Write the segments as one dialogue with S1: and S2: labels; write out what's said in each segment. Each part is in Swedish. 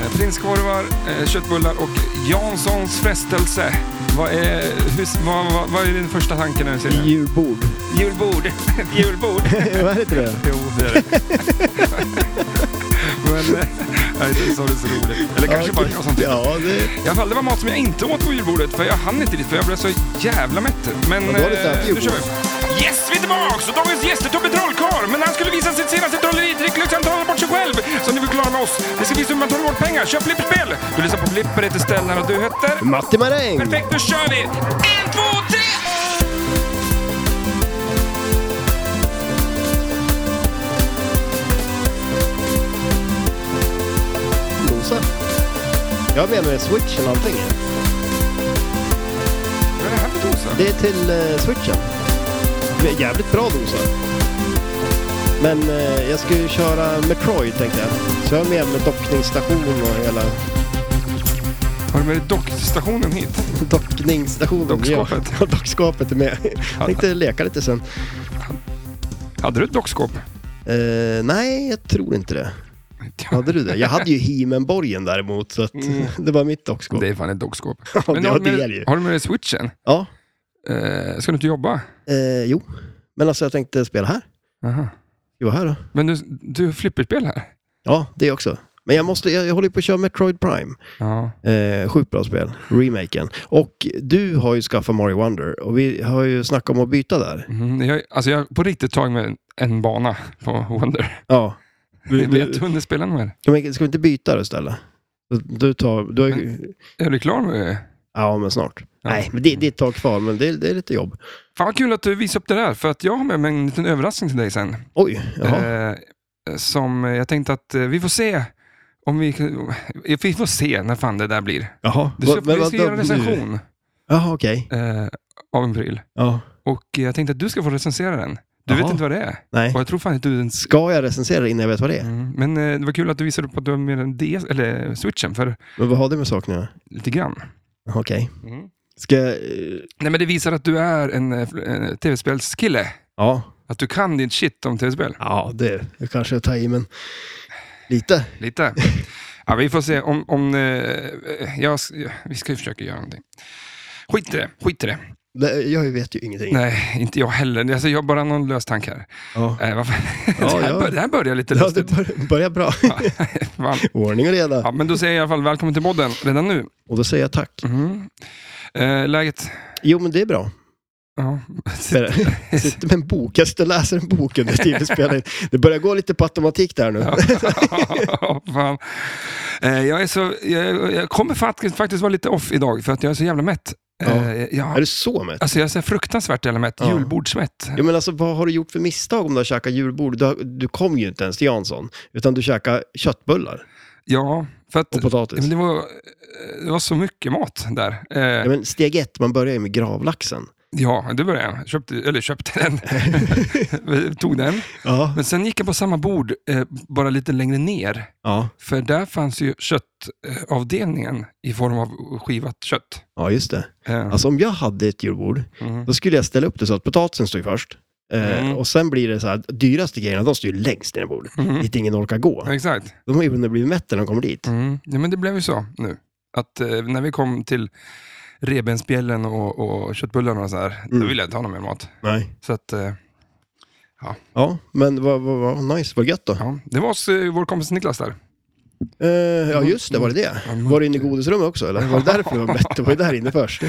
S1: Eh, Prinskorvar, eh, köttbullar och Janssons frestelse. Vad är, hur, vad, vad, vad är din första tanke när du ser det?
S2: Julbord.
S1: Julbord! Ett Julbord!
S2: Vad heter det?
S1: Jo, det är det. Men, eh, nej, det sa det så roligt. Eller kanske bara jag som tyckte.
S2: Ja, det...
S1: I alla fall, det var mat som jag inte åt på julbordet för jag hann inte dit för jag blev så jävla mätt. Men eh,
S2: Men då har du inte ätit
S1: nu
S2: julbord.
S1: kör vi. Yes, vi är tillbaks! Och dagens gäst är Tobbe Trollkarl. Men han skulle visa sitt senaste trolleritrick. Lyckan talar bort sig själv. Så nu är vi klara med oss. Vi ska visa hur man tar bort pengar. Köp flipperspel. Du lyssnar på Flipper, heter Stellan och du heter...
S2: Matti Maräng!
S1: Perfekt, då kör vi! En, två, tre!
S2: Nosa. Jag har med mig switchen och allting.
S1: Vad är det här för dosa?
S2: Det är till eh, switchen. Det är jävligt bra dosa. Men eh, jag ska ju köra Metroid tänkte jag. Så jag har med mig dockningsstation och hela
S1: Har du med dig dockstationen hit?
S2: dockningsstationen.
S1: Dockskåpet.
S2: Ja, dockskåpet är med. Jag tänkte leka lite sen.
S1: Hade du ett dockskåp?
S2: Eh, nej, jag tror inte det. Hade du det? Jag hade ju He-Man-borgen däremot, så att det var mitt dockskåp.
S1: Mm. Det är fan ett dockskåp.
S2: Ja, det,
S1: har,
S2: var
S1: du
S2: det
S1: med,
S2: ju.
S1: har du med dig switchen?
S2: Ja,
S1: Eh, ska du inte jobba?
S2: eh, jo. Men alltså jag tänkte spela här.
S1: Aha.
S2: Jo, här då.
S1: Men du, du har flipperspel här?
S2: Ja, det också. Men jag, måste, jag, jag håller på att köra Metroid Prime.
S1: Ja.
S2: Eh, sjukt bra spel, remaken. Och du har ju skaffat Mario Wonder och vi har ju snackat om att byta där.
S1: Mm, jag, alltså jag har på riktigt tagit med en bana på Wonder.
S2: Ja. Vi-
S1: Men jag
S2: vi-
S1: tror inte spela mer.
S2: Ska vi, ska vi inte byta då istället? Du tar, du har ju,
S1: Är du klar med det?
S2: ja, men snart.
S1: Ja.
S2: Nej, men det, det är ett tag kvar, men det, det är lite jobb.
S1: Fan vad kul att du visade upp det där, för att jag har med mig en liten överraskning till dig sen.
S2: Oj, jaha.
S1: Eh, som jag tänkte att eh, vi får se om vi... Vi får se när fan det där blir.
S2: jaha.
S1: Du ska,
S2: Va- men
S1: vi ska
S2: vadå
S1: göra en
S2: nu?
S1: recension
S2: Jaha, okej.
S1: eh, av en pryl.
S2: Ja,
S1: Och jag tänkte att du ska få recensera den. Du
S2: Jaha.
S1: vet inte vad det är.
S2: nej.
S1: Och jag tror fan inte du ens...
S2: Ska jag recensera det innan jag vet vad det är?
S1: Mm. Men eh, det var kul att du visade upp att du har med en DS, eller switchen, för
S2: Men vad har det med saken att göra?
S1: lite grann.
S2: Jaha, Okej.
S1: Mm.
S2: Ska jag... eh,
S1: Nej, men det visar att du är en, eh, fl- eh, tv-spelskille.
S2: Ja,
S1: Att du kan ditt shit om tv-spel.
S2: Ja, det jag kanske tar i, men lite.
S1: Lite. Ja, vi får se om... om eh, eh, jag, s- ja, vi ska ju försöka göra någonting. Skit i det, skit i det.
S2: Det- Jag vet ju ingenting.
S1: Nej, inte jag heller. Alltså, jag har bara någon lös tanke här.
S2: Ja.
S1: Eh, vad fan?
S2: Ja,
S1: det, här
S2: ja.
S1: bör, det här börjar lite
S2: Ja,
S1: lustigt.
S2: det bör- börjar bra.
S1: Fan.
S2: Ordning och reda.
S1: Ja, men då säger jag i alla fall välkommen till podden redan nu.
S2: Och då säger jag tack.
S1: Mhm. Eh, läget?
S2: Jo, men det är bra.
S1: Ja.
S2: Jag sitter med en bok. Jag sitter och läser en bok under tiden vi spelar in. Det börjar gå lite på automatik där nu.
S1: Ja. Fan. Eh, jag, är så, jag, jag kommer faktiskt, faktiskt vara lite off idag för att jag är så jävla mätt.
S2: Ja.
S1: Eh, jag,
S2: Är du så mätt?
S1: alltså, jag är så fruktansvärt jävla mätt.
S2: Ja.
S1: Julbordsmätt.
S2: Ja, men alltså, vad har du gjort för misstag om du har käkat julbord? Du, har, du kom ju inte ens till Jansson, utan du käkade köttbullar
S1: Ja, för att
S2: och potatis.
S1: men det, var, det var så mycket mat där. Eh,
S2: Ja, men steg ett, man börjar ju med gravlaxen.
S1: ja, det började jag. Köpte, eller köpte den. Tog den.
S2: Ja.
S1: Men sen gick jag på samma bord, eh, bara lite längre ner.
S2: Ja,
S1: För där fanns ju köttavdelningen i form av skivat kött.
S2: ja just det.
S1: Eh,
S2: Alltså om jag hade ett julbord,
S1: mm.
S2: Då skulle jag ställa upp det så att potatisen står ju först. Eh,
S1: Mm.
S2: Och sen blir det så här, dyraste grejerna, de står ju längst ner i bordet.
S1: Mm.
S2: Dit ingen orkar gå.
S1: Exakt.
S2: De har ju hunnit bli mätta när de kommer dit.
S1: Mm. Ja, men det blev ju så nu. Att eh, när vi kom till revbensspjällen och, och köttbullarna och så här, då
S2: Mm.
S1: ville jag inte ha någon mer mat.
S2: Nej.
S1: Så att, eh,
S2: Ja, men vad, vad, vad nice, vad gött då.
S1: ja. Det var oss, eh, vår kompis Niklas där.
S2: Eh, ja,
S1: Mm.
S2: just det, var det det?
S1: Ja,
S2: Var det inne i godisrummet också eller? Var det därför det var mätt? Det var ju där inne först.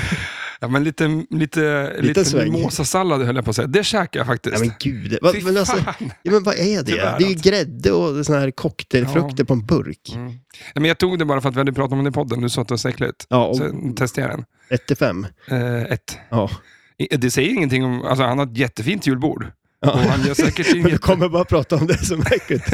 S1: Ja, men lite, lite, lite
S2: sväng.
S1: mimosasallad höll jag på att säga. Det käkade jag
S2: Nej
S1: faktiskt.
S2: men gud. Vad,
S1: Fy
S2: men, alltså,
S1: fan!
S2: ja, men vad
S1: Tyvärr,
S2: är det? Det är ju
S1: alltså.
S2: grädde och såna här cocktailfrukter på en burk.
S1: Mm. Nej, men jag tog det bara för att vi hade pratat om det i podden. Du sa att det var så äckligt.
S2: Ja, och
S1: Så testade jag den.
S2: 1-5.
S1: Eh, ett.
S2: Ja.
S1: I- Det säger ingenting om... Alltså, han har ett jättefint julbord. Och
S2: ja.
S1: han gör säkert,
S2: Men du
S1: inget,
S2: kommer bara prata om det som är äckligt.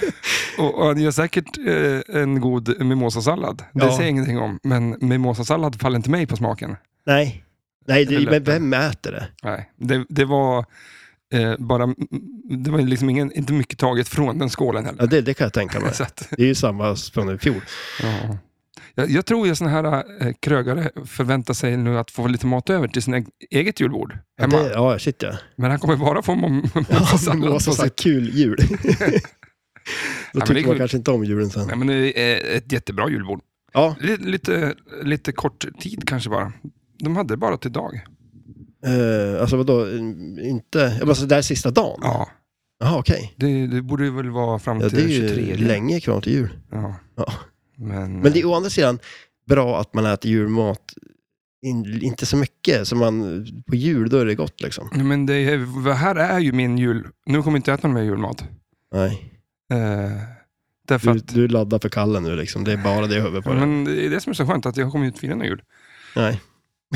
S1: och, och han gör säkert eh, en god mimosasallad. Det
S2: Ja.
S1: säger jag ingenting om. Men mimosasallad faller inte mig på smaken.
S2: Nej. Nej, det,
S1: Eller-
S2: men vem äter det?
S1: Nej, det, det var eh, bara... mm, Det var liksom ingen, inte mycket taget från den skålen heller.
S2: Ja, det, det kan jag tänka mig.
S1: Så att,
S2: Det är ju samma som i fjol.
S1: ja. jag, jag tror ju sådana här eh, krögare förväntar sig nu att få lite mat över till sin e- eget julbord
S2: Ja,
S1: hemma.
S2: det, ja shit ja.
S1: Men han kommer bara få mom-
S2: ja men det
S1: mimosasallad.
S2: var
S1: på
S2: så
S1: sitt-
S2: kul jul. Då
S1: men
S2: tyckte
S1: det är
S2: man
S1: kul.
S2: kanske inte om julen sen.
S1: Nej, men det är ett jättebra julbord.
S2: Ja,
S1: Li- Lite, lite kort tid kanske bara. De hade det bara till dag.
S2: eh, alltså vadå, in- inte, ja, men alltså där sista dagen?
S1: Ja,
S2: Jaha, okej.
S1: det, det borde ju väl vara fram
S2: Ja,
S1: till
S2: det är ju
S1: 23.
S2: länge kvar till jul.
S1: Ja.
S2: Ja.
S1: Men, eh,
S2: Men det är å andra sidan bra att man äter julmat, in, inte så mycket, som man, på jul då är det gott liksom.
S1: Nej, men det är, det här är ju min jul. Nu kommer jag inte äta någon mer julmat. Nej. därför
S2: Du,
S1: att,
S2: du laddar för kallen nu liksom, det är bara det i huvudet på dig.
S1: men det är det som är så skönt, att jag kommer ju inte fira någon jul.
S2: Nej.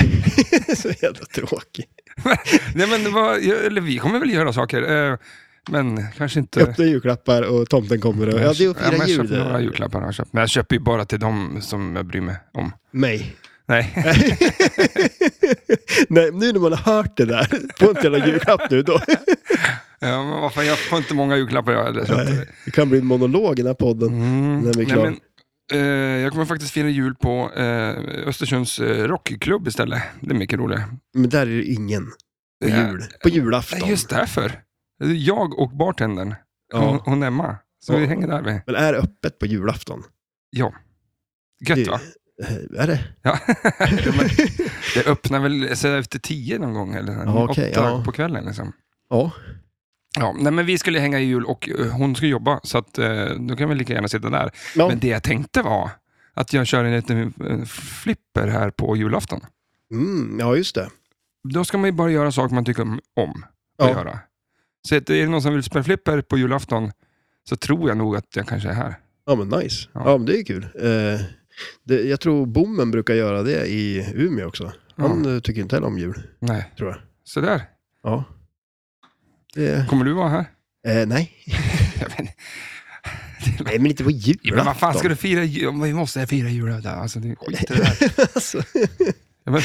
S2: så jävla tråkigt.
S1: Nej, men det var, jag- eller vi kommer väl göra saker, eh, men kanske inte...
S2: Öppna julklappar och tomten kommer och, ja det är att
S1: men
S2: fira
S1: jag
S2: jul.
S1: köper några
S2: det.
S1: julklappar har jag köpt. Men jag köper ju bara till dem som jag bryr mig om.
S2: Mig.
S1: Nej,
S2: Nej, nu när man har hört det där, få inte jävla julklapp nu då.
S1: ja, men vad fan, jag får inte många julklappar jag heller. så att-
S2: Nej, det kan bli en monolog i den här podden.
S1: Mm.
S2: Den är
S1: Nej,
S2: klar.
S1: men, eh, jag kommer faktiskt fira jul på eh, Östersunds eh, rockklubb istället. Det är mycket roligare.
S2: Men där är det ingen
S1: Ja.
S2: på jul. På
S1: Nej,
S2: julafton.
S1: Just Mm. därför. Jag och bartendern, hon,
S2: Ja.
S1: hon Emma. Så
S2: Ja.
S1: vi hänger där med.
S2: Men är det öppet på julafton?
S1: Gött
S2: Det-
S1: va?
S2: Eh, Är det?
S1: Ja. Men det öppnar väl så efter tio någon gång eller
S2: Ja, okej,
S1: åtta
S2: ja.
S1: på kvällen. Liksom.
S2: ja.
S1: Ja, nej, men vi skulle hänga i jul och eh, hon ska jobba så att, eh, då kan vi lika gärna sitta där.
S2: Ja.
S1: Men det jag tänkte var att jag kör en liten eh, flipper här på julafton.
S2: Mm, ja, just det.
S1: Då ska man ju bara göra saker man tycker om- om att
S2: Ja.
S1: göra. Så att, är det någon som vill spela flipper på julafton så tror jag nog att jag kanske är här.
S2: Ja, men nice.
S1: Ja.
S2: Ja, men det är kul. Eh, det, jag tror Bommen brukar göra det i Umeå också. Han eh, tycker inte heller om jul,
S1: Nej,
S2: tror jag.
S1: så där.
S2: Ja. Det,
S1: Kommer du vara här?
S2: eh, nej.
S1: Jag vet inte.
S2: nej, men inte på julafton.
S1: Men vad fan ska du fira jul? Vi måste fira jul. där. Alltså, det är skit i det här.
S2: alltså,
S1: Ja, men-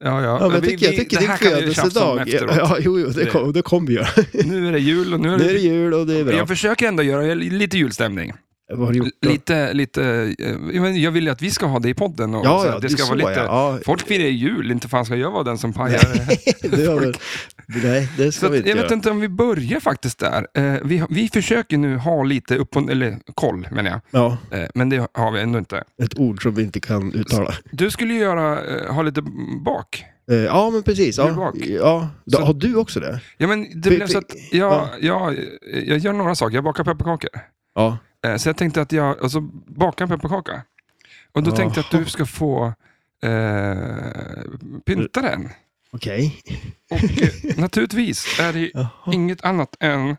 S1: Ja, ja.
S2: ja, men jag
S1: Vi-
S2: tycker, jag
S1: vi-
S2: tycker
S1: det
S2: det är
S1: här kan vi tjafsa om
S2: födelsedag.
S1: efteråt.
S2: Ja, jo, jo, det,
S1: Det-
S2: kom, det kommer vi göra.
S1: Nu är det jul och nu är
S2: Nu är det
S1: det...
S2: jul och det är bra.
S1: Jag försöker ändå göra lite julstämning.
S2: Vad har du gjort då?
S1: Lite, lite... eh, men Jag vill ju att vi ska ha det i podden. Och
S2: Ja,
S1: så
S2: ja,
S1: att det ska
S2: är
S1: vara
S2: så,
S1: lite...
S2: Ja, ja.
S1: Folk firar ju jul, inte fan ska jag vara den som pajar.
S2: Det har väl, nej, det ska
S1: Så att,
S2: vi inte
S1: jag
S2: göra.
S1: vet inte om vi börjar faktiskt där. Eh, vi, har- vi försöker nu ha lite upp och, eller koll, menar jag.
S2: Ja,
S1: Eh, men det har vi ändå inte.
S2: ett ord som vi inte kan uttala.
S1: Du skulle ju göra, eh, ha lite bak.
S2: Eh, Ja, men precis. Ja.
S1: Julbak.
S2: Ja. Då,
S1: Så-
S2: har du också det?
S1: Ja, men det
S2: Vi-
S1: blev så att
S2: vi-
S1: jag,
S2: ja.
S1: jag, jag gör några saker. Jag bakar pepparkakor.
S2: Ja.
S1: Eh, Så jag tänkte att jag, alltså bakar en pepparkaka. Och då tänkte jag att du ska få eh, pynta den.
S2: Okej.
S1: Och eh, naturligtvis är det ju
S2: Jaha.
S1: inget annat än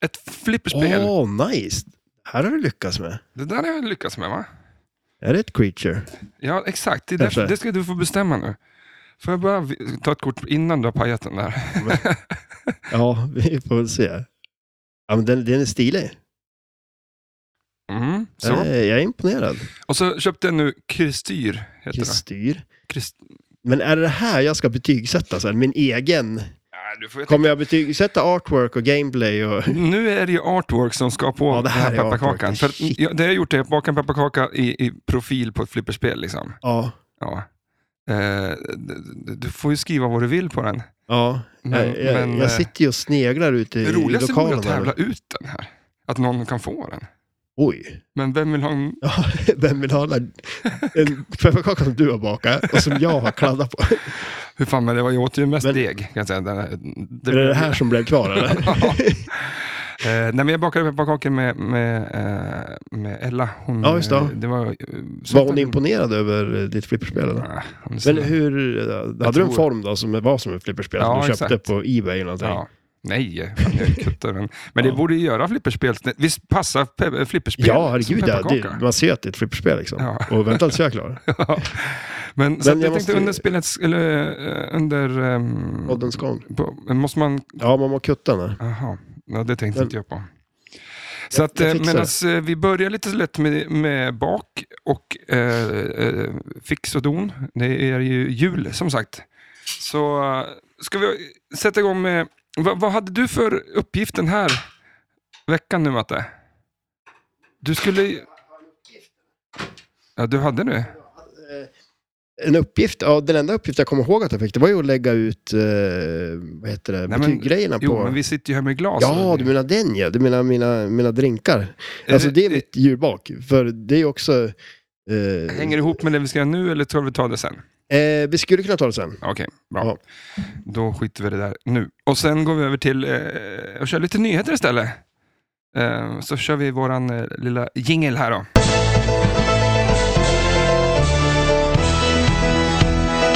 S1: ett flipperspel.
S2: Åh, nice. Det här har du lyckats med.
S1: Det där har jag lyckats med va?
S2: Är det ett creature?
S1: Ja, exakt. Det, är därför,
S2: Kanske.
S1: det ska du få bestämma nu. Får jag bara vi- ta ett kort innan du har pajat den där?
S2: Ja, vi får väl se. Ja, men den, den är stilig.
S1: Mm,
S2: Jag
S1: så.
S2: är, jag är imponerad.
S1: Och så köpte jag nu kristyr. Heter det.
S2: Kristyr.
S1: Krist...
S2: Men är det här jag ska betygsätta sen? Min egen?
S1: Ja, du får...
S2: Kommer jag betygsätta artwork och gameplay och...
S1: Nu är det ju artwork som ska på
S2: Ja, det här
S1: den
S2: är
S1: här pepparkakan.
S2: artwork.
S1: För att
S2: Shit.
S1: jag, det jag har gjort är att baka en pepparkaka i, i profil på ett flipperspel. Liksom.
S2: Ja.
S1: Ja. Eh, d- d- du får ju skriva vad du vill på den.
S2: Ja.
S1: Men,
S2: jag, jag,
S1: men, eh,
S2: jag sitter ju och sneglar ute i
S1: det roligaste vore
S2: lokalen.
S1: att tävla
S2: här.
S1: ut den här. Att någon kan få den.
S2: Oj.
S1: Men vem vill ha en...
S2: Ja, vem vill ha en en pepparkaka som du har bakat och som jag har kladdat på?
S1: Hur fan, men det var ju åt ju mest
S2: Men-
S1: deg. Kan jag säga. Den här,
S2: Det är det det här som blev kvar eller?
S1: Ja. Eh, nej, men jag bakade pepparkakor med, med, eh, med Ella. Hon,
S2: Ja, just det.
S1: eh, det var, eh,
S2: Var
S1: sånt
S2: hon
S1: där-
S2: imponerad över eh, ditt flipperspel? Eller?
S1: Ah, hon är
S2: Men
S1: snäll.
S2: hur, eh, hade du en
S1: tror-
S2: form då som var som ett flipperspel
S1: Ja,
S2: som du köpte
S1: exakt.
S2: på Ebay eller någonting?
S1: Ja. Nej, fan, jag kuttar den. Men
S2: Ja.
S1: det borde ju göra flipperspel. Visst passar pe- flipperspel
S2: Ja,
S1: som
S2: herregud. Ja, det,
S1: pepparkaka?
S2: man ser att det är ett flipperspel liksom.
S1: Ja.
S2: Och vänta tills jag är klar.
S1: Men, så
S2: Men
S1: att jag,
S2: jag
S1: tänkte
S2: måste-
S1: under spelet, eller eh, under... ehm,
S2: Poddens gång.
S1: på, måste man...
S2: Ja, man må kutta den. här.
S1: Jaha, ja, det tänkte
S2: Men-
S1: inte jag på. Så att
S2: jag
S1: eh,
S2: fixar
S1: medans, eh, vi börjar lite lätt med, med bak och eh, eh, fix och don. Det är ju jul som sagt. Så eh, ska vi sätta igång med, vad, vad hade du för uppgift den här veckan nu Matte? Du skulle... Ja, du hade nu.
S2: en uppgift, ja, den enda uppgift jag kommer ihåg att jag fick, det var ju att lägga ut eh, vad heter det,
S1: Nej, men-
S2: betyggrejerna på...
S1: Jo, men vi alltså, sitter ju här med glas.
S2: Ja, du menar den ja. Du menar mina, mina drinkar.
S1: Eh,
S2: Alltså det är mitt djurbak. För det är också... Eh,
S1: Hänger det ihop med det vi ska göra nu eller tar vi ta det sen?
S2: eh, vi skulle kunna ta det sen.
S1: Okej, bra.
S2: Ja.
S1: Då skiter vi i det där nu. Och sen går vi över till eh, och kör lite nyheter istället. Eh, så kör vi våran eh, lilla jingle här då.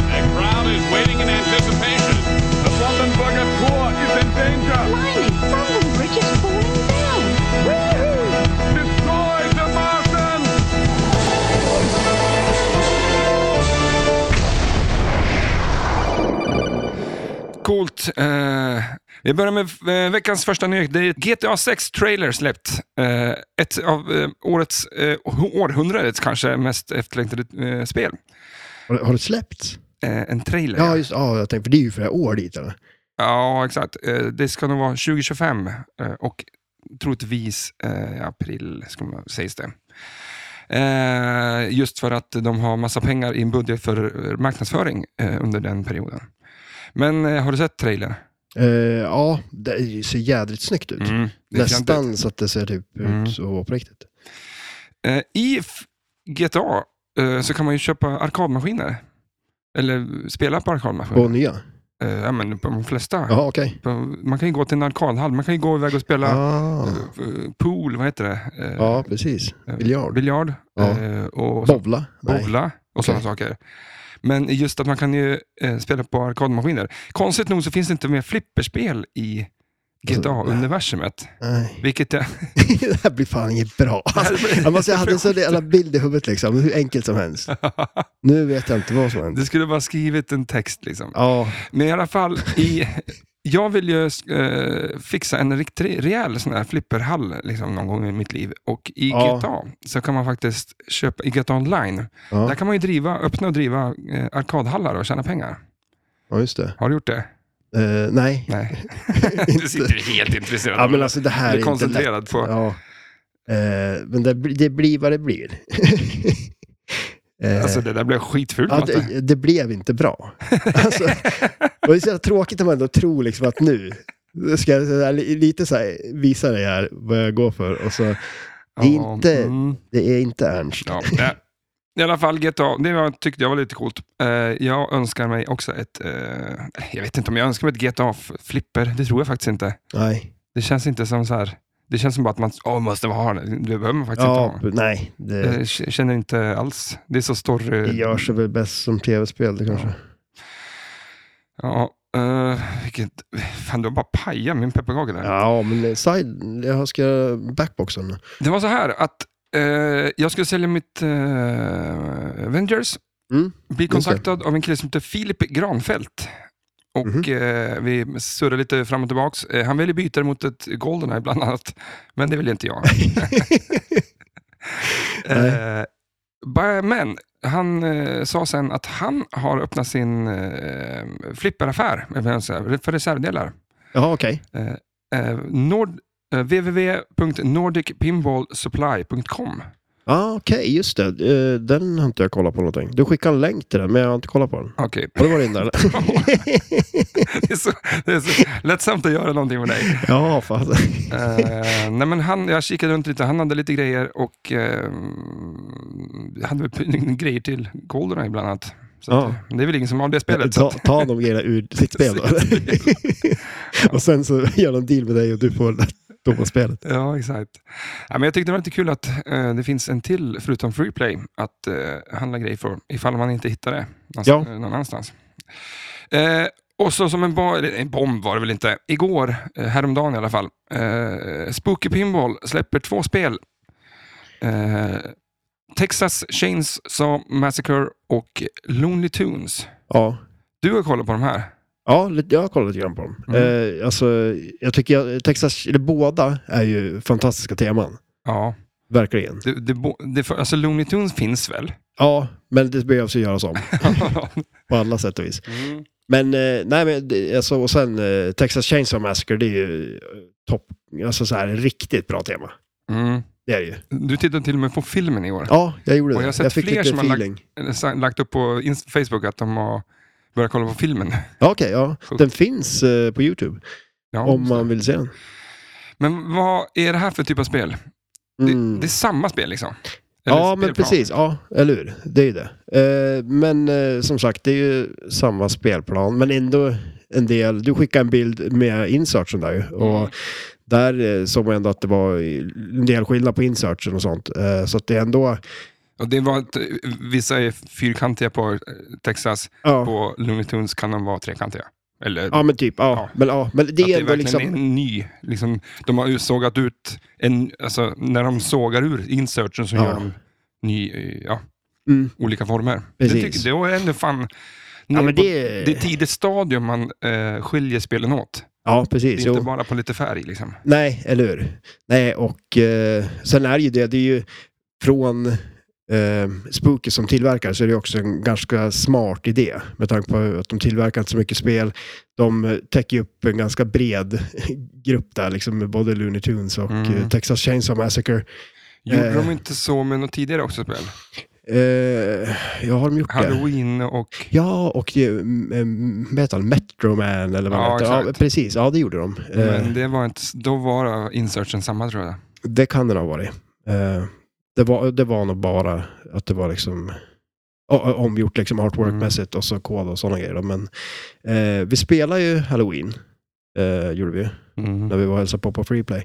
S3: The crowd is waiting in anticipation. The Brandenburger Tor is in danger.
S4: Blimey, Brandon Bridge is falling down.
S3: Destroy the Martians!
S1: Coolt. Eh, vi börjar med eh, veckans första nyhet. Det är GTA 6-trailer släppt. Eh, ett av eh, årets, eh, århundradets kanske mest efterlängtade eh, spel.
S2: Har, har det släppts?
S1: Eh, en trailer.
S2: Ja, just ja, jag tänkte, för det är ju flera år dit. Eller?
S1: Ja, exakt. Eh, Det ska nog vara 2025 eh, och troligtvis eh, i april, ska man, sägs det. Eh, Just för att de har massa pengar i en budget för eh, marknadsföring eh, under den perioden. Men eh, har du sett trailern?
S2: Eh, ja, det ser jädrigt snyggt ut.
S1: Mm, det är fjantigt.
S2: Nästan så att det ser typ
S1: Mm.
S2: ut att vara på riktigt.
S1: Eh, I F- GTA eh, så kan man ju köpa arkadmaskiner. Eller spela på
S2: Och
S1: arkadmaskiner.
S2: nya?
S1: Eh, Ja, men på de flesta.
S2: Jaha, okej.
S1: På- Man kan ju gå till en arkadhall. Man kan ju gå iväg och spela
S2: Ah.
S1: eh, pool, vad heter det? Eh,
S2: Ja, precis. Biljard.
S1: biljard
S2: Ja.
S1: eh, och så-
S2: Bovla? Nej.
S1: bowla och sådana saker. Men just att man kan ju eh, spela på arkadmaskiner. Konstigt nog så finns det inte mer flipperspel i
S2: Alltså,
S1: GTA-universumet.
S2: Nej.
S1: Vilket är...
S2: det här blir fan inget bra. Alltså, jag, måste, jag hade en sån jävla bild i huvudet liksom, hur enkelt som helst. Nu vet jag inte vad som händer.
S1: det skulle vara skrivit en text liksom.
S2: Ja,
S1: Men i alla fall, i, jag vill ju eh, fixa en riktigt rejäl sån här flipperhall liksom, någon gång i mitt liv. Och i
S2: Ja.
S1: GTA så kan man faktiskt köpa, i GTA Online, där
S2: ja,
S1: kan man ju driva, öppna och driva eh, arkadhallar och tjäna pengar.
S2: ja just det.
S1: Har du gjort det?
S2: Eh, nej.
S1: Nej.
S2: Inte.
S1: Du sitter helt intresserad.
S2: Ja, men alltså
S1: Du
S2: det
S1: är
S2: här är inte lätt.
S1: koncentrerad på...
S2: Ja. Eh, men det, blir- det blir vad det blir. Eh,
S1: Alltså det där blev skitfult
S2: ja,
S1: Matte.
S2: det, det blev inte bra. Alltså, och det är så jävla tråkigt om man ändå tror liksom att nu nu ska jag så här, li- lite så här, visa dig här vad jag går för. Och så, det är
S1: Ja,
S2: inte-
S1: mm,
S2: det är inte Ernst.
S1: ja, nej. I alla fall GTA, det var, tyckte jag var lite coolt. Eh, jag önskar mig också ett... eh, jag vet inte om jag önskar mig ett GTA-flipper, det tror jag faktiskt inte.
S2: Nej.
S1: Det känns inte som så här... Det känns som bara att man åh, måste ha det. Det behöver man faktiskt
S2: Ja,
S1: inte Eh, ha.
S2: nej. Det,
S1: Jag k- känner inte alls. Det är så
S2: det
S1: story...
S2: gör sig väl bäst som tv-spel det kanske.
S1: Ja, eh, vilket... Fan, du har bara pajat min pepparkaka där.
S2: Ja, men side, jag ska göra backboxen.
S1: Det var så här att eh, jag skulle sälja mitt eh, Avengers.
S2: Mm,
S1: Bli kontaktad av en kille som heter Filip Granfält. Och eh, vi surrade lite fram och tillbaks. Eh, han ville byta det mot ett Goldeneye bland annat. Men det vill inte jag. eh, ba- men han eh, sa sen att han har öppnat sin eh, flipperaffär eller vad jag säger, för reservdelar.
S2: Ja, okej.
S1: Eh, nord, eh, www.nordicpinballsupply.com
S2: Ja, okej, just det. Eh, Den har inte jag kollat på någonting. Du skickade en länk till den, men jag har inte kollat på den.
S1: Okej,
S2: Har du varit inne eller?
S1: det, är så, det är så lättsamt att göra någonting med dig.
S2: ja, fan.
S1: Eh, nej men han, jag kikade runt lite, han hade lite grejer och eh, hade väl p- grejer till Goldeneye bland annat. Så
S2: Ja.
S1: att, eh, det är väl ingen som har det spelet.
S2: Ta, ta de grejerna ur sitt spel då. och sen så gör de en deal med dig och du får doma spelet.
S1: Ja, exakt. Ja, men jag tyckte det var lite kul att eh, det finns en till, förutom Freeplay, att eh, handla grejer för ifall man inte hittar det någonstans.
S2: Ja.
S1: eh, någon annanstans. Eh, och så som en, ba- eller en bomb var det väl inte, igår, eh, häromdagen i alla fall, eh, Spooky Pinball släpper två spel. Eh, Texas Chainsaw Massacre och Lonely Tunes.
S2: Ja.
S1: Du har kollat på de här?
S2: Ja, lite- jag har kollat lite grann på dem.
S1: Mm.
S2: Eh, alltså, jag tycker jag, Texas, eller båda är ju fantastiska teman.
S1: Ja.
S2: Verkligen.
S1: Det, det, bo- det, alltså Lonely Tunes finns väl?
S2: Ja, men det behövs ju göras om på alla sätt och vis. Men, eh, nej men, det- alltså, och sen eh, Texas Chainsaw Massacre, det är ju eh, topp, alltså så här riktigt bra tema.
S1: mm.
S2: Det är det ju.
S1: Du tittade till och med på filmen i år.
S2: Ja, jag gjorde
S1: Och
S2: det.
S1: jag har
S2: Jag,
S1: sett
S2: fick
S1: fler
S2: lite
S1: som har lagt-
S2: feeling.
S1: Eh, sa- Lagt upp på Inst- Facebook att de har börjat kolla på filmen.
S2: Ja, Okej, ja.
S1: Sjukt.
S2: Den finns eh, på YouTube
S1: Ja,
S2: om
S1: så.
S2: man vill se den.
S1: Men vad är det här för typ av spel?
S2: Mm.
S1: Det, det är samma spel liksom? Eller
S2: Ja, men
S1: spelplan?
S2: precis. Ja, eller hur? Det är ju det. Eh, men eh, som sagt, det är ju samma spelplan, men ändå en del. Du skickade en bild med insertsen där ju. Och
S1: Mm.
S2: där eh, såg man ändå att det var en del skillnad på insertsen och sånt. Eh, så att det är ändå...
S1: Och det var att, eh, vissa är fyrkantiga på eh, Texas,
S2: Ja,
S1: på Looney Tunes kan de vara trekantiga. Eller,
S2: ja men typ. Ja,
S1: Ja.
S2: Men, ja, men det
S1: det, att
S2: är
S1: det är
S2: ändå
S1: verkligen
S2: liksom...
S1: är en ny. Liksom, de har ju sågat ut, en, alltså, när de sågar ur inserten så
S2: Ja.
S1: gör de ny, eh, ja,
S2: Mm.
S1: olika former. Det,
S2: Precis.
S1: tycker, det var ändå fan...
S2: Ja, men
S1: på-
S2: det-
S1: det är tidigt stadium man eh, skiljer spelen åt.
S2: Ja,
S1: Det
S2: precis.
S1: är inte
S2: Jo.
S1: bara på lite färg liksom.
S2: Nej, eller hur? Nej, och eh, sen är det ju det, det är ju från eh, Spooky som tillverkare så är det också en ganska smart idé med tanke på att de tillverkar inte så mycket spel. De eh, täcker ju upp en ganska bred grupp där, liksom med både Looney Tunes och
S1: Mm.
S2: eh, Texas Chainsaw Massacre.
S1: Gjorde
S2: Eh.
S1: de inte så med något tidigare också spel?
S2: Eh, ja, har de gjort det?
S1: Halloween och...
S2: Ja, och eh, m- m- metal, Metro Man eller vad
S1: Ja,
S2: det heter. Ja,
S1: exakt. Mm.
S2: precis. Ja, det gjorde de. Eh,
S1: Men det var inte, då var insertion samma tror jag.
S2: Det kan den ha varit. Eh, det, var, det var nog bara att det var liksom o- o- omgjort liksom artworkmässigt och så kod och sådana grejer. då. Men eh, vi spelar ju Halloween. Eh, gjorde vi ju, när vi var och hälsade på på Freeplay.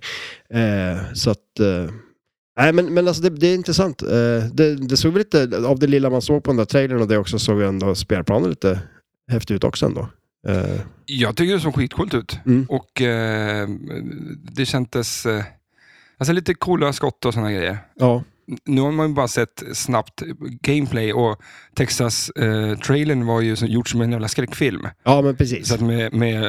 S2: Eh, så att... Eh, nej, men, men alltså det, det är intressant. Eh, det, det såg väl lite, av det lilla man såg på den där trailern och det också såg ändå spelplanen lite häftigt ut också ändå. Eh,
S1: Jag tycker det såg skitcoolt ut.
S2: Mm.
S1: Och eh, det kändes... Eh, alltså lite coola skott och sådana grejer.
S2: ja,
S1: Nu har man ju bara sett snabbt gameplay och Texas-trailern var ju som, gjort som en jävla skräckfilm.
S2: ja, men precis.
S1: Så att, med, med,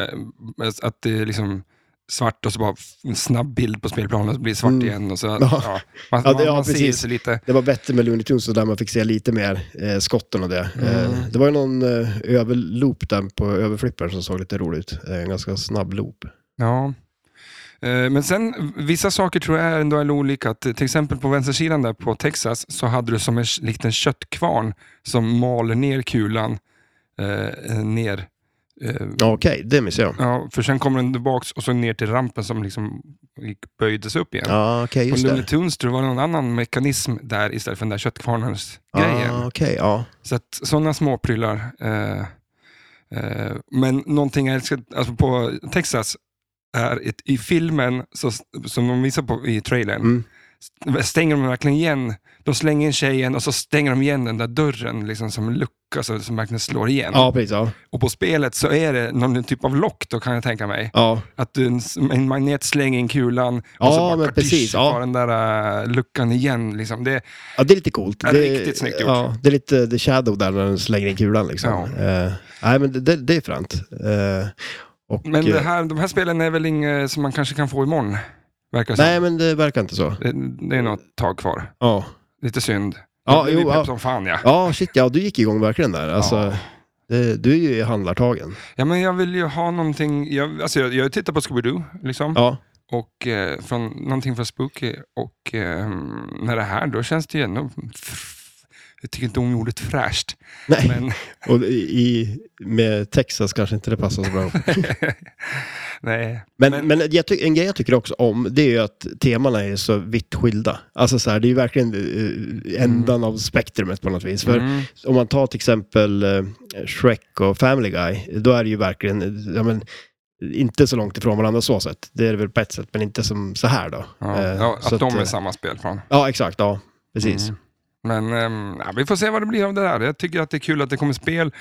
S1: att det är liksom svart och så bara en snabb bild på spelplanen och så blir det svart
S2: Mm.
S1: igen. Och så, ja.
S2: Ja.
S1: Man,
S2: Ja, det- ja,
S1: man ser
S2: precis.
S1: sig lite.
S2: Det var bättre med Looney Tunes och där man fick se lite mer eh, skotten och det. Eh, det var ju någon eh, överloop där på överflipparen som såg lite rolig ut. Eh, en ganska snabb loop.
S1: Ja. Eh, Men sen, vissa saker tror jag ändå är olika. Att, eh, till exempel på vänstersidan där på Texas så hade du som en k- liten köttkvarn som maler ner kulan eh, ner. Eh,
S2: Ja, Okej, det missade jag.
S1: ja, för sen kommer den tillbaks och så ner till rampen som liksom gick- böjdes upp igen.
S2: Ja, okej,
S1: på
S2: just
S1: Looney
S2: det.
S1: Tunes tror jag var någon annan mekanism där istället för den där köttkvarnens grejen.
S2: Ah, okej, ja.
S1: Så att sådana små prylar. Eh, eh, men någonting jag älskar, alltså på Texas, är ett, i filmen så, som de visar på i trailern,
S2: Mm.
S1: st- stänger de verkligen igen. De slänger in tjejen och så stänger de igen den där dörren liksom som en lucka så, som verkligen slår igen.
S2: Ja, precis. Ja.
S1: Och på spelet så är det någon typ av lock då kan jag tänka mig.
S2: Ja.
S1: Att du, en, en magnet slänger in kulan och
S2: Ja,
S1: så bara
S2: men
S1: kartisch,
S2: precis, ja.
S1: tar den där äh, luckan igen. Liksom. Det,
S2: ja, det är lite coolt.
S1: Ja, riktigt snyggt gjort.
S2: Ja, det är lite The Shadow där när den slänger in kulan liksom.
S1: Ja.
S2: Eh, nej, men det, det, det är fränt. Eh, och,
S1: men det
S2: eh,
S1: här, de här spelen är väl inget som man kanske kan få imorgon? Verkar det som.
S2: Nej, men det verkar inte så.
S1: Det, det är något tag kvar.
S2: Ja,
S1: Lite synd.
S2: ja
S1: Men vi
S2: jo.
S1: pepp
S2: Ja.
S1: som fan ja.
S2: ja, shit, ja, du gick igång verkligen där. Alltså,
S1: Ja.
S2: det, du är ju i handlartagen.
S1: ja, men jag vill ju ha någonting. Jag, alltså, jag, jag tittar på Scooby-Doo, liksom.
S2: Ja.
S1: Och eh, från, någonting från Spooky. Och eh, när det här, då känns det ju ändå... Jag tycker inte om ordet fräscht.
S2: Nej.
S1: Men,
S2: Och i, med Texas kanske inte det passar så bra. ihop.
S1: nej.
S2: Men,
S1: Men-
S2: men, jag ty- en grej jag tycker också om, det är ju att temana är så vitt skilda. Alltså så här, det är ju verkligen eh, ändan av spektrumet på något vis. För
S1: Mm.
S2: om man tar till exempel eh, Shrek och Family Guy, då är det ju verkligen, eh, ja, men, inte så långt ifrån varandra så sätt. Det är det väl på ett sätt, men inte som så här då.
S1: Ja,
S2: Eh,
S1: ja,
S2: så
S1: att de är
S2: eh,
S1: samma spelplan.
S2: Ja, exakt. Ja, precis.
S1: Mm. Men ehm, ja, vi får se vad det blir av det där. Jag tycker att det är kul att det kommer spel.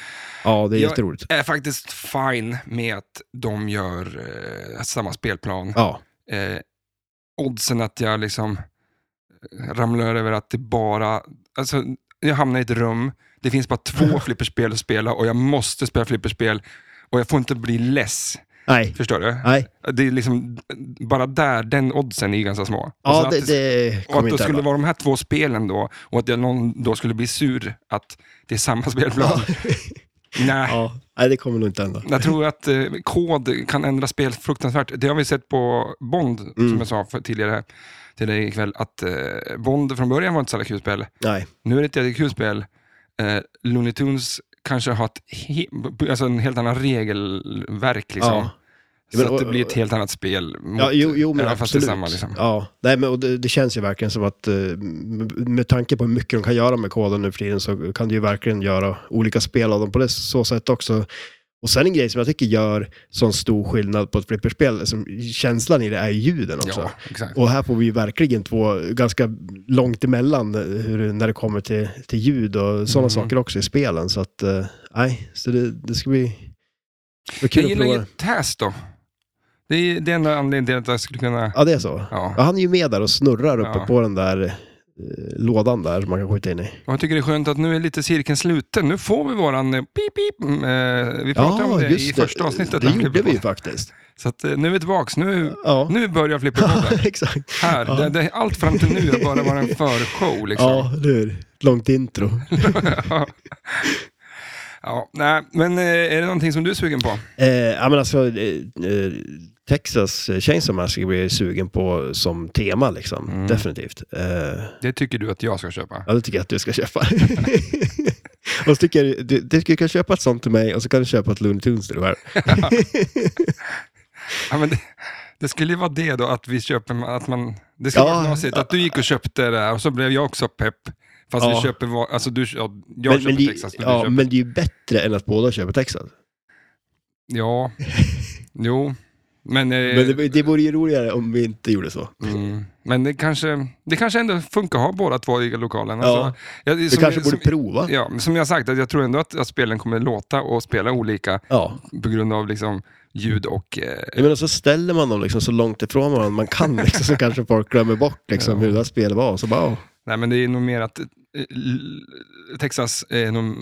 S2: Ja, det är
S1: Jag-
S2: jätteroligt.
S1: är faktiskt fine med att de gör eh, samma spelplan.
S2: Ja,
S1: Eh, oddsen att jag liksom eh, ramlar över att det bara... Alltså, jag hamnar i ett rum, det finns bara två flipperspel att spela och jag måste spela flipperspel och jag får inte bli less.
S2: nej.
S1: Förstår du?
S2: Nej,
S1: Det är liksom, bara där, den oddsen är ju ganska små. Och så
S2: ja,
S1: att
S2: det, det
S1: och att
S2: kommer
S1: det
S2: inte
S1: skulle
S2: hända.
S1: vara de här två spelen då, och att jag någon då skulle bli sur att det är samma spelplan. Nej.
S2: Ja. Nej, det kommer nog inte hända.
S1: Jag tror att eh, kod kan ändra spel fruktansvärt. Det har vi sett på Bond,
S2: Mm.
S1: som jag sa för, tidigare till dig ikväll, att eh, Bond från början var inte så jävla kul spel.
S2: Nej.
S1: Nu är det ett jävligt kul spel. Eh, Looney Tunes kanske har ett he- alltså en helt annan regelverk. Liksom.
S2: Ja.
S1: Så
S2: Men,
S1: att det
S2: och-
S1: blir ett helt annat spel. Mot,
S2: Ja, jo, jo men
S1: även fast det är
S2: absolut.
S1: samma, liksom.
S2: ja. Nej, men, och det, det känns ju verkligen som att eh, m- med tanke på hur mycket de kan göra med koden nu för tiden så kan du ju verkligen göra olika spel av dem på det så sätt också. Och sen en grej som jag tycker gör sån stor skillnad på ett flipperspel, som känslan i det är ju ljuden också.
S1: ja, exakt.
S2: Och här får vi ju verkligen två ganska långt emellan eh, hur, när det kommer till, till ljud och sådana
S1: Mm.
S2: saker också i spelen. Så att, eh, nej, så det, det ska bli, det blir
S1: Jag
S2: kul att
S1: gillar
S2: prova.
S1: ju TAS då. Det är det är enda anledningen till att jag skulle kunna...
S2: Ja, det är så.
S1: Ja.
S2: Ja, han är ju med där och snurrar uppe
S1: Ja.
S2: på den där eh, lådan där man kan skjuta in i.
S1: Och jag tycker det är skönt att nu är lite cirkeln sluten. Nu får vi våran eh, pip, pip. Mm, eh, Vi pratade om det i första avsnittet.
S2: Det
S1: av
S2: gjorde vi ju
S1: Flipperpodden.
S2: faktiskt.
S1: Så att, eh, nu är vi tillbaka. Nu,
S2: Ja,
S1: nu börjar flipperpodden.
S2: exakt.
S1: Här.
S2: Ja.
S1: Det, det, allt fram till nu har bara varit en förshow. Liksom.
S2: Ja, det är ett långt intro.
S1: Ja. ja, nej, men eh, är det någonting som du är sugen på?
S2: Eh, ja, men alltså, eh, eh, Texas Chainsaw Massacre blir jag ju sugen på som tema liksom.
S1: Mm.
S2: Definitivt. Eh,
S1: Det tycker du att jag ska köpa.
S2: ja, det tycker jag att du ska köpa. och så tycker jag, du, du ska- kan köpa ett sånt till mig och så kan du köpa ett Looney Tunes till dig själv.
S1: Ja, men det, det skulle ju vara det då, att vi köper, att man, det skulle
S2: Ja.
S1: vara knasigt att du gick och köpte det här och så blev jag också pepp. Fast
S2: Ja.
S1: vi köper, var- alltså du, ja, jag
S2: Men,
S1: köper
S2: men, det,
S1: Texas Eh, och du
S2: ja,
S1: köper...
S2: men det är ju bättre än att båda köper Texas.
S1: Ja, jo, men, eh,
S2: Men det, det vore ju roligare om vi inte gjorde så.
S1: mm, men det, kanske, det kanske ändå funkar att ha båda två i lokalen.
S2: Ja.
S1: Alltså, jag,
S2: Vi
S1: som-
S2: kanske borde
S1: som,
S2: prova. Ja.
S1: Ja, men som jag sagt, att jag tror ändå att, att spelen kommer låta och spela olika på grund av liksom, ljud och... Eh,
S2: Jag menar, så ställer man dem liksom så långt ifrån varandra man kan, liksom, så kanske folk glömmer bort liksom,
S1: Ja.
S2: hur det här spelet var. Så bara, oh.
S1: nej, men det är nog mer att eh, l- Texas är nog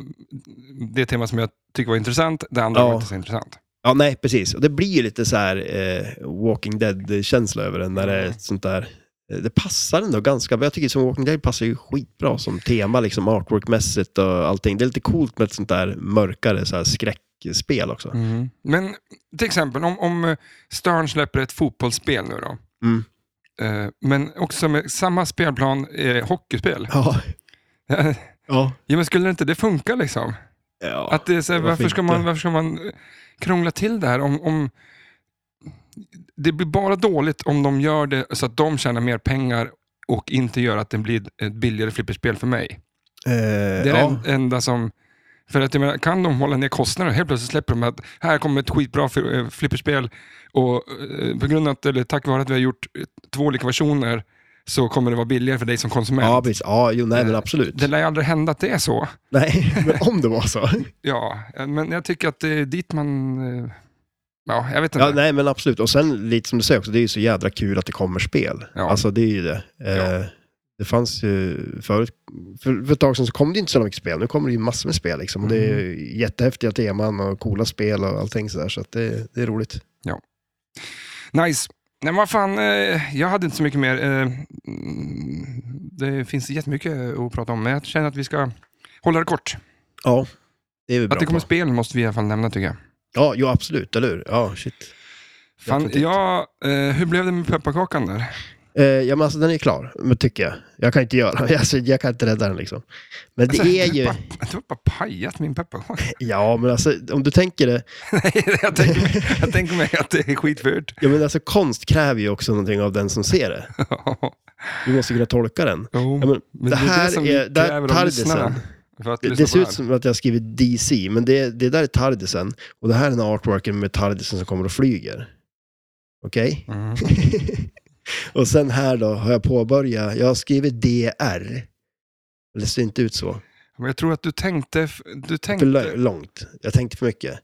S1: det tema som jag tycker var intressant, det andra
S2: Ja.
S1: var inte så intressant.
S2: Ja, nej, precis. Och det blir ju lite så här eh, Walking Dead-känsla över den när det är ett sånt där... eh, Det passar ändå ganska bra. Jag tycker som Walking Dead passar ju skitbra som tema, liksom artwork-mässigt och allting. Det är lite coolt med ett sånt där mörkare så här skräckspel också.
S1: Mm. Men till exempel om, om eh, Stern släpper ett fotbollsspel nu då,
S2: Mm.
S1: eh, men också med samma spelplan, eh, hockeyspel.
S2: Ja.
S1: ja,
S2: Ja.
S1: men skulle inte det funka liksom?
S2: ja.
S1: Att det är så här,
S2: varför
S1: varför, ska
S2: inte?
S1: man, varför ska man eh, krångla till det här? Om, om, det blir bara dåligt om de gör det så att de tjänar mer pengar och inte gör att det blir ett billigare flipperspel för mig.
S2: eh,
S1: Det är
S2: ja.
S1: det enda som... För att jag menar, kan de hålla ner kostnader helt plötsligt släpper de att här kommer ett skitbra fi- eh, flipperspel och eh, på grund av, att, eller tack vare att vi har gjort eh, två olika versioner så kommer det vara billigare för dig som konsument.
S2: ja, precis. Ja, jo, nej, men
S1: Eh,
S2: absolut.
S1: Det lär ju aldrig hända att det är så.
S2: Nej, men om det var så.
S1: Ja, eh, men jag tycker att det är dit man... eh, Ja, jag vet inte.
S2: Ja, nej, men absolut. Och sen lite som du säger också, det är ju så jädra kul att det kommer spel.
S1: Ja.
S2: Alltså det är ju det. Eh,
S1: Ja.
S2: Det fanns ju förut, för, för ett tag sedan så kom det inte så mycket spel. Nu kommer det ju massor med spel liksom. Och det är
S1: Mm.
S2: ju jättehäftiga teman och coola spel och allting sådär. Så att det, det är roligt.
S1: Nice. Nej, men vad fan, eh, jag hade inte så mycket mer. eh, mm, Det finns jättemycket att prata om, men jag känner att vi ska hålla det kort.
S2: Ja, det är vi bra
S1: Att det kommer
S2: på.
S1: spel måste vi i alla fall nämna, tycker jag.
S2: Ja, jo, absolut. Eller hur? Ja, shit.
S1: Fan,
S2: Definitivt.
S1: ja, eh, hur blev det med pepparkakan där?
S2: Eh, ja, men alltså den är klar, men tycker jag. Jag kan inte göra alltså, jag kan inte rädda den liksom. Men det
S1: Alltså,
S2: är
S1: du
S2: ju...
S1: har bara- Du har bara pajat min pepparkaka.
S2: Ja, men alltså om du tänker det.
S1: Nej, jag tänker, mig, jag tänker mig att det är skitfult.
S2: Ja, men alltså konst kräver ju också någonting av den som ser det. Du måste kunna tolka den.
S1: Jo,
S2: Ja, men det här är- där- Tardisen.
S1: För att
S2: Det,
S1: lyssna
S2: det
S1: på
S2: ser ut
S1: som...
S2: som att jag har skrivit DC, men det, det där är Tardisen. Och det här är den här artworken med Tardisen som kommer och flyger. Okej?
S1: mm.
S2: och sen här då har jag påbörjat, jag har skrivit DR. Men Det ser inte ut så.
S1: Men jag tror att du tänkte... Du
S2: För
S1: tänkte
S2: lö- långt. Jag tänkte för mycket.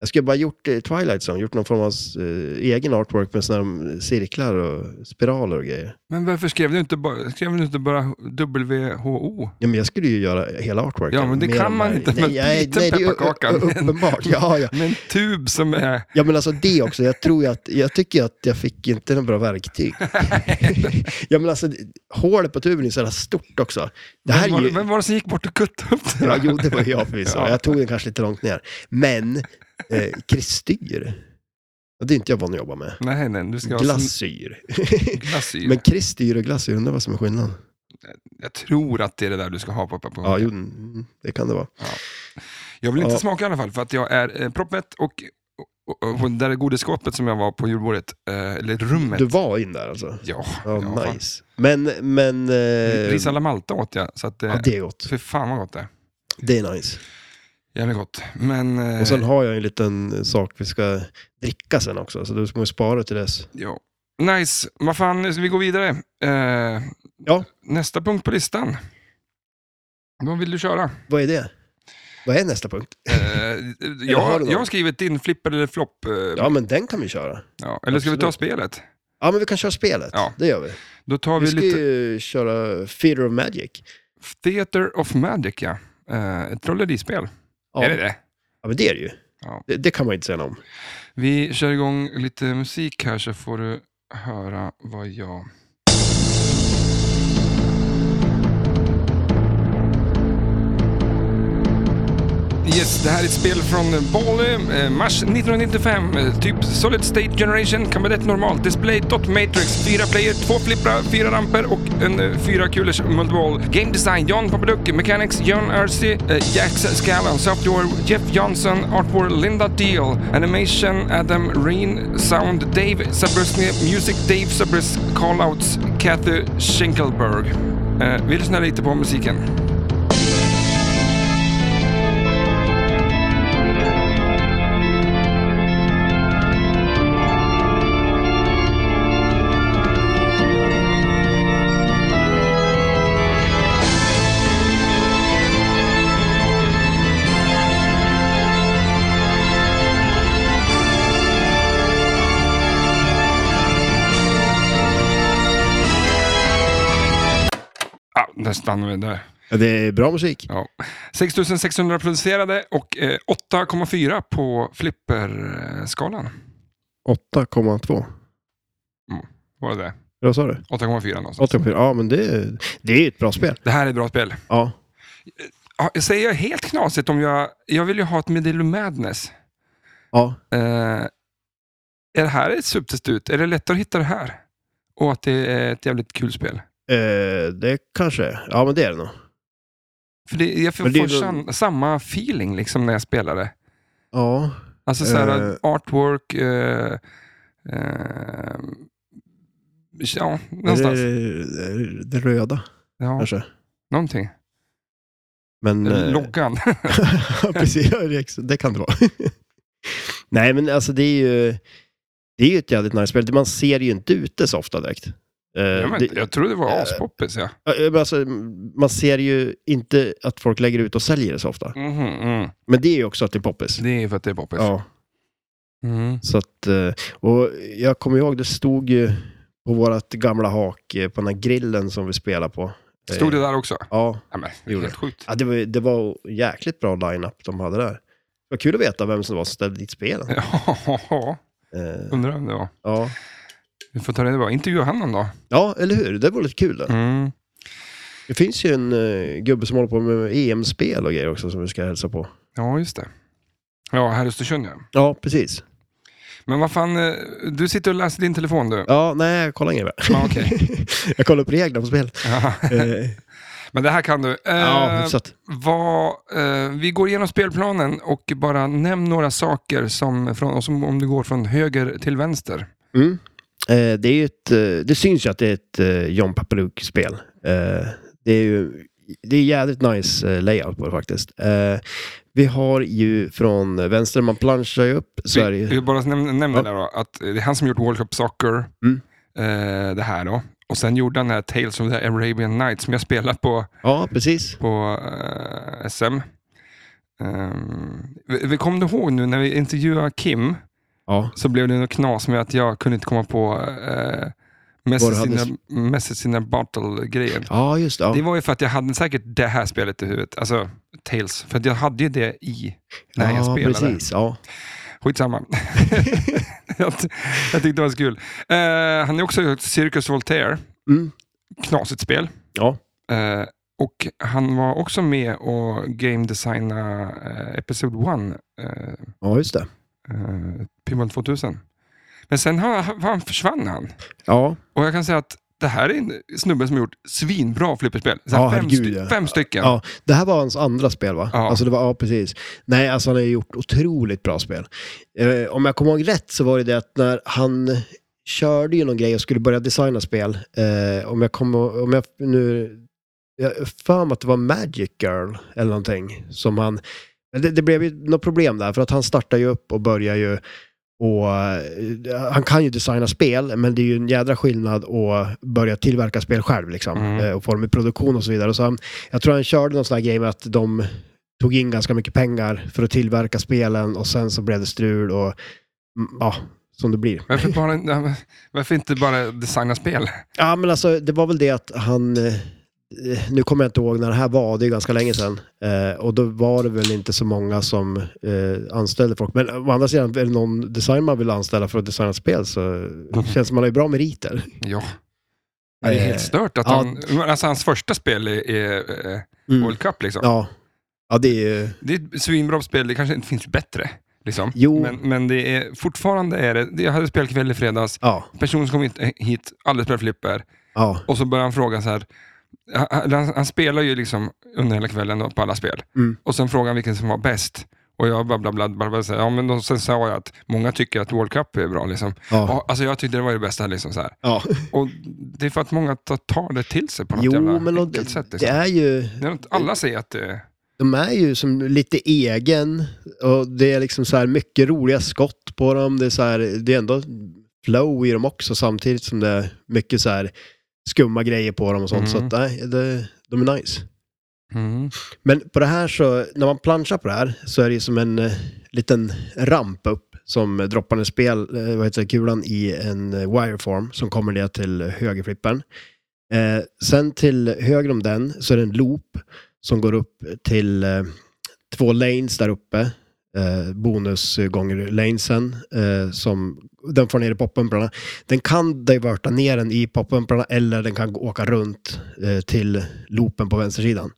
S2: Jag skulle bara gjort det i Twilight Zone, gjort någon form av eh, egen artwork med såna här cirklar och spiraler och grejer.
S1: Men varför skrev du inte bara, skrev du inte bara WHO?
S2: Ja, men jag skulle ju göra hela artworken.
S1: Ja, men det
S2: med
S1: kan
S2: de
S1: man
S2: här-
S1: inte med
S2: Nej, nej,
S1: liten
S2: nej, det är ju
S1: pepparkaka.
S2: u- u- uppenbart. Ja, ja.
S1: Med en tub som är...
S2: ja, men alltså det också. Jag tror ju att, jag tycker ju att jag fick inte några bra verktyg. ja, men alltså hålet på tuben är så jävla stort också. Det här
S1: vem,
S2: är
S1: var,
S2: ju...
S1: vem var det som gick bort och kuttade upp det?
S2: Ja,
S1: där?
S2: jo, det var jag förvisso.
S1: Ja.
S2: Jag tog den kanske lite långt ner. Men eh, kristyr, det är inte jag van att jobba med.
S1: Nej, nej, du ska ha sån
S2: Glasyr.
S1: glasyr.
S2: men kristyr och glasyr, undrar vad som är skillnaden.
S1: Jag tror att det är det där du ska ha på pepparkakan.
S2: Ja, jo, mm, det kan det vara.
S1: Jag vill inte
S2: Ja.
S1: smaka i alla fall för att jag är eh, proppmätt och, och, och, och det där godisskåpet som jag var på julbordet, eh, eller rummet.
S2: Du var in där alltså?
S1: Ja,
S2: Ja,
S1: ja, fan.
S2: nice. Men, men... Eh,
S1: Ris alla Malta åt jag, så att, eh,
S2: ja, det är gott.
S1: för fan vad gott det är.
S2: Det är nice.
S1: Jävligt gott. Men, eh,
S2: Och sen har jag en liten sak vi ska dricka sen också, så du måste spara till dess.
S1: ja. Nice, vad fan, nu ska vi gå vidare. Eh,
S2: Ja.
S1: Nästa punkt på listan. Vad vill du köra?
S2: Vad är det? Vad är nästa punkt?
S1: Eh,
S2: har
S1: jag,
S2: du någon?
S1: jag har skrivit in flipper eller flopp. Eh, ja,
S2: Ja, men den kan vi köra.
S1: Eller ska vi ta
S2: absolut.
S1: spelet?
S2: Ja, men vi kan köra spelet.
S1: Ja.
S2: Det gör vi.
S1: Då tar vi,
S2: Vi ska
S1: lite
S2: ju köra Fear of Magic.
S1: Theater of Magic, ja. Eh, ett trollerispel.
S2: Ja,
S1: Är det det?
S2: ja men det är det ju.
S1: Ja.
S2: Det, det kan man ju inte säga något om.
S1: Vi kör igång lite musik här så får du höra vad jag... Yes, det här är ett spel från Bali, eh, mars 1995. eh, Typ Solid State Generation, Kabinett Normal, Display, Dot Matrix, fyra player, två flipprar, fyra ramper och en eh, fyra kulers multiball. Game Design, John Papaduk, Mechanics, John Ercy, eh, Jax Scallon, Software, Jeff Johnson, Artwork, Linda Deal, Animation, Adam Reen, Sound, Dave Sabrusny, Music, Dave Sabrus, Callouts, Kathy Schinkelberg. Eh, vi lyssnar lite på musiken. Ah, där stannar vi där.
S2: Ja, det är bra musik.
S1: Ja. 6600 producerade och eh, 8,4 på flipperskalan.
S2: 8,2.
S1: Var det det?
S2: Vad sa du?
S1: 8,4 någonstans.
S2: 8,4. Ja, men det, det är ju ett bra spel.
S1: Det här är ett bra spel.
S2: Ja.
S1: Ja, jag säger jag helt knasigt om jag... Jag vill ju ha ett Medillo Madness.
S2: ja.
S1: Eh, är det här ett substitut? Är det lättare att hitta det här? Och att det är ett jävligt kul spel.
S2: Eh, det kanske är. Ja, men det är det nog.
S1: För det, jag får,
S2: Men det
S1: får
S2: är väl-
S1: sam- samma feeling liksom när jag spelar det.
S2: Ja.
S1: Alltså så här,
S2: Eh.
S1: artwork... Eh, eh, ja,
S2: Är det,
S1: någonstans.
S2: är det- eh, det röda
S1: Ja,
S2: kanske?
S1: någonting.
S2: Men...
S1: Eller
S2: eh,
S1: Loggan.
S2: Ja, precis. Ja, det ex- Det kan det vara. Nej, men alltså det är ju... Det är ju ett jävligt nice spel. Man ser ju inte ute så ofta direkt. Eh,
S1: Ja, men,
S2: det,
S1: jag trodde det var
S2: eh,
S1: aspoppis. Ja.
S2: Ja, men alltså, man ser ju inte att folk lägger ut och säljer det så ofta.
S1: Mhm, mm.
S2: Men det är ju också att det är poppis.
S1: Det är för att det är poppis.
S2: Ja,
S1: Mm.
S2: så att, eh, och jag kommer ihåg, det stod ju på vårt gamla hak eh, på den här grillen som vi spelar på. Eh,
S1: Stod det där också?
S2: Ja,
S1: Ja, men, det är
S2: Gjorde
S1: helt sjukt.
S2: ja det, var, det var jäkligt bra line-up de hade där. Det var kul att veta vem som var som ställde dit spelen.
S1: Ja,
S2: Eh,
S1: undrar vem det var.
S2: ja.
S1: Vi får ta reda på. Intervjua han någon då.
S2: ja, eller hur? Det var lite kul. Där.
S1: Mm.
S2: Det finns ju en eh, gubbe som håller på med EM-spel och grejer också som vi ska hälsa på.
S1: Ja, just det. Ja, här i Östersund ja.
S2: Ja, precis.
S1: Men vad fan, eh, du sitter och läser din telefon du.
S2: Ja, nej, jag kollar inget mer.
S1: Ja, okej.
S2: jag kollar upp reglerna på spelet. Eh,
S1: men det här kan du. Eh,
S2: ja, hyfsat.
S1: vad, eh, vi går igenom spelplanen och bara nämn några saker som, från, som om du går från höger till vänster.
S2: Mm. Eh, det, är ju ett, eh, det syns ju att det är ett eh, John Papaluk-spel. Eh, det är ju det är jävligt nice eh, layout på det faktiskt. Eh, vi har ju från vänster, man planchar ju upp, så är det
S1: Vi,
S2: ju...
S1: vi bara nämner nämn
S2: Ja.
S1: det där då, att eh, det är han som gjort World Cup Soccer,
S2: Mm.
S1: eh, det här då. Och sen gjorde han den här Tales of the Arabian Nights som jag spelat på,
S2: Ja, precis.
S1: på eh, SM. Ehm, vi- vi kom du ihåg nu när vi intervjuade Kim
S2: Ja.
S1: så blev det något knas med att jag kunde inte komma på eh,
S2: Vad
S1: Messes,
S2: du hade
S1: sina, Messes in a Bottle-grejen.
S2: ja, just det. Ja.
S1: Det var ju för att jag hade säkert det här spelet i huvudet, alltså Tales, för att jag hade ju det i när jag
S2: ja,
S1: spelade.
S2: precis. Ja.
S1: Skitsamma. jag, ty- jag tyckte det var så kul. Eh, han är också gjort Circus Voltaire,
S2: Mm.
S1: knasigt spel.
S2: Ja.
S1: Eh, och han var också med och game designa eh, Episode 1, eh,
S2: ja, just det.
S1: eh, Pinball 2000. Men sen har, han försvann han.
S2: Ja,
S1: Och jag kan säga att det här är en snubbe som har gjort svinbra flipperspel. Så här
S2: Ja,
S1: fem,
S2: herregud,
S1: sty-
S2: ja.
S1: fem stycken.
S2: Ja, det här var hans andra spel va?
S1: Ja.
S2: Alltså det var, ja precis. Nej, alltså han har ju gjort otroligt bra spel. Eh, om jag kommer ihåg rätt så var det det att när han körde ju någon grej och skulle börja designa spel. Eh, om jag kommer, om jag nu, jag har för mig att det var Magic Girl eller någonting som han, men det, det blev ju något problem där för att han startar ju upp och börjar ju och eh, han kan ju designa spel, men det är ju en jädra skillnad att börja tillverka spel själv liksom.
S1: Mm.
S2: Eh, Och få dem i produktion och så vidare. Och så han, jag tror han körde någon sån här grej med att de tog in ganska mycket pengar för att tillverka spelen och sen så blev det strul och mm, ja, som det blir.
S1: Varför, bara, varför inte bara designa spel?
S2: Ja, men alltså det var väl det att han... eh, Nu kommer jag inte ihåg när det här var, det är ganska länge sedan. Eh, och då var det väl inte så många som eh, anställde folk. Men å andra sidan, är det någon design man vill anställa för att designa ett spel så känns det man har ju bra meriter.
S1: Ja. Det är helt
S2: Eh,
S1: stört att
S2: ja. Mm.
S1: han, alltså hans första spel är, är eh, World Cup. Liksom.
S2: Ja. ja, det är ju...
S1: Det är ett svinbra spel, det kanske inte finns bättre. Liksom.
S2: Jo.
S1: Men, men det är, fortfarande är det, jag hade spelkväll i fredags,
S2: Ja,
S1: personen som kom hit- hit, alldeles spelar flipper,
S2: ja.
S1: och så börjar han fråga så här, han, han, han spelar ju liksom under hela kvällen då på alla spel,
S2: Mm.
S1: och sen frågar han vilken som var bäst. Och jag bara bla bla bla, bla, bla ja, men då, sen sa jag att många tycker att World Cup är bra. Liksom.
S2: ja.
S1: Och, alltså jag tyckte det var det bästa. Liksom, så här.
S2: ja.
S1: Och det är för att många tar- tar det till sig på något
S2: Jo,
S1: jävla
S2: men och,
S1: enkelt sätt.
S2: det
S1: Liksom.
S2: är ju...
S1: Det är något, alla säger att det
S2: De är ju som lite egen och det är liksom så här mycket roliga skott på dem. Det är, så här, det är ändå flow i dem också samtidigt som det är mycket så här skumma grejer på dem och sånt.
S1: Mm.
S2: Så att, nej, det, de är nice. Men på det här så, när man planchar på det här så är det ju som en eh, liten ramp upp som eh, droppar en spel, eh, vad heter det, kulan i en eh, wireform som kommer ner till högerflippen. Eh, sen till höger om den så är det en loop som går upp till eh, två lanes där uppe. Eh, bonus gånger lanesen. Eh, som, den får ner i poppumprarna. Den kan diverta ner den i poppumprarna eller den kan gå- åka runt eh, till loopen på vänstersidan.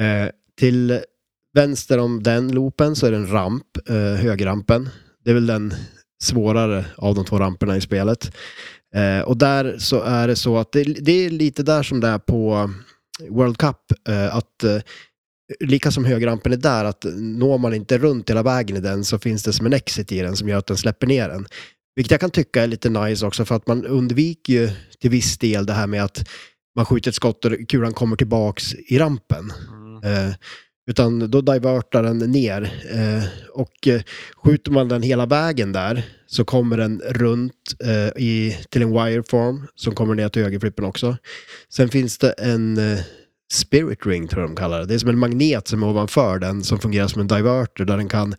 S2: Eh, till vänster om den loopen så är det en ramp, eh, högerrampen. Det är väl den svårare av de två ramperna i spelet. Eh, och där så är det så att det, det är lite där som det är på World Cup. Eh, att eh, lika som högerrampen är där, att når man inte runt hela vägen i den så finns det som en exit i den som gör att den släpper ner den. Vilket jag kan tycka är lite nice också för att man undviker ju till viss del det här med att man skjuter ett skott och kulan kommer tillbaks i rampen.
S1: Mm.
S2: Eh, utan då divertar den ner. Eh, och eh, skjuter man den hela vägen där så kommer den runt eh, i, till en wireform som kommer ner till högerflippen också. Sen finns det en eh, spirit ring tror jag de kallar det. Det är som en magnet som är ovanför den som fungerar som en diverter där den kan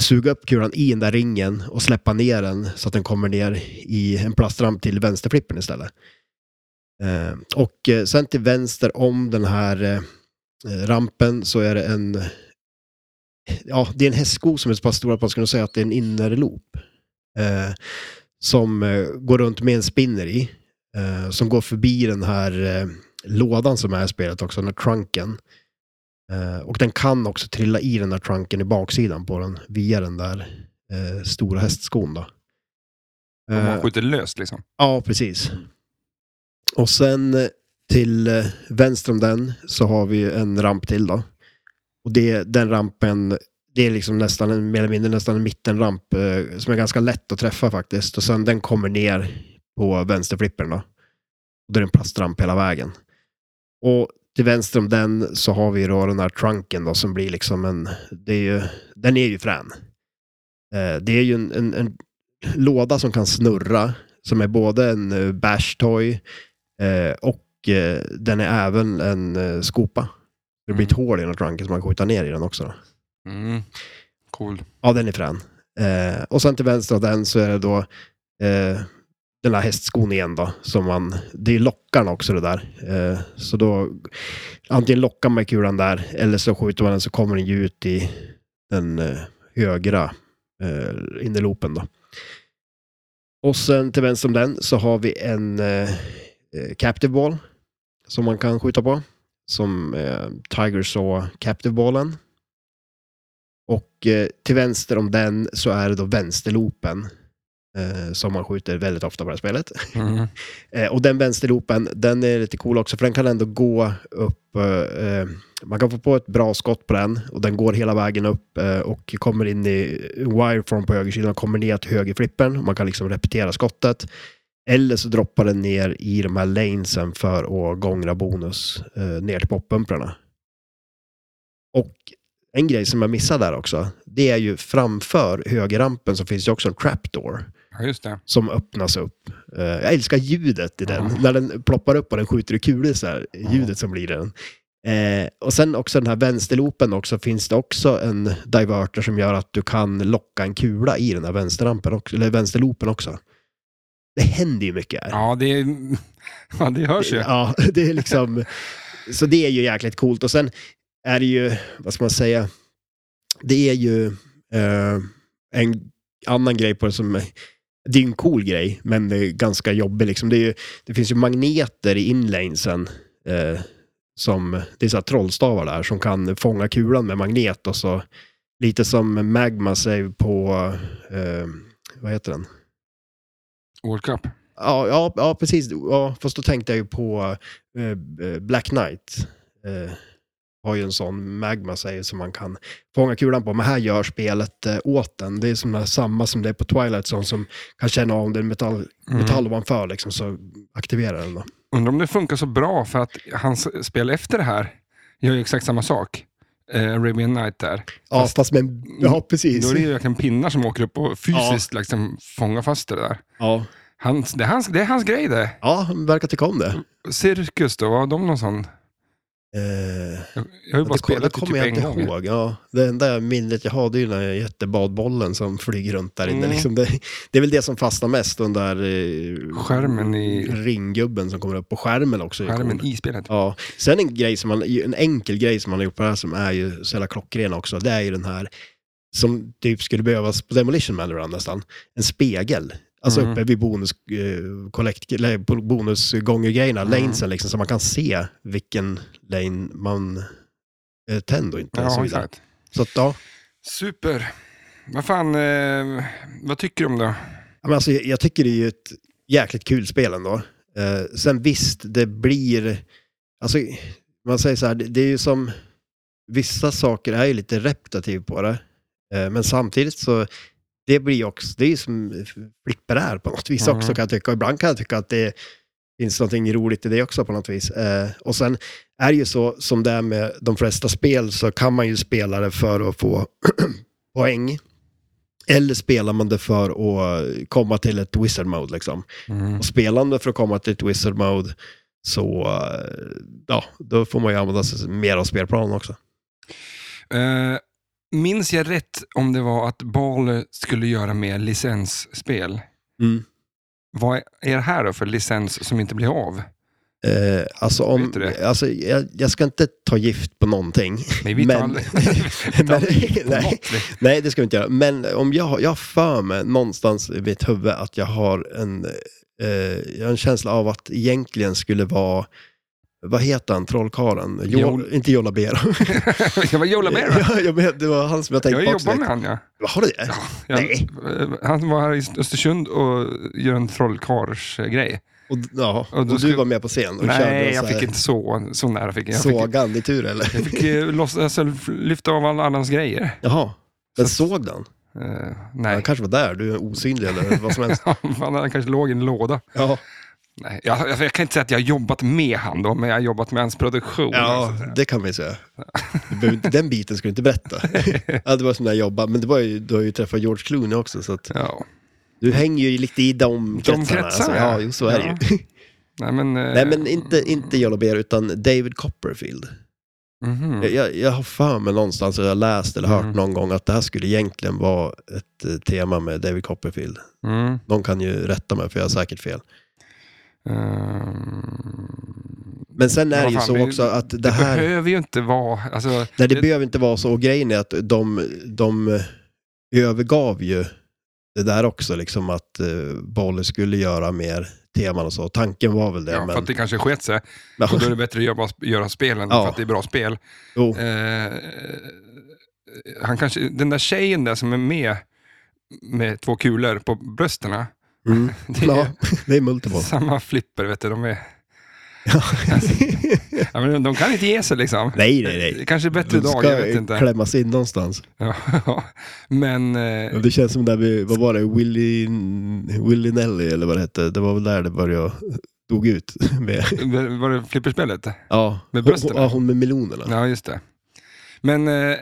S2: suga upp kulan i den där ringen och släppa ner den så att den kommer ner i en plastramp till vänsterflippen istället. Eh, och eh, sen till vänster om den här eh, eh, rampen så är det en... Ja, det är en hästsko som är så pass stor att man skulle säga att det är en innerloop. Eh, som eh, går runt med en spinner i. Eh, som går förbi den här eh, lådan som är i spelet också, den här trunken. Eh, och den kan också trilla i den där trunken i baksidan på den via den där eh, stora hästskon då.
S1: om
S2: Eh,
S1: man skjuter löst. Liksom.
S2: Ja, precis. Mm. Och sen eh, till eh, vänster om den så har vi ju en ramp till då. Och det, den rampen, det är liksom nästan en, mer eller mindre nästan en mittenramp eh, som är ganska lätt att träffa faktiskt. Och sen den kommer ner på vänsterflippen då. Och då är det en plastramp hela vägen. Och till vänster om den så har vi då den här trunken då som blir liksom en, det är ju, den är ju frän. Eh, det är ju en, en, en låda som kan snurra som är både en eh, bash toy eh, och eh, den är även en eh, skopa. Det blir ett hål i den här trunken som man kan skjuta ner i den också. Då.
S1: Mm. Cool.
S2: Ja, den är frän. Eh, och sen till vänster av den så är det då eh, den där hästskon igen då. Som man, det är lockarna också det där. Eh, så då antingen lockar man kulan där eller så skjuter man den så kommer den ju ut i den eh, högra eh, innerloopen då. Och sen till vänster om den så har vi en eh, eh, captive ball som man kan skjuta på. Som eh, Tiger Saw captive ballen. Och eh, till vänster om den så är det då vänsterloopen eh, som man skjuter väldigt ofta på det här spelet.
S1: Mm.
S2: Eh, och den vänsterloopen, den är lite cool också för den kan ändå gå upp. Eh, eh, man kan få på ett bra skott på den och den går hela vägen upp eh, och kommer in i wireform på högersidan och kommer ner till högerflippen. Man kan liksom repetera skottet. Eller så droppar den ner i de här lanesen för att gångra bonus eh, ner till poppumprarna. Och en grej som jag missade där också, det är ju framför högerrampen så finns det också en trapdoor
S1: Ja, just det.
S2: som öppnas upp. Eh, jag älskar ljudet i den.
S1: Mm.
S2: När den ploppar upp och den skjuter i kulor så här, ljudet som blir i den. Eh, och sen också den här vänsterloopen också, finns det också en diverter som gör att du kan locka en kula i den här vänsterrampen också, eller vänsterloopen också. Det händer ju mycket här.
S1: Ja, det, är, ja, det hörs ju.
S2: Ja, det är liksom... Så det är ju jäkligt coolt. Och sen är det ju, vad ska man säga, det är ju eh, en annan grej på det som... Det är ju en cool grej, men det är ganska jobbig. Liksom. Det, är ju, det finns ju magneter i inlanesen. Eh, som, det är så här trollstavar där som kan fånga kulan med magnet och så lite som magma save på, eh, vad heter den?
S1: World Cup.
S2: Ja, ja, ja precis. Ja, fast då tänkte jag ju på eh, eh, Black Knight. Eh, har ju en sån magma säger som man kan fånga kulan på. Men här gör spelet eh, åt den. Det är som det här, samma som det är på Twilight Zone som kan känna av om det är metall,
S1: Mm.
S2: metall ovanför liksom, så aktiverar den då.
S1: Undrar om det funkar så bra för att hans spel efter det här gör ju exakt samma sak. Eh, Arabian Night där.
S2: Ja, fast, med en... Ja,
S1: Mm.
S2: precis.
S1: Då är det ju verkligen pinnar som åker upp och fysiskt liksom fångar fast det där.
S2: Ja,
S1: Hans, det, är hans, det är hans grej det.
S2: ja han verkar tycka om det.
S1: Mm. Cirkus då, har de någon sån?
S2: Eh,
S1: Jag jag har ju bara
S2: det, ko- det
S1: spelat det
S2: kommer
S1: typ
S2: jag
S1: en
S2: inte
S1: gång.
S2: ihåg. Ja, det enda minnet jag har det är ju den här jättebadbollen som flyger runt där inne.
S1: Mm.
S2: Liksom det, det är väl det som fastnar mest, den där eh,
S1: Skärmen i-
S2: ringgubben som kommer upp på skärmen också. är
S1: Skärmen
S2: cool.
S1: i spelet.
S2: Ja. Sen en, grej som man, en enkel grej som man har gjort på det här som är ju så jävla klockren också, det är ju den här som typ skulle behövas på Demolition Man Run nästan, en spegel. Alltså
S1: Mm.
S2: uppe vid bonus, eh, collect, eller på bonusgångergrejerna,
S1: Mm.
S2: lanesen liksom, så man kan se vilken lane man eh, tänder och inte. och så
S1: Ja,
S2: vidare.
S1: exakt.
S2: så att, ja.
S1: Super. Vad fan, eh, vad tycker du om det?
S2: Ja, Men alltså, jag, jag tycker det är ju ett jäkligt kul spel ändå. Eh, sen visst, det blir... Alltså, man säger så här, det, det är ju som... Vissa saker är ju lite repetitiv på det. Eh, men samtidigt så, det blir ju också... Det är ju som flipper är på något vis
S1: Mm.
S2: också kan jag tycka. Och Ibland kan jag tycka att det finns någonting roligt i det också på något vis. Eh, och sen är det ju så, som det är med de flesta spel, så kan man ju spela det för att få poäng. Eller spelar man det för att komma till ett wizard mode liksom.
S1: Mm.
S2: Och spelar man det för att komma till ett wizard mode så eh, ja, då får man ju använda sig mer av spelplanen också.
S1: Eh, minns jag rätt om det var att Ball skulle göra mer licensspel? Vad är det här då för licens som inte blir av?
S2: Eh, alltså om,
S1: Vet du det?
S2: alltså, jag, jag ska inte ta gift på någonting.
S1: Nej, vi tar
S2: Men-
S1: aldrig... vi tar aldrig på
S2: Nej.
S1: något. Vi-
S2: Nej, det ska vi inte göra. Men om jag, har- jag har för mig någonstans i mitt huvud att jag har en, eh, jag har en känsla av att egentligen skulle vara, vad heter han, trollkaren? Jo,
S1: Joel-
S2: Inte Jola Bero.
S1: Jag var Jola Mera.
S2: Ja, jag men, det var han som jag tänkte
S1: Jag
S2: på också.
S1: jobbar med han, ja.
S2: Vad Har du det?
S1: Jag,
S2: Nej.
S1: eh, Han var här i Östersund och gör en trollkarlsgrej.
S2: Och, ja,
S1: Och
S2: och,
S1: då
S2: du
S1: skulle-
S2: var med på scen och körde
S1: Nej,
S2: så
S1: jag
S2: här,
S1: fick inte så, så nära. Fick jag. Jag fick,
S2: såg han i tur eller?
S1: jag fick eh, loss, alltså, lyfta av alla annans grejer.
S2: Jaha, men
S1: Så-
S2: såg den?
S1: Eh,
S2: Han
S1: nej,
S2: kanske var där, du är osynlig eller vad som helst.
S1: han, han kanske låg i en låda.
S2: Ja,
S1: Nej, jag, jag, jag kan inte säga att jag har jobbat med han då, men jag har jobbat med hans produktion.
S2: ja
S1: Alltså.
S2: det kan vi säga. Du behöver inte- Den biten ska du inte berätta. Ja, det var som när jag jobbade, men det var ju, du har ju träffat George Clooney också, så att
S1: Ja.
S2: du hänger ju lite i de kretsarna. alltså.
S1: kretsarna, ja.
S2: ja, jo, så är det ju.
S1: Nej, men, eh, Mm.
S2: Nej, men inte, inte Jolla Beer, utan David Copperfield.
S1: Mhm.
S2: Jag- Jag, jag har för mig någonstans, eller jag har läst eller hört
S1: Mm.
S2: någon gång, att det här skulle egentligen vara ett eh, tema med David Copperfield.
S1: Mm.
S2: Någon kan ju rätta mig, för jag har säkert fel.
S1: Ehm,
S2: Men sen
S1: Men
S2: är det
S1: vad
S2: ju
S1: fan,
S2: så
S1: vi-
S2: också att det här...
S1: behöver ju inte vara... Alltså,
S2: Nej, det behöver inte vara så. Och grejen är att de, de övergav ju det där också, liksom att eh, Bolle skulle göra mer teman och så. Tanken var väl det,
S1: ja, för
S2: men...
S1: att det kanske sket sig.
S2: men
S1: Och då är det bättre att göra, göra spelen
S2: Ja.
S1: för att det är bra spel.
S2: jo,
S1: Eh, han kanske, den där tjejen där som är med med två kulor på brösterna.
S2: mm,
S1: Det
S2: ja,
S1: är
S2: det är multiple.
S1: samma flipper, vet du. De, är, ja, men de kan inte ge sig liksom.
S2: nej, nej, nej.
S1: Det kanske är bättre
S2: De
S1: dag,
S2: ska
S1: jag vet inte.
S2: klämmas in någonstans.
S1: Ja, men... eh,
S2: Det känns som där vi, vad var det, Willy, Willy Nelly eller vad det hette. Det var väl där det började dog ut. Med,
S1: Var det flipperspelet?
S2: ja,
S1: Med
S2: hon-
S1: brösten,
S2: Hon, ja, hon med melonerna.
S1: Ja, just det. Men eh,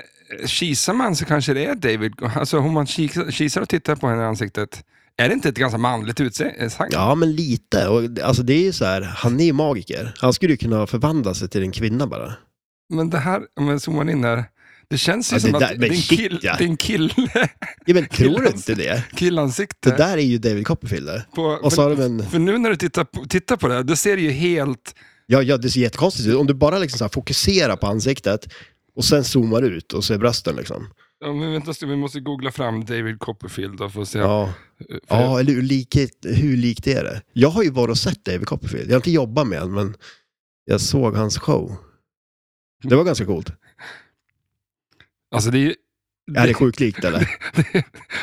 S1: kisar man så kanske det är David. Alltså om man kisar, kisar och tittar på henne i ansiktet. Är det inte ett ganska manligt utseende?
S2: Ja, men lite. Och, det- alltså det är ju så här, han är ju magiker. Han skulle ju kunna förvandla sig till en kvinna bara.
S1: Men det här, om jag zoomar in här. Det känns ju
S2: Ja,
S1: som
S2: det
S1: att
S2: där-
S1: det
S2: men
S1: är en
S2: shit,
S1: kill-
S2: ja.
S1: det är en kille,
S2: Ja, men tror du
S1: Killen-
S2: inte det?
S1: killansikte.
S2: Det där är ju David Copperfield där.
S1: på,
S2: Och så har de en...
S1: för, för nu när du tittar på, tittar på det här, då ser det ju helt...
S2: Ja, ja, det ser jättekonstigt ut. Om du bara liksom så här fokuserar på ansiktet och sen zoomar ut och ser brösten liksom.
S1: Ja, men vänta, vi måste googla fram David Copperfield då för att se. Eh,
S2: Ja,
S1: För-
S2: ja eller hur likt, hur likt är det? Jag har ju varit och sett David Copperfield. Jag har inte jobbat med honom, men jag såg hans show. Det var ganska coolt.
S1: Alltså det är ju...
S2: Är det sjukt likt eller?
S1: det,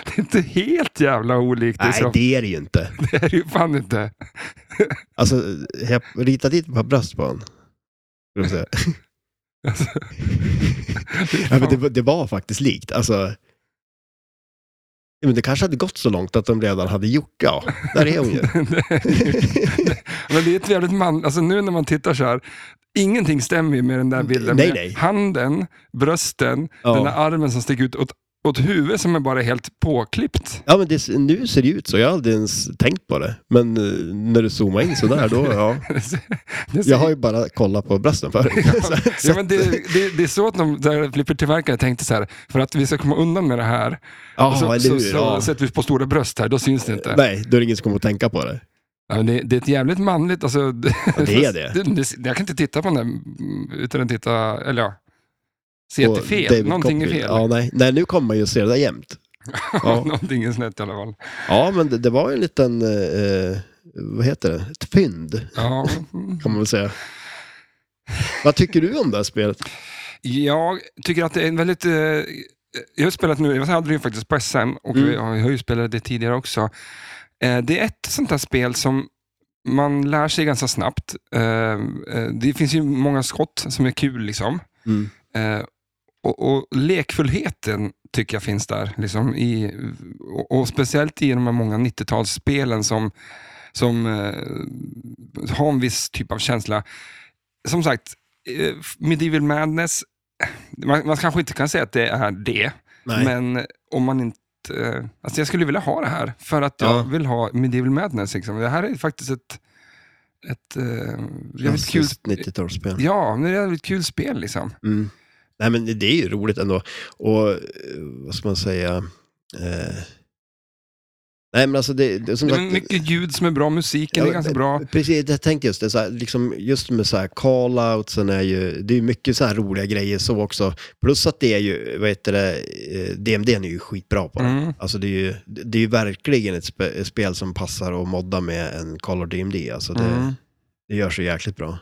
S1: det är inte helt jävla olikt.
S2: Nej,
S1: så,
S2: det är det ju inte.
S1: det är det ju fan inte.
S2: Alltså, jag ritat dit ett par bröst på honom. Ska vi se.
S1: Alltså,
S2: Ja, men det, var- det var faktiskt likt. Alltså, ja, men det kanske hade gått så långt att de redan hade gjort, ja, där är hon ju.
S1: Men det är ett jävligt man... Alltså nu när man tittar så här, ingenting stämmer ju med den där bilden.
S2: Nej,
S1: Med
S2: nej.
S1: Handen, brösten,
S2: Ja.
S1: den där armen som sticker ut åt, åt huvudet som är bara helt påklippt.
S2: Ja, men det, nu ser det ut så. Jag har aldrig ens tänkt på det. Men eh, när du zoomar in så där, då, ja.
S1: Det ser-
S2: Jag har ju bara kollat på brösten förut. Så-
S1: Ja, men det, det, det är så att de där flippertillverkarna tänkte så här, för att vi ska komma undan med det här,
S2: Ja,
S1: så,
S2: eller
S1: så,
S2: hur?
S1: så
S2: ja.
S1: sätter vi på stora bröst här, då syns det inte.
S2: Nej, då är det ingen som kommer att tänka på det.
S1: Ja, men det, det är ett jävligt manligt, alltså, det,
S2: det är det.
S1: Jag kan inte titta på den där, mm, utan att titta, eller ja, se att det är
S2: Och
S1: fel,
S2: David
S1: någonting
S2: Copperfield.
S1: är fel.
S2: Ja, nej. nej, nu kommer man ju se det där jämt. Ja.
S1: någonting är snett i alla fall.
S2: Ja, men det, det var ju en liten, eh, eh, vad heter det, ett fynd
S1: Ja. mm.
S2: kan man väl säga. Vad tycker du om det här spelet?
S1: Jag tycker att det är en väldigt... Eh, jag har spelat nu, jag hade det ju faktiskt på SM och
S2: Mm.
S1: vi har jag har ju spelat det tidigare också. Eh, det är ett sånt här spel som man lär sig ganska snabbt. Eh, eh, det finns ju många skott som är kul liksom.
S2: Mm.
S1: Eh, och, och lekfullheten tycker jag finns där. Liksom i, och, och speciellt i de här många 90-talsspelen som, som eh, har en viss typ av känsla. Som sagt, eh, Medieval Madness, eh, man, man kanske inte kan säga att det är det,
S2: Nej.
S1: men om man inte eh, Alltså jag skulle vilja ha det här för att jag
S2: Ja.
S1: vill ha Medieval Madness. Liksom. Det här är faktiskt ett, ett eh, jävligt kul...
S2: Klassiskt 90-talsspel.
S1: Ja, men det är ett jävligt kul spel liksom.
S2: Mm. Nej, men det- det är ju roligt ändå. Och eh, vad ska man säga? Eh... Nej, men alltså det, det som
S1: Det är
S2: sagt...
S1: mycket ljud som är bra, musiken
S2: Ja,
S1: är ganska bra.
S2: Precis, jag tänkte just det. Så här, liksom, just med så här call-outsen är ju, det är ju mycket så här roliga grejer så också. Plus att det är ju, vad heter det, eh, DMD är ju skitbra på det.
S1: Mm.
S2: Alltså det är ju, det är ju verkligen ett, spe, ett spel som passar att modda med en Call of DMD. Alltså det,
S1: Mm.
S2: det gör sig jäkligt bra.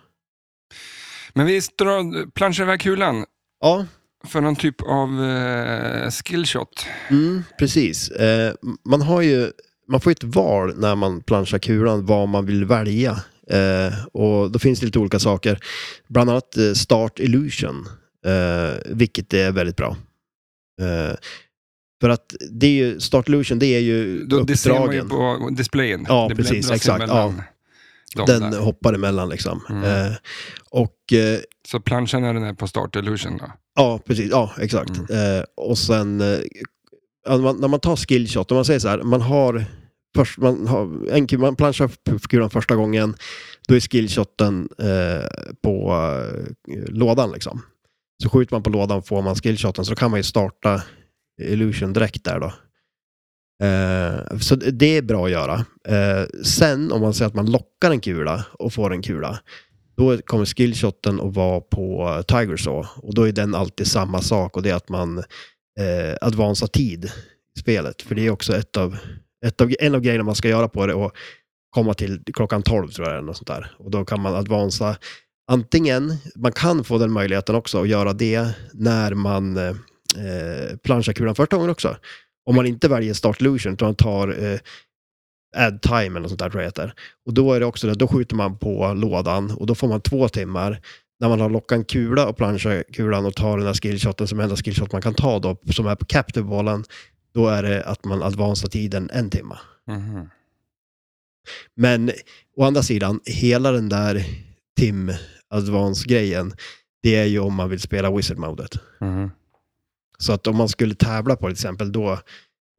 S1: Men vi drar, planschar iväg kulan
S2: Ja,
S1: för någon typ av eh, skillshot.
S2: mm, precis. Eh, man har ju, man får ju ett val när man planschar kulan vad man vill välja. Eh, och då finns det lite olika saker. Bland annat eh, Start Illusion, eh, vilket är väldigt bra. Eh, för att det är ju, Start Illusion, det är ju
S1: Då, det ser man ju
S2: uppdragen.
S1: på displayen.
S2: Ja,
S1: det
S2: precis,
S1: bläddras
S2: exakt,
S1: emellan dem
S2: Den
S1: där.
S2: hoppar emellan liksom.
S1: Mm.
S2: Eh, och eh,
S1: Så planschen är den där på start illusion. Då.
S2: Ja, precis. Ja, exakt. Eh, och sen, eh, ja, man, när man tar skillshot, om man säger så här, man har, först, man, har en, kul- man planchar f- kulan första gången, då är skillshoten eh, på eh, lådan liksom. Så skjuter man på lådan får man skillshoten så då kan man ju starta Illusion direkt där då. Eh, så det det är bra att göra. Eh, sen om man säger att man lockar en kula och får en kula. Då kommer skillshoten att vara på eh, Tiger Saw. Och då är den alltid samma sak och det är att man eh, advansar tid i spelet. För det är också ett av, ett av, en av grejerna man ska göra på det. Och komma till klockan 12 tror jag det är, något sånt där. Och då kan man advansa antingen, man kan få den möjligheten också att göra det när man eh, eh, planschar kulan första gången också. Om man inte väljer start illusion utan man tar eh, add time eller något sånt där tror jag det heter. Och då är det också det, då skjuter man på lådan och då får man två timmar när man har lockat en kula och planschar kulan och tar den där skillshoten som enda skillshot man kan ta då, som är på captive-bollen, då är det att man advansar tiden en timma.
S1: Mhm.
S2: Men å andra sidan, hela den där Tim Advance-grejen, det är ju om man vill spela Wizard-modet.
S1: Mhm.
S2: Så att om man skulle tävla på det till exempel, då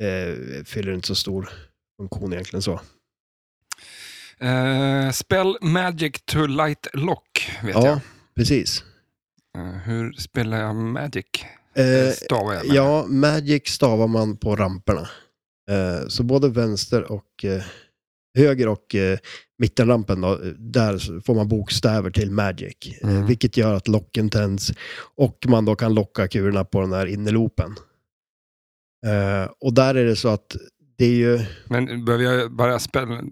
S2: eh, fyller det inte så stor funktion egentligen så.
S1: Eh, spell Magic to Light Lock, vet
S2: ja,
S1: jag.
S2: precis.
S1: Eh, hur spelar jag Magic?
S2: Eh,
S1: Stavar jag med.
S2: ja, Magic stavar man på ramperna. Eh, så både vänster och eh, höger och eh, mittenrampen, då, där så får man bokstäver till Magic.
S1: Mm.
S2: Eh, vilket gör att locken tänds och man då kan locka kulorna på den här innerloopen. Eh, och där är det så att det är ju...
S1: Men behöver jag bara spela...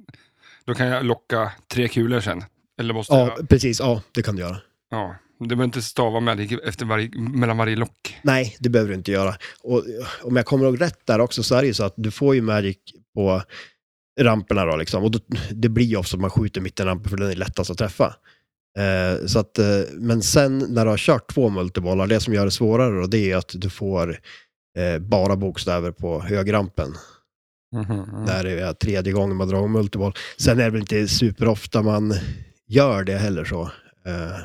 S1: Då kan jag locka tre kulor sen. Eller måste
S2: Ja,
S1: jag...
S2: precis. Ja, det kan du göra.
S1: Ja. Du behöver inte stava Magic efter varje, mellan varje lock.
S2: Nej, det behöver du inte göra. Och eh, om jag kommer ihåg rätt där också så är det ju så att du får ju Magic på ramperna då liksom. Och då, det blir ju ofta att man skjuter mittenrampen för den är lättast att träffa. Eh, så att, eh, men sen när du har kört två multibollar, det som gör det svårare då, det är ju att du får eh, bara bokstäver på högerrampen.
S1: Mhm, mhm.
S2: Där är det tredje gången man drar om multiboll. Sen är det väl inte superofta man gör det heller så. Eh,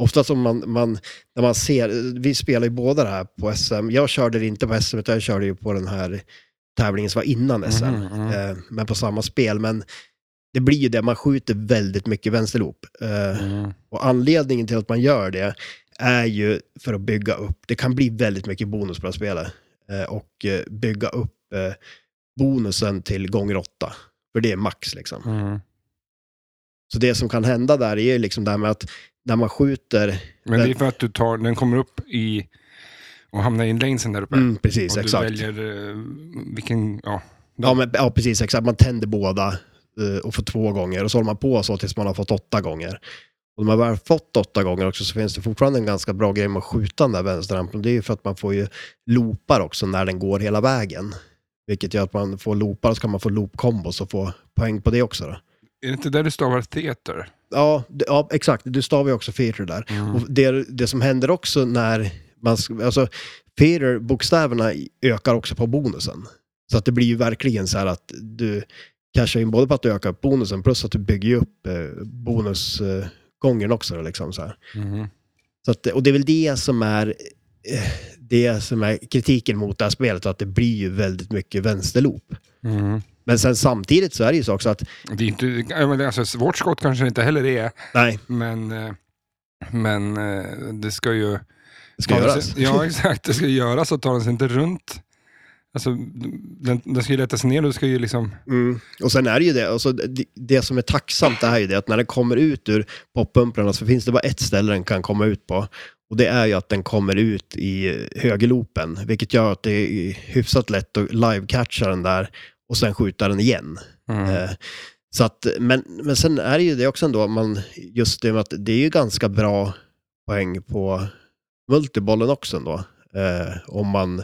S2: ofta som man, man, när man ser, vi spelar ju båda det här på SM. Jag körde det inte på SM, utan jag körde ju på den här tävlingen som var innan SM.
S1: Mhm, mhm.
S2: Eh, men på samma spel. Men det blir ju det, man skjuter väldigt mycket vänsterloop. Eh,
S1: Mm.
S2: och anledningen till att man gör det är ju för att bygga upp. Det kan bli väldigt mycket bonus på det här spelet. Eh, och eh, bygga upp eh, bonusen till gånger åtta. För det är max liksom.
S1: Mm.
S2: Så det som kan hända där är ju liksom det här med att när man skjuter...
S1: Men det är för att du tar, den kommer upp i och hamnar i längden där uppe.
S2: Mm, precis,
S1: och
S2: exakt.
S1: du väljer eh, vilken, ja.
S2: Ja, men, ja, precis. Exakt. Man tänder båda eh, och får två gånger. Och så håller man på så tills man har fått åtta gånger. Och när man väl har fått åtta gånger också så finns det fortfarande en ganska bra grej med att skjuta den där vänsterrampen. Det är ju för att man får ju loopar också när den går hela vägen. Vilket gör att man får loopar och så kan man få loop-kombos och få poäng på det också. Då.
S1: Är det inte där du stavar theater?
S2: Ja, d- ja, exakt. Du stavar ju också feature där.
S1: Mm.
S2: Och det, det som händer också när man... sk- Alltså, feature, bokstäverna i- ökar också på bonusen. Så att det blir ju verkligen så här att du cashar in både på att du ökar upp bonusen plus att du bygger ju upp eh, bonusgången eh, gången också. då, Liksom, så här.
S1: Mhm.
S2: Så att, och det är väl det som är, eh, det som är kritiken mot det här spelet, att det blir ju väldigt mycket vänsterloop.
S1: Mhm.
S2: Men sen samtidigt så är det ju så också att,
S1: Det är inte, ja, men det är alltså, svårt skott kanske det inte heller är,
S2: nej,
S1: men, eh, men eh, det ska ju...
S2: det ska
S1: ta den
S2: göras.
S1: sig- Ja, exakt. Det ska göras och tar den sig inte runt. Alltså, den, den ska ju lättas ner och det ska ju liksom...
S2: Mm. Och sen är det ju det, alltså, det, det som är tacksamt det här är ju det att när den kommer ut ur poppumprarna så finns det bara ett ställe den kan komma ut på. Och det är ju att den kommer ut i högerloopen, vilket gör att det är hyfsat lätt att live-catcha den där och sen skjuta den igen.
S1: Mm.
S2: Eh, Så att, men, men sen är det ju det också ändå, man, just det med att det är ju ganska bra poäng på multibollen också ändå. Eh, om man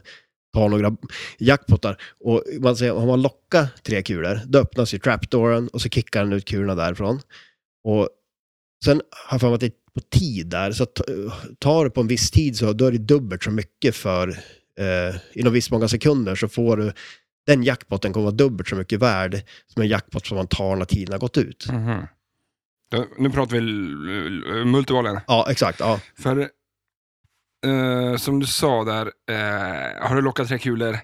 S2: tar några jackpottar. Och man säger, om man lockar tre kulor, då öppnas ju trapdooren och så kickar den ut kulorna därifrån. Och sen har jag för mig att det är på tid där, så att, eh, tar du på en viss tid så då är det dubbelt så mycket för, eh, inom visst många sekunder så får du den jackpotten kommer vara dubbelt så mycket värd som en jackpot som man tar när tiden har gått ut.
S1: Mhm. Då, nu pratar vi l- l- multibollen.
S2: Ja, exakt. Ja.
S1: För eh, som du sa där, eh, har du lockat tre kulor,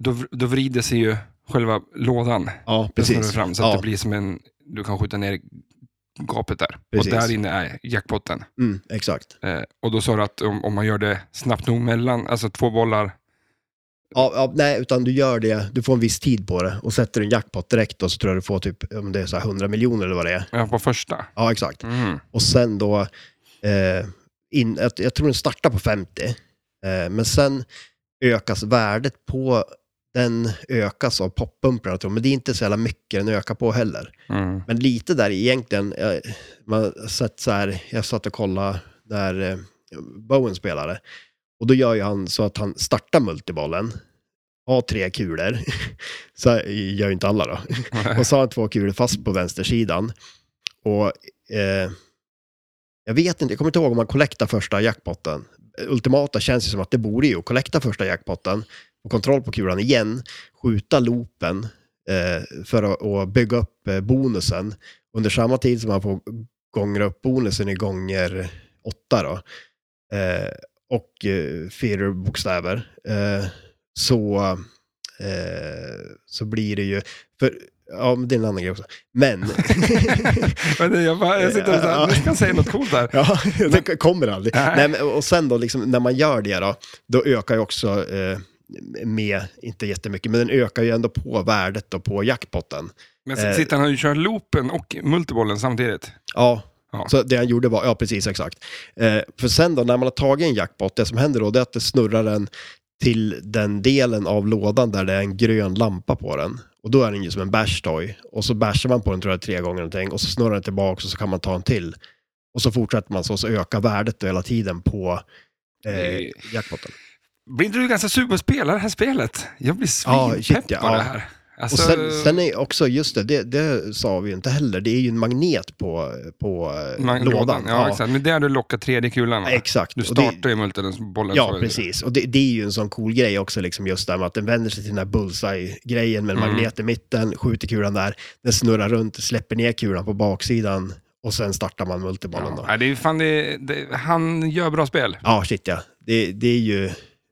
S1: då, vr- då vrider sig ju själva lådan.
S2: Ja,
S1: Den snurrar
S2: precis.
S1: Fram, så att
S2: ja,
S1: det blir som en, du kan skjuta ner gapet där.
S2: Precis.
S1: Och där inne är jackpotten.
S2: Mm, exakt.
S1: Eh, och då sa du att om, om man gör det snabbt nog mellan, alltså två bollar.
S2: Ja, ja, nej, utan du gör det, du får en viss tid på det och sätter en jackpot direkt och så tror jag du får typ, om det är så här 100 miljoner eller vad det är.
S1: Ja, på första.
S2: Ja, exakt.
S1: Mm.
S2: Och sen då, eh, in, jag, jag tror den startar på 50. Eh, men sen ökas värdet på, den ökas av poppumprarna tror jag. Men det är inte så jävla mycket den ökar på heller.
S1: Mm.
S2: Men lite där egentligen, jag, man har sett så här, jag satt och kollade när eh, Bowen spelade. Och då gör ju han så att han startar multibollen, har tre kulor, så här gör ju inte alla då. Och så har han två kulor fast på vänstersidan. Och eh, jag vet inte, jag kommer inte ihåg om han collectar första jackpotten. Ultimata känns ju som att det borde ju collecta första jackpotten, få kontroll på kulan igen, skjuta loopen eh, för att och bygga upp eh, bonusen under samma tid som han får gångra upp bonusen i gånger åtta då. Eh, och eh, fyra bokstäver. Eh, så, eh, så blir det ju, för, ja men det är en annan grej också, men
S1: Men det- jag, bara, jag sitter och så här,
S2: Ja.
S1: jag kan säga något coolt där.
S2: Ja, det kommer aldrig.
S1: Nej.
S2: Nej, men, och sen då, liksom, när man gör det då, då ökar ju också eh, med, inte jättemycket, men den ökar ju ändå på värdet då på jackpotten.
S1: Men sen
S2: Eh.
S1: sitter han och kör loopen och multibollen samtidigt.
S2: Ja,
S1: Ja.
S2: så det han gjorde var, ja precis exakt. Eh, för sen då, när man har tagit en jackpot, det som händer då, det är att det snurrar den till den delen av lådan där det är en grön lampa på den. Och då är den ju som en bash toy. Och så bashar man på den tror jag tre gånger någonting och så snurrar den tillbaka och så kan man ta en till. Och så fortsätter man så, och så ökar värdet då hela tiden på eh,
S1: Det-
S2: jackpotten.
S1: Blir inte du ganska sugen på att spela det här spelet? Jag blir
S2: Ja,
S1: svinpepp
S2: shit, ja.
S1: på det här.
S2: Och
S1: Alltså,
S2: sen, sen är också, just det, det, det sa vi ju inte heller, det är ju en magnet på, på eh,
S1: man-
S2: lådan.
S1: Ja, exakt. Men där du lockar tredje kulan. va?
S2: Ja, exakt.
S1: Du
S2: Och det-
S1: startar ju multibollen.
S2: Ja,
S1: så-
S2: precis. Och det, det är ju en sån cool grej också, liksom just där med att den vänder sig till den här bullseye-grejen med en
S1: Mm.
S2: magnet i mitten, skjuter kulan där, den snurrar runt, släpper ner kulan på baksidan och sen startar man multibollen
S1: Ja.
S2: då.
S1: Nej, det är ju fan, det, det, han gör bra spel.
S2: Ja, shit ja. Det, det är ju...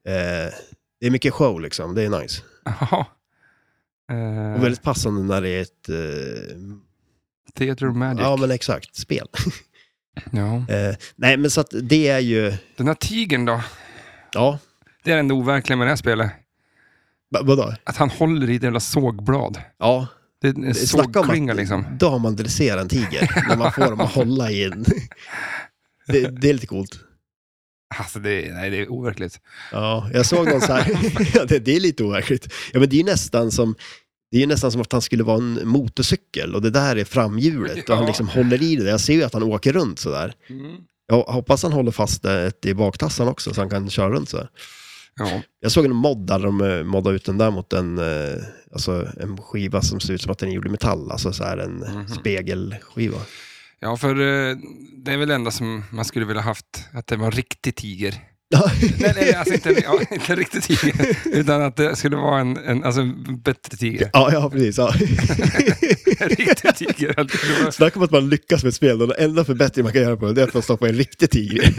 S2: Eh, det är mycket show liksom, det är nice.
S1: Jaha. Eh,
S2: Och väldigt passande när det är ett... Eh,
S1: Theater of Magic.
S2: ja, men exakt, spel.
S1: Ja.
S2: Eh, nej, men så att det är ju...
S1: Den här tigern då?
S2: Ja,
S1: Det är det enda overkliga med det här spelet.
S2: va- vadå?
S1: Att han håller i ett jävla sågblad.
S2: Ja,
S1: Det är en
S2: Snacka om
S1: sågklinga
S2: att-
S1: liksom.
S2: då har man dresserat en tiger. när man får dem att hålla i en... det, det är lite coolt.
S1: Alltså det, är- nej, det är overkligt.
S2: Ja, jag såg någon så här... ja, det, det är lite overkligt. Ja, men det är ju nästan som... Det är ju nästan som att han skulle vara en motorcykel och det där är framhjulet och han
S1: Ja.
S2: liksom håller i det. Jag ser ju att han åker runt sådär. Jag hoppas han håller fast det i baktassan också så han kan köra runt sådär.
S1: Ja.
S2: Jag såg en mod där de eh, moddade ut den där mot en, eh, alltså en skiva som ser ut som att den är gjord i metall. Alltså så här en
S1: Mhm.
S2: spegelskiva.
S1: ja, för eh, det är väl det enda som man skulle vilja haft, att det var en riktig tiger. Nej, nej, alltså inte, ja, inte en riktig tiger, utan att det skulle vara en, en, alltså, en bättre tiger.
S2: ja, ja, precis. Ja.
S1: En riktig tiger. Att det skulle vara-
S2: Snacka om att man lyckas med ett spel. och Den enda förbättring man kan göra på det det är att man stoppar en riktig tiger.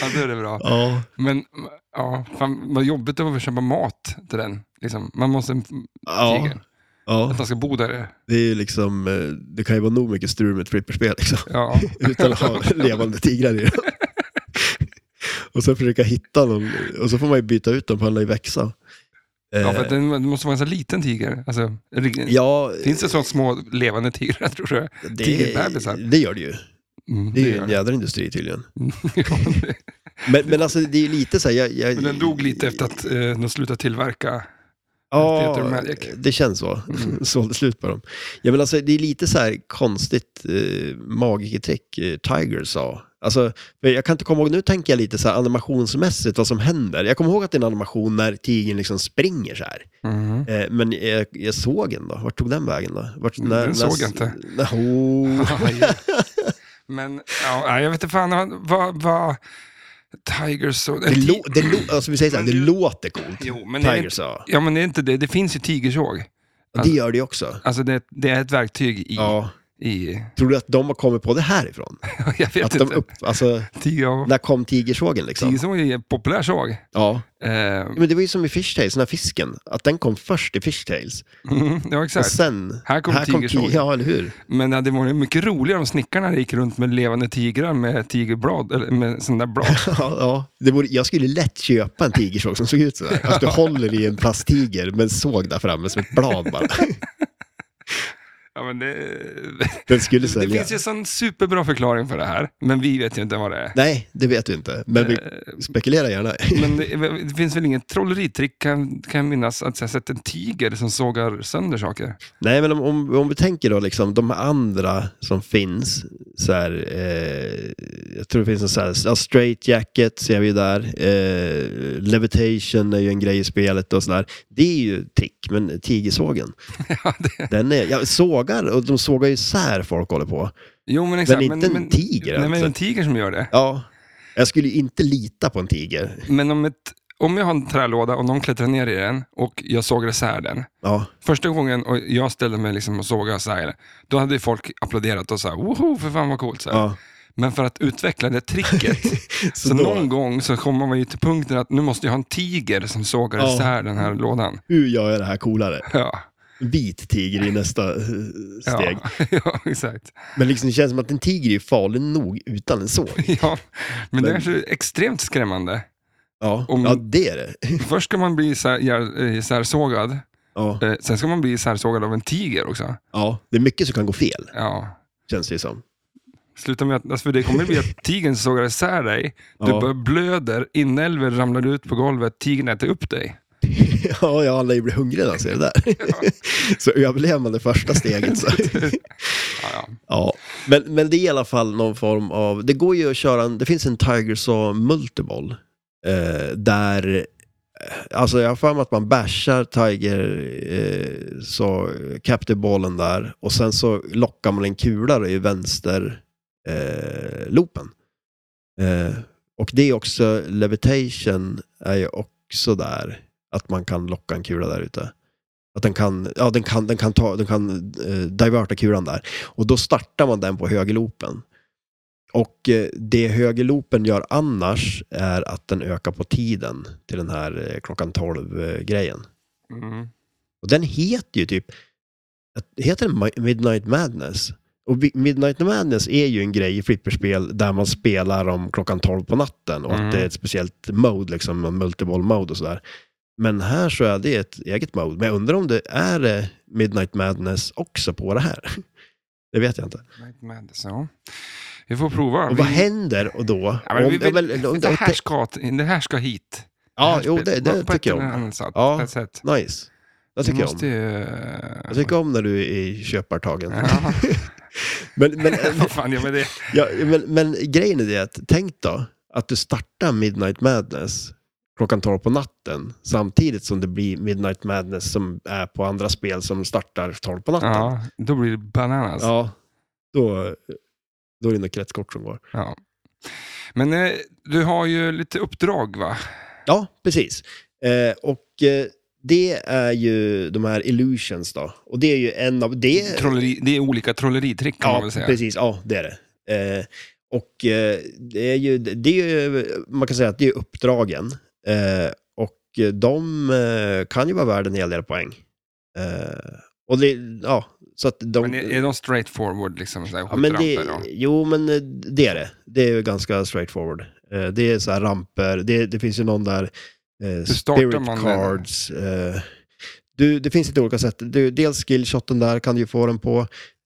S1: Ja, då är det bra.
S2: ja.
S1: Men ja, fan, vad jobbigt det var att köpa mat till den. Liksom. Man måste...
S2: Ja.
S1: Tiger.
S2: ja,
S1: Att han ska bo där.
S2: det är ju liksom, eh, det kan ju vara nog mycket strul med ett flipperspel liksom.
S1: Ja.
S2: Utan att ha levande tigrar i dem. och sen försöka hitta någon, och så får man ju byta ut dem för han lär ju växa.
S1: Ja,
S2: Eh,
S1: för att den det måste vara en sån liten tiger. Alltså, rig-
S2: ja,
S1: Finns det sådana små levande tigrar, tror du? tigerbebisar?
S2: det gör det ju.
S1: Mm,
S2: Det är ju
S1: gör
S2: en
S1: det.
S2: jädra industri tydligen.
S1: Ja, det-
S2: Men, men alltså det är ju lite så här, jag, jag,
S1: Men den dog lite efter att eh, de slutade tillverka. Theater of
S2: Ja,
S1: Magic.
S2: det känns så.
S1: Mm.
S2: Sålde slut på dem. Ja, men alltså, det är lite så här konstigt eh, magikertrick eh, Tiger sa. Alltså, men jag kan inte komma ihåg, nu tänker jag lite så här animationsmässigt vad som händer. Jag kommer ihåg att det är en animation när tigern liksom springer så här.
S1: Mhm.
S2: Eh, men jag, jag såg den då, vart tog den vägen då? Vart,
S1: Mm, Den såg jag inte.
S2: När, oh.
S1: Men ja, nej, jag vet inte fan han- vad... vad Tiger så...
S2: det, lå, det, lå, alltså, vi säger så här, det
S1: Men det-
S2: låter coolt.
S1: Jo, men det är
S2: Tiger
S1: inte,
S2: sa.
S1: ja, men det är inte det. Det finns ju tigersåg.
S2: Det gör det ju också.
S1: Alltså det, det är ett verktyg i,
S2: Ja,
S1: i...
S2: Tror du att de har kommit på det härifrån?
S1: Jag vet
S2: Att de
S1: inte.
S2: upp, alltså,
S1: Tiger
S2: när kom tigersågen liksom?
S1: Tiger är en populär såg.
S2: Ja.
S1: Eh,
S2: Men det var ju som i Fishtails, den här fisken. Att den kom först i Fishtails.
S1: mm, ja,
S2: Och
S1: exakt.
S2: sen...
S1: Här kom tigersågen.
S2: ti- Ja, eller hur?
S1: Men det hade varit mycket roligare om snickarna gick runt med levande tigrar med tigerblad, eller med sådana där blad.
S2: Ja, ja. Det borde, jag skulle lätt köpa en tigersåg som såg ut sådär. Att du håller i en plasttiger med en såg där framme som ett blad bara.
S1: Ja, men det,
S2: Den skulle
S1: det,
S2: sälja.
S1: finns ju en sån superbra förklaring för det här, men vi vet ju inte vad det är.
S2: Nej, det vet du inte. Men vi spekulerar gärna.
S1: Eh, Men det, det finns väl inget trolleritrick, kan, kan jag minnas, att jag sett en tiger som sågar sönder saker.
S2: Nej, men om, om, om vi tänker då liksom de andra som finns. Så här, eh, jag tror det finns en så här, ja, straight jacket ser vi ju där. Eh, levitation är ju en grej i spelet och sådär. Det är ju trick, men tigersågen.
S1: Ja, det,
S2: Den är, ja, sågar, och de sågar ju isär folk håller på.
S1: jo, men exakt.
S2: inte en tiger,
S1: Nej, men
S2: alltså.
S1: en tiger som gör det.
S2: Ja, jag skulle ju inte lita på en tiger.
S1: Men om, ett, om jag har en trälåda och någon klättrar ner i den och jag sågar isär den,
S2: Ja,
S1: Första gången och jag ställde mig liksom och sågade så här, då hade ju folk applåderat och sa woho, för fan vad coolt. Så här.
S2: ja.
S1: Men för att utveckla det tricket, så,
S2: Så då-
S1: någon gång så kommer man ju till punkten att nu måste jag ha en tiger som sågar
S2: Ja.
S1: isär den här lådan.
S2: Hur gör jag det här coolare?
S1: Ja,
S2: Vit tiger i nästa eh, steg.
S1: ja, ja exakt.
S2: Men liksom, det känns som att en tiger är ju farlig nog utan en såg.
S1: Ja, men det är
S2: Men-
S1: kanske är extremt skrämmande.
S2: Ja,
S1: Om-
S2: ja det är det.
S1: Först ska man bli isär, ja, isärsågad,
S2: Ja,
S1: eh, sen ska man bli isärsågad av en tiger också.
S2: ja, det är mycket som kan gå fel,
S1: Ja.
S2: känns det ju som.
S1: Sluta med att, alltså för det kommer bli att tigern sågar isär dig, du
S2: Ja.
S1: bara blöder, inälvor ramlar ut på golvet, tigern äter upp dig.
S2: Ja, jag alla ju blir hungriga när jag ser det där. Så överlever man det första steget. Så.
S1: Ja, ja.
S2: Ja, men, men det är i alla fall någon form av... Det går ju att köra en... Det finns en Tiger Saw Multiball. Eh, där... eh, Alltså jag har för mig att man bashar Tiger eh, så Captive-bollen där och sen så lockar man en kula då i vänster eh, loopen. Eh, och det är också Levitation är ju också där. Att man kan locka en kula där ute. Att den kan, ja den kan, den kan ta, den kan eh, diverta kulan där. Och då startar man den på högerloopen. Och eh, det högerloopen gör annars är att den ökar på tiden till den här eh, klockan 12-grejen.
S1: Mm.
S2: Och den heter ju typ, heter den Mi- Midnight Madness? Och Vi- Midnight Madness är ju en grej i flipperspel där man spelar om klockan 12 på natten och
S1: Mm.
S2: att det är ett speciellt mode, liksom en multiball mode och sådär. Men här så är det ett eget mode. Men jag undrar om det är eh, Midnight Madness också på det här. Det vet jag inte.
S1: Night Madness, ja. Vi får prova.
S2: Och
S1: Vi-
S2: vad händer och då?
S1: Ja, men vi
S2: Om- ja,
S1: vill-
S2: men- om-
S1: det, här ska, det här ska hit.
S2: Ja,
S1: här
S2: jo,
S1: ska-
S2: det, det
S1: på
S2: tycker jag
S1: ett eller
S2: om.
S1: annat sätt.
S2: Ja.
S1: Ett sätt.
S2: Nice. Det tycker
S1: Vi
S2: jag
S1: måste
S2: om. Alltså-
S1: ju...
S2: Jag tycker om när du är i köpartagen.
S1: Ja,
S2: Men, men,
S1: vad fan gör jag med det?
S2: ja, men, men grejen är det att, tänk då att du startar Midnight Madness klockan 12 på natten samtidigt som det blir Midnight Madness som är på andra spel som startar 12 på natten. Ja.
S1: Ja, då blir det bananas. Ja.
S2: då, då är det nog kretskort som går.
S1: Men eh, du har ju lite uppdrag, va?
S2: Ja, precis. Eh, och eh, det är ju de här illusions då. Och det är ju en av... Det,
S1: Trolleri, det är olika trolleritrick kan man väl säga.
S2: precis. Ja, det är det. Eh, och eh, det är ju, det är ju, man kan säga att det är uppdragen. Eh, och eh, de eh, kan ju vara värda en hel del poäng. Eh, och det, ja, så att de...
S1: Men är, är de straight forward liksom? Så här,
S2: ja, men det,
S1: skjutramper då?
S2: jo, men eh, det är det. Det är ju ganska straightforward. Eh, det är så här ramper, det, det finns ju någon där... Eh,
S1: startar
S2: spirit
S1: man den?
S2: cards. Eh, du, det finns lite olika sätt. Du, dels skillshoten där kan du ju få den på.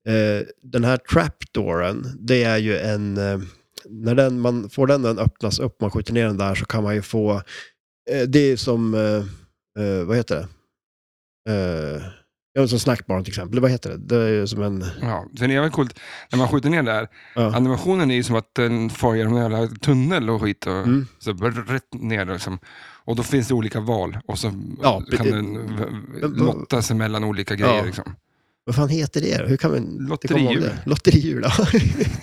S2: Eh, den här trapdooren, det är ju en... Eh, när den, man får den, den öppnas upp, man skjuter ner den där så kan man ju få... Eh, det är som... Eh, eh, vad heter det? Eh, ja, som snackbarn till exempel. Vad heter det? Det är ju som en...
S1: Ja, för det är väl coolt, när man skjuter ner där,
S2: Ja.
S1: animationen är ju som att den far genom en jävla tunnel och skit. Och,
S2: Mm.
S1: Så bara rätt ner liksom. Och då finns det olika val och så
S2: Ja,
S1: kan
S2: eh,
S1: den v- v-
S2: men-
S1: lotta sig mellan olika grejer.
S2: Ja.
S1: Liksom.
S2: Vad fan heter det då? Hur kan man inte komma ihåg
S1: Lotterihjul.
S2: det? Lotterihjul, ja.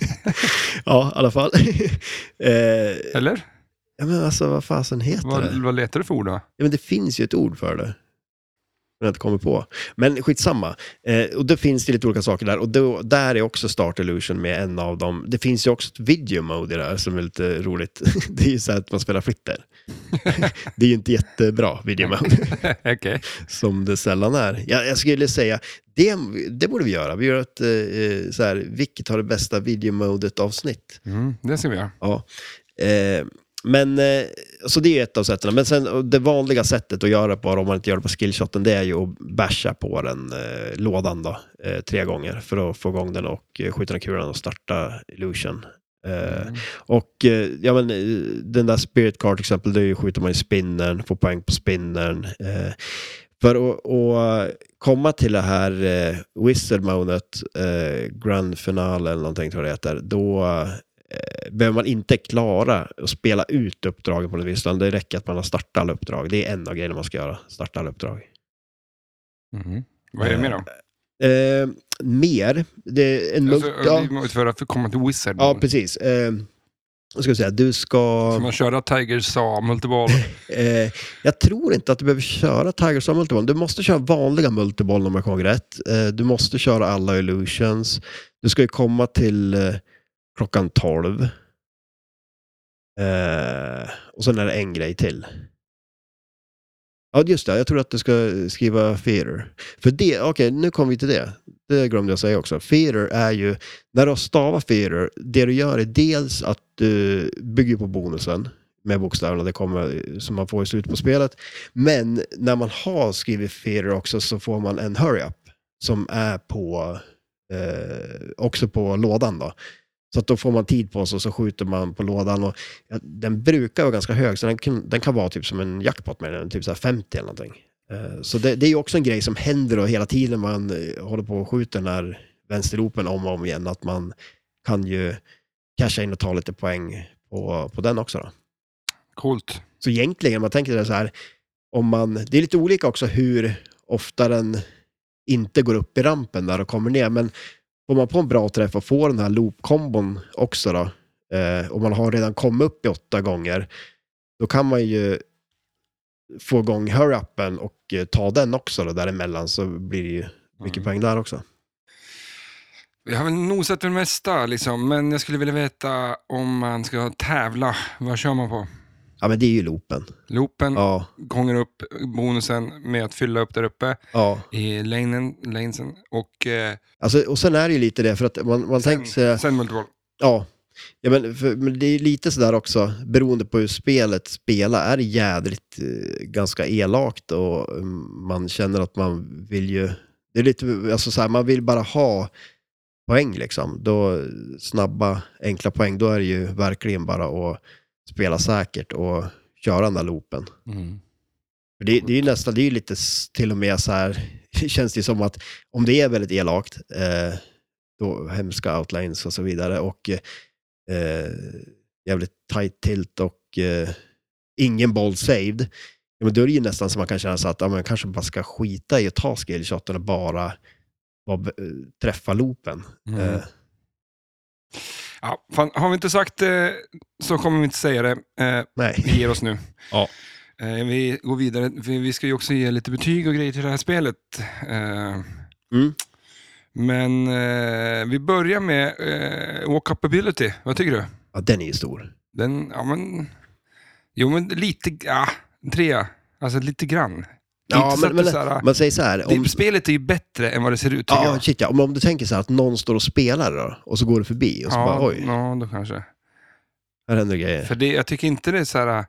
S2: ja, i alla fall. eh,
S1: Eller?
S2: ja, men alltså, vad fasen heter
S1: Vad,
S2: det?
S1: vad letar du för ord då?
S2: Ja, men det finns ju ett ord för det. men jag inte kommer på. Men skitsamma. Eh, och då finns det lite olika saker där. Och då, där är också Start Illusion med en av dem. Det finns ju också ett video mode i det här som är lite roligt. Det är ju så här att man spelar flipper. det är ju inte jättebra video mode
S1: Okej.
S2: som det sällan är. Jag, jag skulle säga, det, det borde vi göra. Vi gör ett, eh, så här, vilket har det bästa videomodet avsnitt?
S1: Mm, det ska vi göra.
S2: Ja. Eh, men, eh, så det är ett av sätten. Men sen och det vanliga sättet att göra bara om man inte gör det på skillshoten, det är ju att basha på den eh, lådan då, eh, tre gånger för att få igång den och eh, skjuta den kulan och starta illusion. Eh,
S1: Mm.
S2: och eh, ja, men, eh, den där Spirit Card till exempel, då skjuter man i spinnern, får poäng på spinnern. Eh, för att, att komma till det här eh, Wizard Monet, eh, Grand Finale eller någonting tror jag det heter, då eh, behöver man inte klara att spela ut uppdragen på något vis, utan det räcker att man har startat alla uppdrag. Det är en av grejerna man ska göra, starta alla uppdrag.
S1: Mhm. Vad är det mer då?
S2: Eh, mer, det är en munk,
S1: Alltså,
S2: ja,
S1: Vi måste för att komma till Wizard.
S2: ja,
S1: Mode.
S2: precis. Eh, vad ska jag säga, du ska...
S1: Ska man köra Tiger Saw, multiball?
S2: Eh, jag tror inte att du behöver köra Tigers som multiboll. Du måste köra vanliga multiboll om jag kommer ihåg rätt. Eh, du måste köra alla illusions. Du ska ju komma till eh, klockan 12. Eh, och sen är det en grej till. Ja, just det. Jag tror att du ska skriva theater. För det, okej, nu kommer vi till det. Det glömde jag säga också. Theater är ju, när du stavar theater, det du gör är dels att du bygger på bonusen med bokstäverna det kommer, som man får i slutet på spelet. Men när man har skrivit theater också så får man en hurry-up som är på, eh, också på lådan då. Så att då får man tid på sig och så skjuter man på lådan. Och, ja, den brukar vara ganska hög, så den kan, den kan vara typ som en jackpot med den, typ så här 50 eller någonting. Eh, Så det, det är ju också en grej som händer då hela tiden man eh, håller på och skjuter den här vänsterloopen om och om igen, att man kan ju casha in och ta lite poäng på, på den också. Då.
S1: Coolt.
S2: Så egentligen, om man tänker det så här, om man, det är lite olika också hur ofta den inte går upp i rampen där och kommer ner, men får man på en bra träff och får den här loop-kombon också då, eh, och man har redan kommit upp i åtta gånger, då kan man ju få igång hurry-upen och eh, ta den också då däremellan så blir det ju mycket
S1: Mm.
S2: poäng där också.
S1: Jag har väl nosat vid det mesta, liksom, men jag skulle vilja veta om man ska tävla. Vad kör man på?
S2: Ja, men det är ju loopen.
S1: Mm. Loopen,
S2: Ja,
S1: gånger upp bonusen med att fylla upp där uppe
S2: ja.
S1: i lanen, lanesen och eh,
S2: Alltså, och sen är det ju lite det, för att man, man tänker sig...
S1: sen multiball.
S2: Ja, ja men, för, men det är lite sådär också, beroende på hur spelet spelar, är det jädrigt eh, ganska elakt och eh, man känner att man vill ju, det är lite, alltså så här, man vill bara ha poäng liksom. Då, snabba, enkla poäng, då är det ju verkligen bara att spela säkert och köra den där loopen.
S1: Mm.
S2: För Det, det är ju nästan, det är ju lite s- till och med så här, känns det ju som att om det är väldigt elakt, eh, då hemska outlines och så vidare och eh, jävligt tight tilt och eh, ingen boll saved, ja, men då är det ju nästan som man kan känna så att ja, men kanske bara ska skita i att ta skillshoten och bara vara be- eh, träffa loopen.
S1: Mm.
S2: Eh,
S1: Ja, fan, har vi inte sagt det så kommer vi inte säga det. Eh,
S2: nej.
S1: vi ger oss nu.
S2: Ja.
S1: Eh, vi går vidare. Vi, vi ska ju också ge lite betyg och grejer till det här spelet. Eh,
S2: Mm.
S1: Men eh, vi börjar med eh, Walk Upability. Vad tycker du?
S2: Ja, den är ju stor.
S1: Den, ja men... Jo men lite, ja, en trea. Alltså lite grann.
S2: Ja,
S1: inte så
S2: men,
S1: att
S2: men
S1: det är så här, typ
S2: man säger så här,
S1: det,
S2: om,
S1: Spelet är ju bättre än vad det ser ut tycker
S2: ja,
S1: jag.
S2: shit, ja. Om, om du tänker så här att någon står och spelar då, och så går du förbi och så alltså, bara oj.
S1: ja, då kanske.
S2: Här händer grejer.
S1: För det, jag tycker inte det är så här...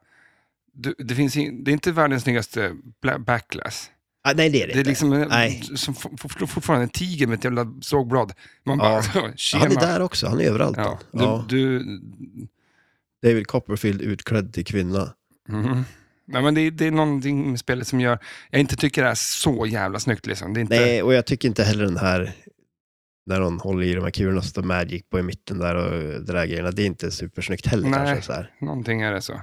S1: du- Det, finns, in- det är inte världens snyggaste bla- backlash.
S2: Ah, nej, det är det,
S1: Det är
S2: inte.
S1: liksom en,
S2: Nej.
S1: som for- for- fortfarande en tiger med ett jävla sågblad. Man bara, tjena.
S2: Han är där också, han är överallt.
S1: Ja,
S2: Ja,
S1: du,
S2: ja.
S1: du,
S2: David Copperfield utklädd till kvinna.
S1: Mhm. Nej, men det, är- det är någonting med spelet som gör... Jag inte tycker det är så jävla snyggt. Liksom. Det är inte,
S2: Nej, och jag tycker inte heller den här, när hon håller i de här kulorna så står Magic på i mitten där och det där grejerna. Det är inte supersnyggt heller
S1: Nej.
S2: kanske. Så här.
S1: Någonting är det så.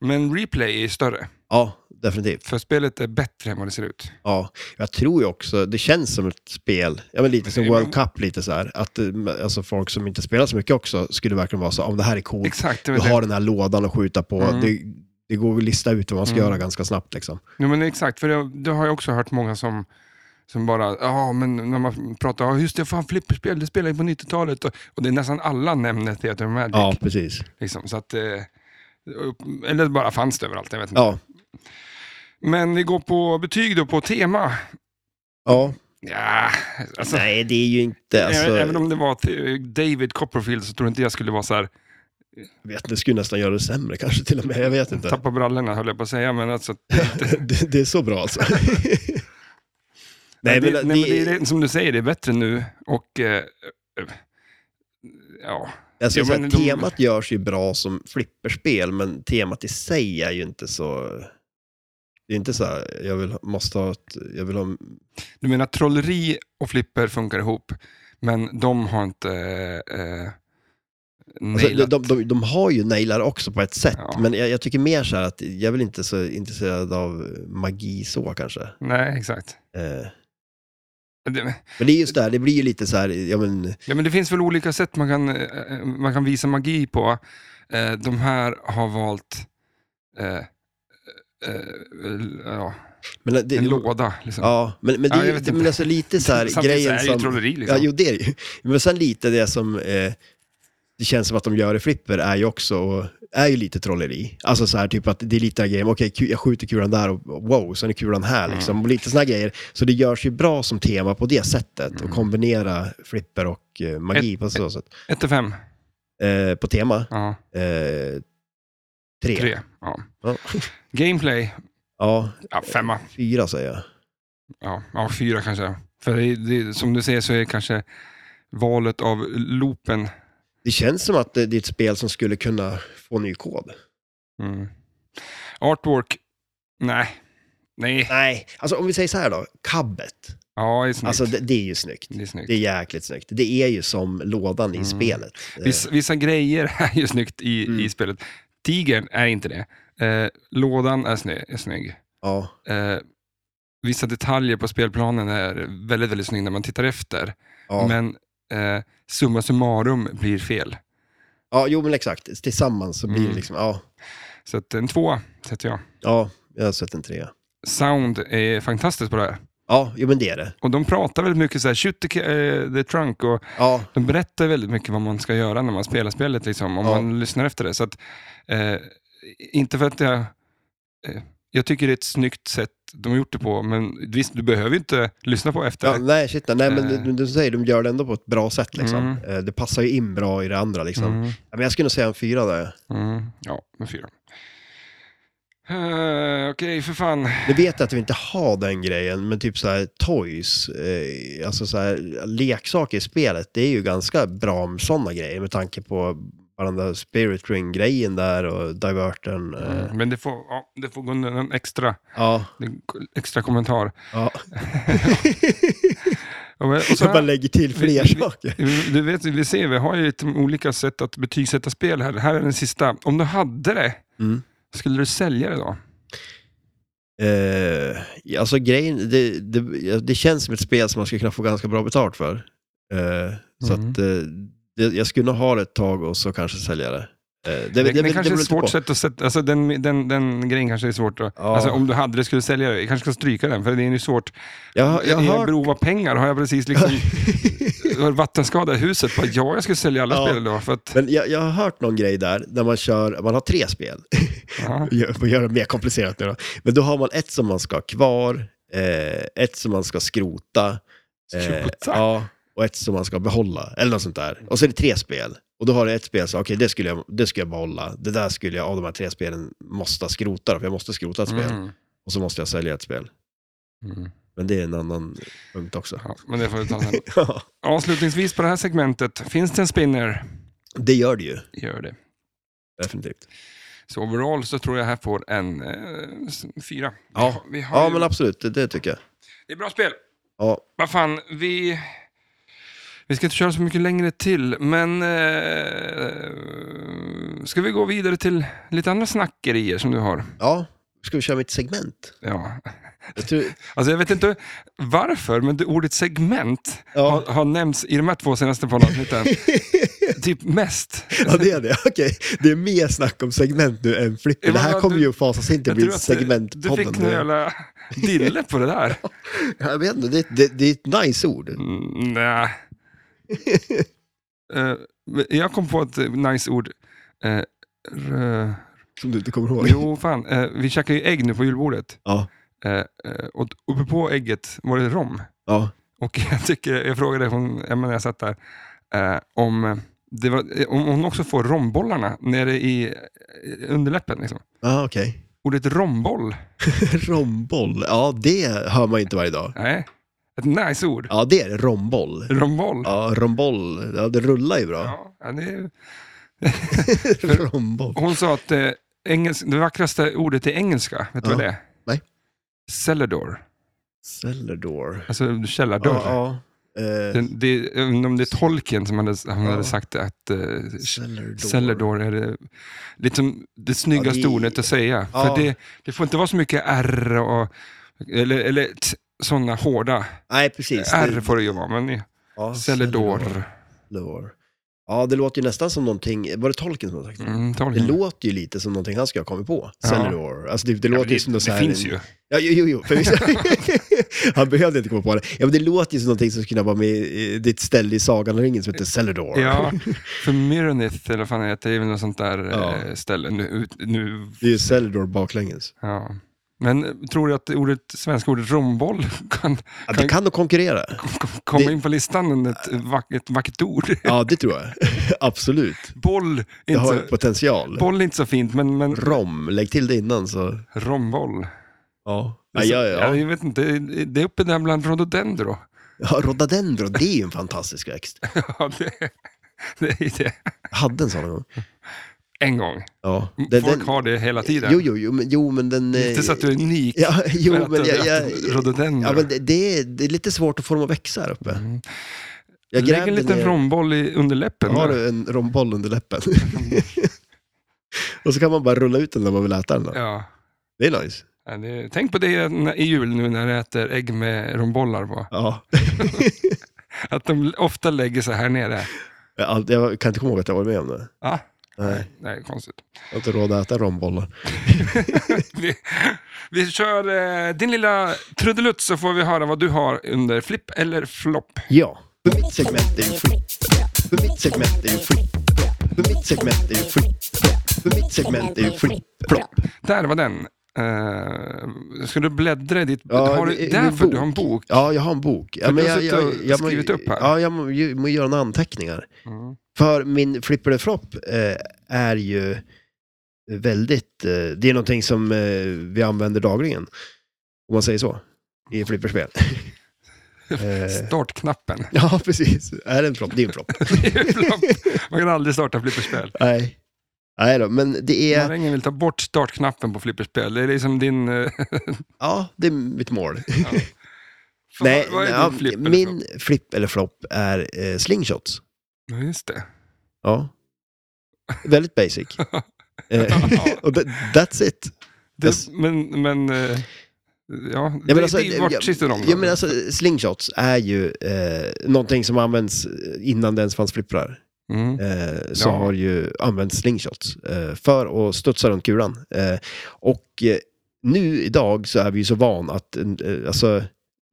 S1: Men replay är ju större,
S2: Ja, definitivt.
S1: för spelet är bättre än vad det ser ut.
S2: Ja, jag tror ju också, det känns som ett spel, ja, men lite som
S1: Men-
S2: World Cup lite så här, att eh, alltså, folk som inte spelar så mycket också skulle verkligen vara så, om det här är coolt,
S1: Exakt. det
S2: du
S1: var det.
S2: har den här lådan att skjuta på,
S1: Mm.
S2: det, det går att lista ut vad man ska
S1: Mm.
S2: göra ganska snabbt. Liksom.
S1: Jo, men exakt, för det, det har jag också hört många som, som bara, ja men när man pratar, ja just det, fan flipperspel, det spelade jag på 90-talet. Och, och det är nästan alla nämner Theater of Magic.
S2: Ja, precis.
S1: Liksom, så att, eh, upp- eller bara fanns det överallt, jag vet inte.
S2: Ja,
S1: Men vi går på betyg då, på tema.
S2: ja.
S1: Ja, alltså,
S2: Nej, det är ju inte... Alltså,
S1: Även om det var te- David Copperfield så tror inte jag skulle vara så här,
S2: jag vet, det skulle nästan göra det sämre kanske till och med. Jag vet inte.
S1: tappa brallorna höll jag på att säga. Men alltså,
S2: det, det är så bra alltså.
S1: Nej, men, det, nej, men
S2: det-
S1: det är, som du säger, det är bättre nu och... Eh, eh, ja.
S2: Alltså,
S1: Ja,
S2: så här,
S1: men de-
S2: temat görs ju bra som flipperspel, men temat i sig är ju inte så... Det är inte så här, jag vill, måste ha ett, jag vill ha,
S1: Du menar trolleri och flipper funkar ihop, men de har inte... Eh,
S2: alltså, de,
S1: nailat.
S2: de, de, de har ju nailar också på ett sätt,
S1: Ja.
S2: men jag, jag tycker mer så här att jag vill inte så intresserad av magi så kanske.
S1: Nej, exakt.
S2: Eh,
S1: Det,
S2: men det är just det här, det blir ju lite så här, ja men,
S1: ja, men det finns väl olika sätt man kan, eh, man kan visa magi på. Eh, de här har valt... Eh, eh, eh, ja,
S2: men det,
S1: en låda, liksom.
S2: Ja, men, men,
S1: Ja,
S2: det
S1: jag
S2: är
S1: vet
S2: ju,
S1: inte.
S2: men alltså lite så här
S1: Samtidigt så är
S2: grejen
S1: det ju
S2: som...
S1: trolleri, liksom.
S2: Ja, jo det är det ju. Men sen lite det som eh, det känns som att de gör i Flipper är ju också, är ju lite trolleri. Alltså så här typ att det är lite grejer, okej ku- jag skjuter kulan där och och wow, sen är kulan här
S1: Mm.
S2: liksom. Och lite såna här grejer. Så det görs ju bra som tema på det sättet
S1: Mm.
S2: och kombinera Flipper och eh, magi på så sätt.
S1: 1 till 5.
S2: Eh, på tema,
S1: Ja,
S2: eh, tre.
S1: 3. Ja.
S2: Ja.
S1: Gameplay,
S2: ja,
S1: ja, femma.
S2: fyra säger jag.
S1: Ja, ja fyra kanske. För det, det, som du säger så är kanske valet av loopen.
S2: Det känns som att det, det är ett spel som skulle kunna få ny kod.
S1: Mm. Artwork, nej. Nej,
S2: Nej, alltså om vi säger så här då, kabbet.
S1: ja det är snyggt.
S2: Alltså
S1: det...
S2: det, det är ju snyggt.
S1: är snyggt.
S2: Det är jäkligt snyggt. Det är ju som lådan i
S1: Mm.
S2: spelet. Eh, Mm.
S1: Vissa, vissa grejer är ju snyggt i, i spelet. Tigern är inte det. Eh, lådan är, snö, är snygg.
S2: Ja,
S1: Eh, vissa detaljer på spelplanen är väldigt, väldigt snygg när man tittar efter.
S2: ja.
S1: Men eh, summa summarum blir fel.
S2: ja, jo men exakt. Tillsammans så blir
S1: Mm.
S2: det liksom, ja,
S1: Så att en tvåa sätter jag.
S2: ja, jag har sett en trea.
S1: Sound är fantastiskt på det här.
S2: Ja, jo men det är det.
S1: Och de pratar väldigt mycket så här, shoot the, ca- eh, the trunk och
S2: Ja,
S1: de berättar väldigt mycket vad man ska göra när man spelar spelet, liksom, om
S2: Ja.
S1: man lyssnar efter det. Så att, eh, inte för att jag... Eh, jag tycker det är ett snyggt sätt de har gjort det på, men visst, du behöver ju inte lyssna på efter.
S2: ja nej shit, nej, nej men
S1: Eh.
S2: du, du säger, de gör det ändå på ett bra sätt liksom.
S1: Mm.
S2: Eh, Det passar ju in bra i det andra liksom.
S1: Mm,
S2: Ja, Men jag skulle nog säga en fyra där.
S1: mm, ja, med fyra. Eh, Okej, för fan.
S2: Nu vet jag att vi inte har den grejen, men typ så här toys, eh, alltså så här leksaker i spelet, det är ju ganska bra med sådana grejer med tanke på bara den där spirit ring-grejen där och diverten. eh,
S1: Mm, men det får, ja, det får gå en en extra,
S2: Ja,
S1: en extra kommentar.
S2: ja.
S1: Och, och så
S2: jag
S1: här-
S2: bara lägger till fler
S1: vi- vi-
S2: saker.
S1: Du vet, vi ser, vi har ju lite olika sätt att betygsätta spel här. Det här är den sista. Om du hade det,
S2: Mm.
S1: skulle du sälja det då?
S2: Eh, alltså grejen, det, det, det känns som ett spel som man skulle kunna få ganska bra betalt för. Eh, Så
S1: Mm.
S2: att eh, det, jag skulle nog ha det ett tag och så kanske sälja det. Eh, det,
S1: Det, det, kanske
S2: beror
S1: är
S2: lite
S1: ett svårt
S2: på.
S1: sätt att sätta, alltså den, den, den grejen kanske är svårt att,
S2: Ja.
S1: alltså om du hade det skulle du sälja det. Jag kanske ska stryka den, för det är ju svårt.
S2: Jag, har- jag
S1: är jag i
S2: har
S1: behov av pengar? Har jag precis liksom har vattenskada i huset? Bara, ja, jag skulle sälja alla
S2: Ja.
S1: spel då. För att,
S2: Men jag, jag har hört någon grej där, där man kör, man har tre spel.
S1: ja.
S2: Gör- Man gör det mer komplicerat nu då. Men då har man ett som man ska ha kvar, eh, ett som man ska skrota, eh,
S1: Skrota?
S2: ja, och ett som man ska behålla, eller något sånt där. Och så är det tre spel. Och då har du ett spel som, okej, det skulle jag, det skulle jag behålla. Det där skulle jag, av de här tre spelen, måste skrota, då, för jag måste skrota ett spel.
S1: Mm.
S2: Och så måste jag sälja ett spel.
S1: Mm.
S2: Men det är en annan punkt också.
S1: Ja, men det får vi ta sen.
S2: Ja,
S1: Avslutningsvis på det här segmentet, finns det en spinner?
S2: det gör det ju,
S1: Gör det.
S2: definitivt.
S1: Så overall så tror jag här får en eh, s- fyra.
S2: Ja.
S1: vi har
S2: Ja,
S1: ju-
S2: men absolut, det, det tycker jag.
S1: Det är bra spel.
S2: Ja,
S1: Vad fan, vi... Vi ska inte köra så mycket längre till, men... Eh, ska vi gå vidare till lite andra snackerier som du har?
S2: ja. Ska vi köra mitt segment?
S1: Ja.
S2: Jag tror,
S1: Alltså jag vet inte varför, men det ordet segment
S2: Ja.
S1: har, har nämnts i de här två senaste poddavsnitten. typ mest.
S2: Ja, det är det. Okej. Det är mer snack om segment nu än flipper.
S1: Ja,
S2: Det
S1: men
S2: här
S1: vad
S2: kommer
S1: du-
S2: ju att fasas in till
S1: Jag
S2: att bli
S1: tror att du, du
S2: segmentpodden.
S1: fick någon
S2: nu.
S1: jävla dille på det där.
S2: Jag vet inte, det, är- det, det är ett nice ord.
S1: Mm, nej. Eh, men jag kom på ett eh, nice ord. Eh, rö-
S2: Som du inte kommer ihåg.
S1: jo, fan. Eh, vi käkar ju ägg nu på julbordet.
S2: Ja.
S1: Eh, eh, och uppe på ägget var det rom.
S2: Ja.
S1: Och jag, tycker, jag frågade hon, jag menar jag satt där, eh, om, eh, det var, eh, om hon också får rombollarna nere i eh, underläppen. Liksom.
S2: Ja, okej.
S1: Ordet romboll,
S2: Romboll. Ja, det hör man ju inte varje dag.
S1: nej. Ett nice ord.
S2: Ja, det är det. Romboll.
S1: Romboll.
S2: Ja, romboll. Ja, det rullar ju bra.
S1: Ja, ja, det är,
S2: romboll.
S1: hon sa att eh, engels, det vackraste ordet i engelska, vet du
S2: Ja.
S1: vad det är?
S2: Nej.
S1: Cellador,
S2: Cellador.
S1: alltså källardörr.
S2: Ja, ja. Eh,
S1: Det, det, jag undrar om det är tolken som hade, han
S2: Ja.
S1: hade sagt det, att eh,
S2: Cellador.
S1: Cellador är det, liksom det snyggaste
S2: Ja, det-
S1: ordet att säga.
S2: Ja.
S1: För det, det får inte vara så mycket R och, eller, eller t- sådana hårda.
S2: Nej, precis.
S1: R får det ju vara, men
S2: Ja,
S1: Cellador.
S2: Cellador. Ja, det låter ju nästan som någonting. Var det tolken som har sagt det?
S1: Mm,
S2: Det
S1: tolken.
S2: låter ju lite som någonting han ska ha kommit på.
S1: Ja.
S2: Cellador. Alltså det, det
S1: Ja, men
S2: låter ju
S1: det,
S2: som något så
S1: det
S2: här-
S1: finns ju.
S2: Ja, jo, jo, jo. förvisso. han behövde inte komma på det. Ja, men det låter ju som någonting som skulle kunna vara med i ditt ställe i Sagan och ringen som heter Cellador.
S1: Ja, för Myronith, eller vad fan det heter, det är väl något sånt där
S2: Ja.
S1: eh, ställe. Nu, ut- nu,
S2: Det är ju Cellador baklänges.
S1: ja. Men tror du att ordet, svenska ordet romboll kan
S2: Ja, det kan nog konkurrera.
S1: k- komma
S2: Det-
S1: in på listan under ett, vack, ett vackert ord?
S2: Ja, det tror jag. Absolut.
S1: Boll, är
S2: Det
S1: inte,
S2: har
S1: så-
S2: potential.
S1: boll är inte så fint, men, men
S2: Rom, lägg till det innan så...
S1: romboll.
S2: Ja. Ja, ja, ja.
S1: Jag vet inte, det- det är uppe där bland rhododendro.
S2: ja rhododendro, det är ju en fantastisk växt.
S1: Ja, det, det är det.
S2: Jag hade en sån en gång.
S1: En gång.
S2: Ja.
S1: Mm,
S2: Den,
S1: Folk
S2: den...
S1: har det hela tiden.
S2: Jo, jo, jo, men, jo, men den...
S1: Det är
S2: eh,
S1: inte så att du är unik.
S2: Ja, jo,
S1: för att
S2: men
S1: du
S2: jag...
S1: har
S2: jag,
S1: ätit rhododendro.
S2: ja, men det, det, är, det är lite svårt att få dem att växa här uppe.
S1: Mm.
S2: Jag
S1: det ligger en
S2: grävde
S1: liten
S2: ner...
S1: romboll i underläppen.
S2: Har du en romboll under läppen?
S1: Mm.
S2: Och så kan man bara rulla ut den när man vill äta den. Då.
S1: Ja.
S2: Det är nice.
S1: Ja, det- Tänk på det när- i jul nu när du äter ägg med rombollar på.
S2: Ja.
S1: Att de ofta lägger sig här nere.
S2: Jag har aldrig- jag kan inte komma ihåg att jag var med om det.
S1: Ja.
S2: Nej,
S1: Det är konstigt.
S2: jag har inte råd att äta rombollar.
S1: Vi, vi kör eh, din lilla trudelutt så får vi höra vad du har under flipp eller flopp.
S2: Ja, för mitt segment är ju free. För mitt segment är ju free. För mitt segment är ju free. För mitt segment är ju free. Plopp.
S1: Där var den. Uh, ska du bläddra i ditt...
S2: Ja,
S1: har
S2: i-
S1: du,
S2: i
S1: därför
S2: min
S1: du har en bok?
S2: Ja, jag har en bok. Ja,
S1: För du har
S2: jag,
S1: suttit och
S2: må-
S1: skrivit upp här.
S2: Ja, jag må- ju- må göra några anteckningar.
S1: Mm.
S2: För min flipper och flopp eh, är ju väldigt, eh, det är någonting som eh, vi använder dagligen. Om man säger så. I flipperspel. eh,
S1: Startknappen.
S2: ja, precis. Är det en flopp? Det är en flopp.
S1: Det är ju flopp. Man kan aldrig starta flipperspel.
S2: Nej. Nej då, men det är,
S1: Marängen vill ta bort startknappen på flipperspel. Det är liksom din... eh,
S2: ja, det är mitt mål.
S1: för
S2: Nej,
S1: vad är
S2: ja,
S1: din flipp eller flopp?
S2: min flipp eller flopp är eh, slingshots.
S1: Ja, just det.
S2: Ja. Väldigt basic. eh, och that, that's it.
S1: det
S2: Yes.
S1: men, men... eh, Ja,
S2: Ja,
S1: det,
S2: men alltså,
S1: det är ju vart
S2: jag-
S1: sitter de? då?
S2: Ja, men alltså, slingshots är ju eh, någonting som används innan det ens fanns flipprar.
S1: mm.
S2: Eh, så
S1: Ja.
S2: har ju använts slingshots eh, för att studsa runt kulan. Eh, och eh, nu idag så är vi ju så van att eh, alltså,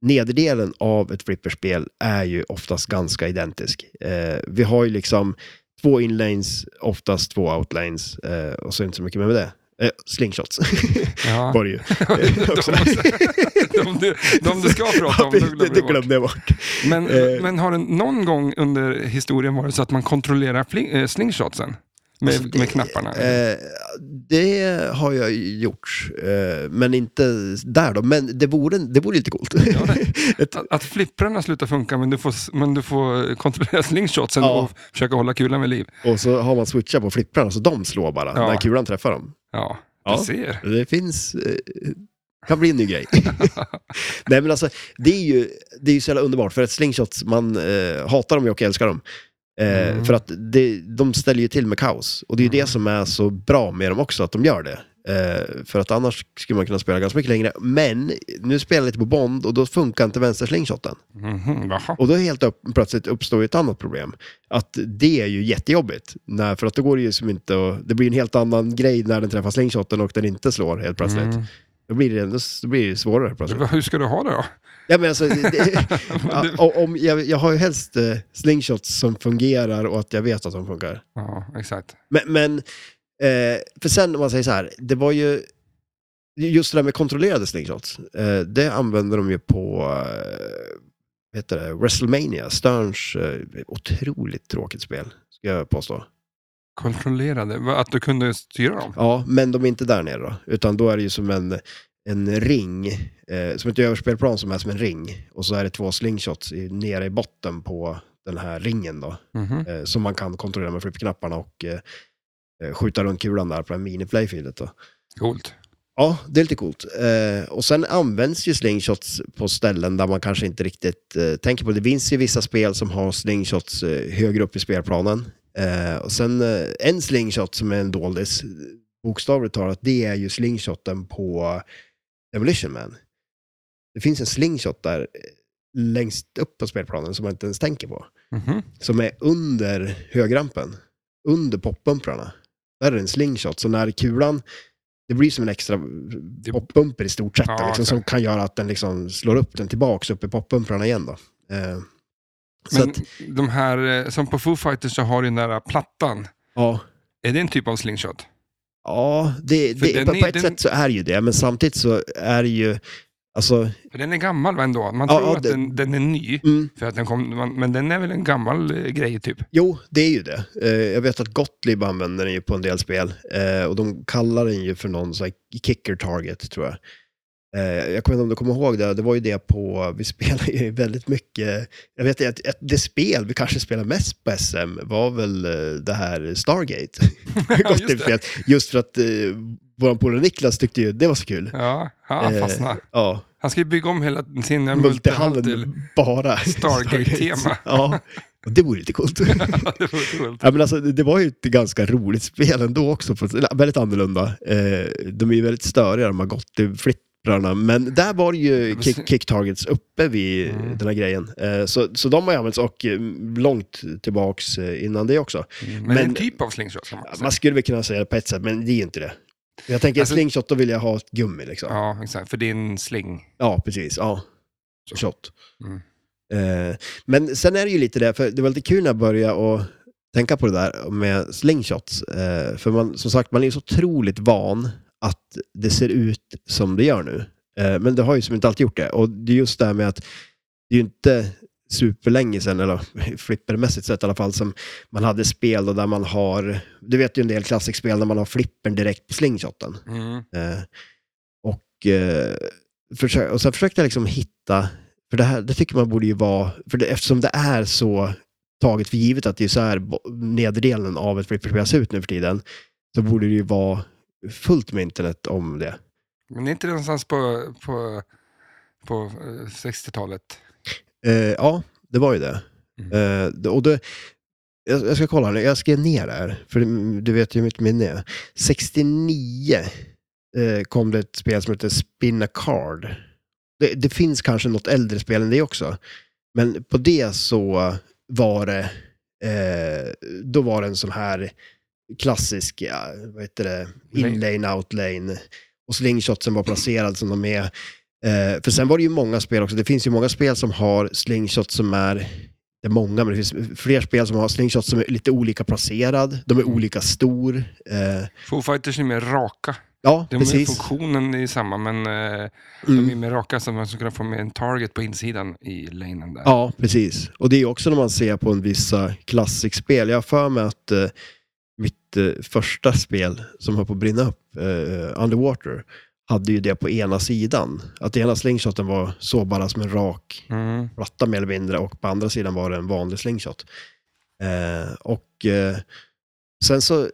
S2: nederdelen av ett flipperspel är ju oftast ganska identisk. Eh, vi har ju liksom två inlanes, oftast två outlanes eh, och så är det inte så mycket mer med det. Eh, slingshots
S1: ja.
S2: var det ju. Eh, också.
S1: De, du, de du ska prata om, de
S2: det,
S1: glömmer du
S2: det, det
S1: bort.
S2: glömde jag bort.
S1: Men,
S2: Eh.
S1: men har det någon gång under historien varit så att man kontrollerar fling, eh, slingshotsen? Med,
S2: Alltså, det-
S1: med knapparna?
S2: Eh, det har jag ju gjort, eh, men inte där då. Men det vore, det vore lite coolt. Ett,
S1: Att, att flipprarna slutar funka men du får, s- men du får kontrollera slingshotsen
S2: Ja.
S1: och försöka hålla kulan vid liv.
S2: och så har man switchat på flipprarna, så de slår bara
S1: Ja.
S2: när kulan träffar dem.
S1: Ja,
S2: Ja.
S1: du ser.
S2: Det finns... Eh, kan bli en ny grej. Nej men alltså, det är ju, det är ju så jävla underbart. För att slingshots, man eh, hatar dem ju och älskar dem. Eh,
S1: Mm.
S2: För att det, de ställer ju till med kaos. Och det är ju
S1: Mm.
S2: det som är så bra med dem också, att de gör det. Eh, för att annars skulle man kunna spela ganska mycket längre. Men nu spelar jag lite på Bond och då funkar inte vänsterslingshoten.
S1: Mhm, jaha.
S2: Och då helt upp, plötsligt uppstår ju ett annat problem. Att det är ju jättejobbigt. Nej, för att då går det ju som inte att, Det blir en helt annan grej när den träffar slingshoten och den inte slår helt plötsligt.
S1: Mm.
S2: Då blir det, ändå- då blir det svårare plötsligt.
S1: Hur ska du ha det då?
S2: Ja, men alltså, det, ja, och om, jag, jag har ju helst eh, slingshots som fungerar och att jag vet att de funkar.
S1: Ja, exakt.
S2: Men, men eh, för sen om man säger så här, det var ju just det där med kontrollerade slingshots. Eh, det använde de ju på eh, vad heter det, WrestleMania, Sterns eh, otroligt tråkigt spel, ska jag påstå.
S1: Kontrollerade? Va, Att du kunde styra dem?
S2: Ja, men de är inte där nere då, utan då är det ju som en, en ring, eh, som ett överspelplan som är som en ring. Och så är det två slingshots i, nere i botten på den här ringen då,
S1: Mhm.
S2: eh, som man kan kontrollera med flippknapparna och eh, eh, skjuta runt kulan där på den mini-playfieldet då.
S1: Coolt.
S2: Ja, det är lite coolt. Eh, och sen används ju slingshots på ställen där man kanske inte riktigt eh, tänker på det. Det finns ju vissa spel som har slingshots eh, högre upp i spelplanen. Eh, och sen eh, en slingshot som är en doldis, bokstavligt talat, det är ju slingshoten på Demolition Man. Det finns en slingshot där eh, längst upp på spelplanen som man inte ens tänker på.
S1: Mhm.
S2: Som är under högrampen, under poppumprarna. Där är det en slingshot, så när kulan det blir som en extra poppumper i stort sett,
S1: Ja,
S2: liksom,
S1: exakt.
S2: som kan göra att den liksom slår upp den tillbaks upp i poppumprarna igen. Då. Eh, så
S1: Men
S2: att,
S1: de här, eh, som på Foo Fighters så har du den där eh, plattan.
S2: ja,
S1: Är det en typ av slingshot?
S2: ja det,
S1: För
S2: det,
S1: den
S2: på,
S1: är-
S2: på ett
S1: den-
S2: sätt så är det ju det, men samtidigt så är det ju, alltså,
S1: För den är gammal va, ändå. Man
S2: Ja,
S1: tror
S2: ja,
S1: att
S2: det-
S1: den, den är ny,
S2: mm,
S1: för att den kom, man, men den är väl en gammal eh, grej typ?
S2: jo, det är ju det. Eh, jag vet att Gottlieb använder den ju på en del spel, eh, och de kallar den ju för någon så här kicker target, tror jag. Eh, Jag kommer inte om du kommer ihåg det, det var ju det på, vi spelade ju väldigt mycket, jag vet att att det spel vi kanske spelade mest på SM var väl eh, det här Stargate. Gott
S1: Just det.
S2: fel. Just för att eh, våran polare Niklas tyckte ju det var så kul.
S1: Ja, han
S2: Eh,
S1: fastnar.
S2: Ja,
S1: Han ska ju bygga om hela sin eh,
S2: multihandel
S1: multihall till...
S2: bara.
S1: Stargate-tema.
S2: Stargate. ja, och det vore lite coolt.
S1: Ja, det var coolt.
S2: Ja, men alltså, det det var ju ett ganska roligt spel ändå också, för, eller, väldigt annorlunda. Eh, de är ju väldigt störiga, de har gått i flipprarna, men där var det ju
S1: men sen-
S2: kick, kick targets uppe vid
S1: Mm.
S2: den här grejen. Eh, så, så de har ju använts och eh, långt tillbaks eh, innan det också.
S1: Men,
S2: Men-
S1: en typ av slingshot kan man
S2: Ja,
S1: säga.
S2: Man skulle väl kunna säga det på ett sätt, men det är ju inte det. Jag tänker
S1: Alltså-
S2: slingshot, då vill jag ha ett gummi liksom. Ja,
S1: Ja, exakt. För det är en sling.
S2: precis. Ja. Shot.
S1: Mm.
S2: Eh, men sen är det ju lite det, för det var lite kul när jag började och tänka på det där med slingshots. Eh, för man, som sagt, man är ju så otroligt van att det ser ut som det gör nu. Eh, men det har ju som inte alltid gjort det. Och det är just det här med att det är ju inte superlänge sedan, eller flippermässigt sett i alla fall, som man hade spel då där man har, du vet ju en del klassikspel där man har flippern direkt på slingshoten.
S1: Mm.
S2: Eh, och, eh, försö- och sen försökte jag liksom hitta, för det här det tycker man borde ju vara, för det, eftersom det är så taget för givet att det är så här bo- nederdelen av ett flipperspel ser ut nu för tiden, så borde det ju vara fullt med internet om det.
S1: Men det är inte det någonstans på, på, på eh, 60-talet?
S2: Eh, ja, det var ju det.
S1: Mm.
S2: Eh, det- och det jag, jag ska kolla nu, jag skrev ner det här, för det- du vet ju hur mitt minne är. 69 eh, kom det ett spel som heter Spin a Card. Det, det finns kanske något äldre spel än det också, men på det så var det, eh, då var det en sån här klassisk, ja, vad heter det, inlane, outlane och slingshotsen var placerad som de är. Eh, för sen var det ju många spel också, det finns ju många spel som har slingshots som är det är många, men det finns fler spel som har slingshots som är lite olika placerad. De är olika stor. Eh,
S1: Foo Fighters är mer raka.
S2: ja,
S1: De är,
S2: precis.
S1: funktionen är samma, men eh, de är
S2: Mm.
S1: mer raka så man skulle kunna få med en target på insidan i lanen där.
S2: Ja, precis. Och det är ju också när man ser på en vissa klassikspel. Jag har för mig att eh, mitt eh, första spel som höll på att brinna upp, eh, Underwater, hade ju det på ena sidan. Att ena slingshoten var så bara som en rak
S1: Mm.
S2: platta mer eller mindre och på andra sidan var det en vanlig slingshot. Eh, och eh, sen så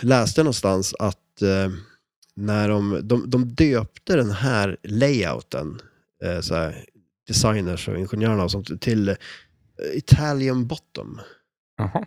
S2: läste jag någonstans att eh, när de, de, de döpte den här layouten, eh, så här, designers och ingenjörerna och sånt, till eh, Italian bottom.
S1: Jaha.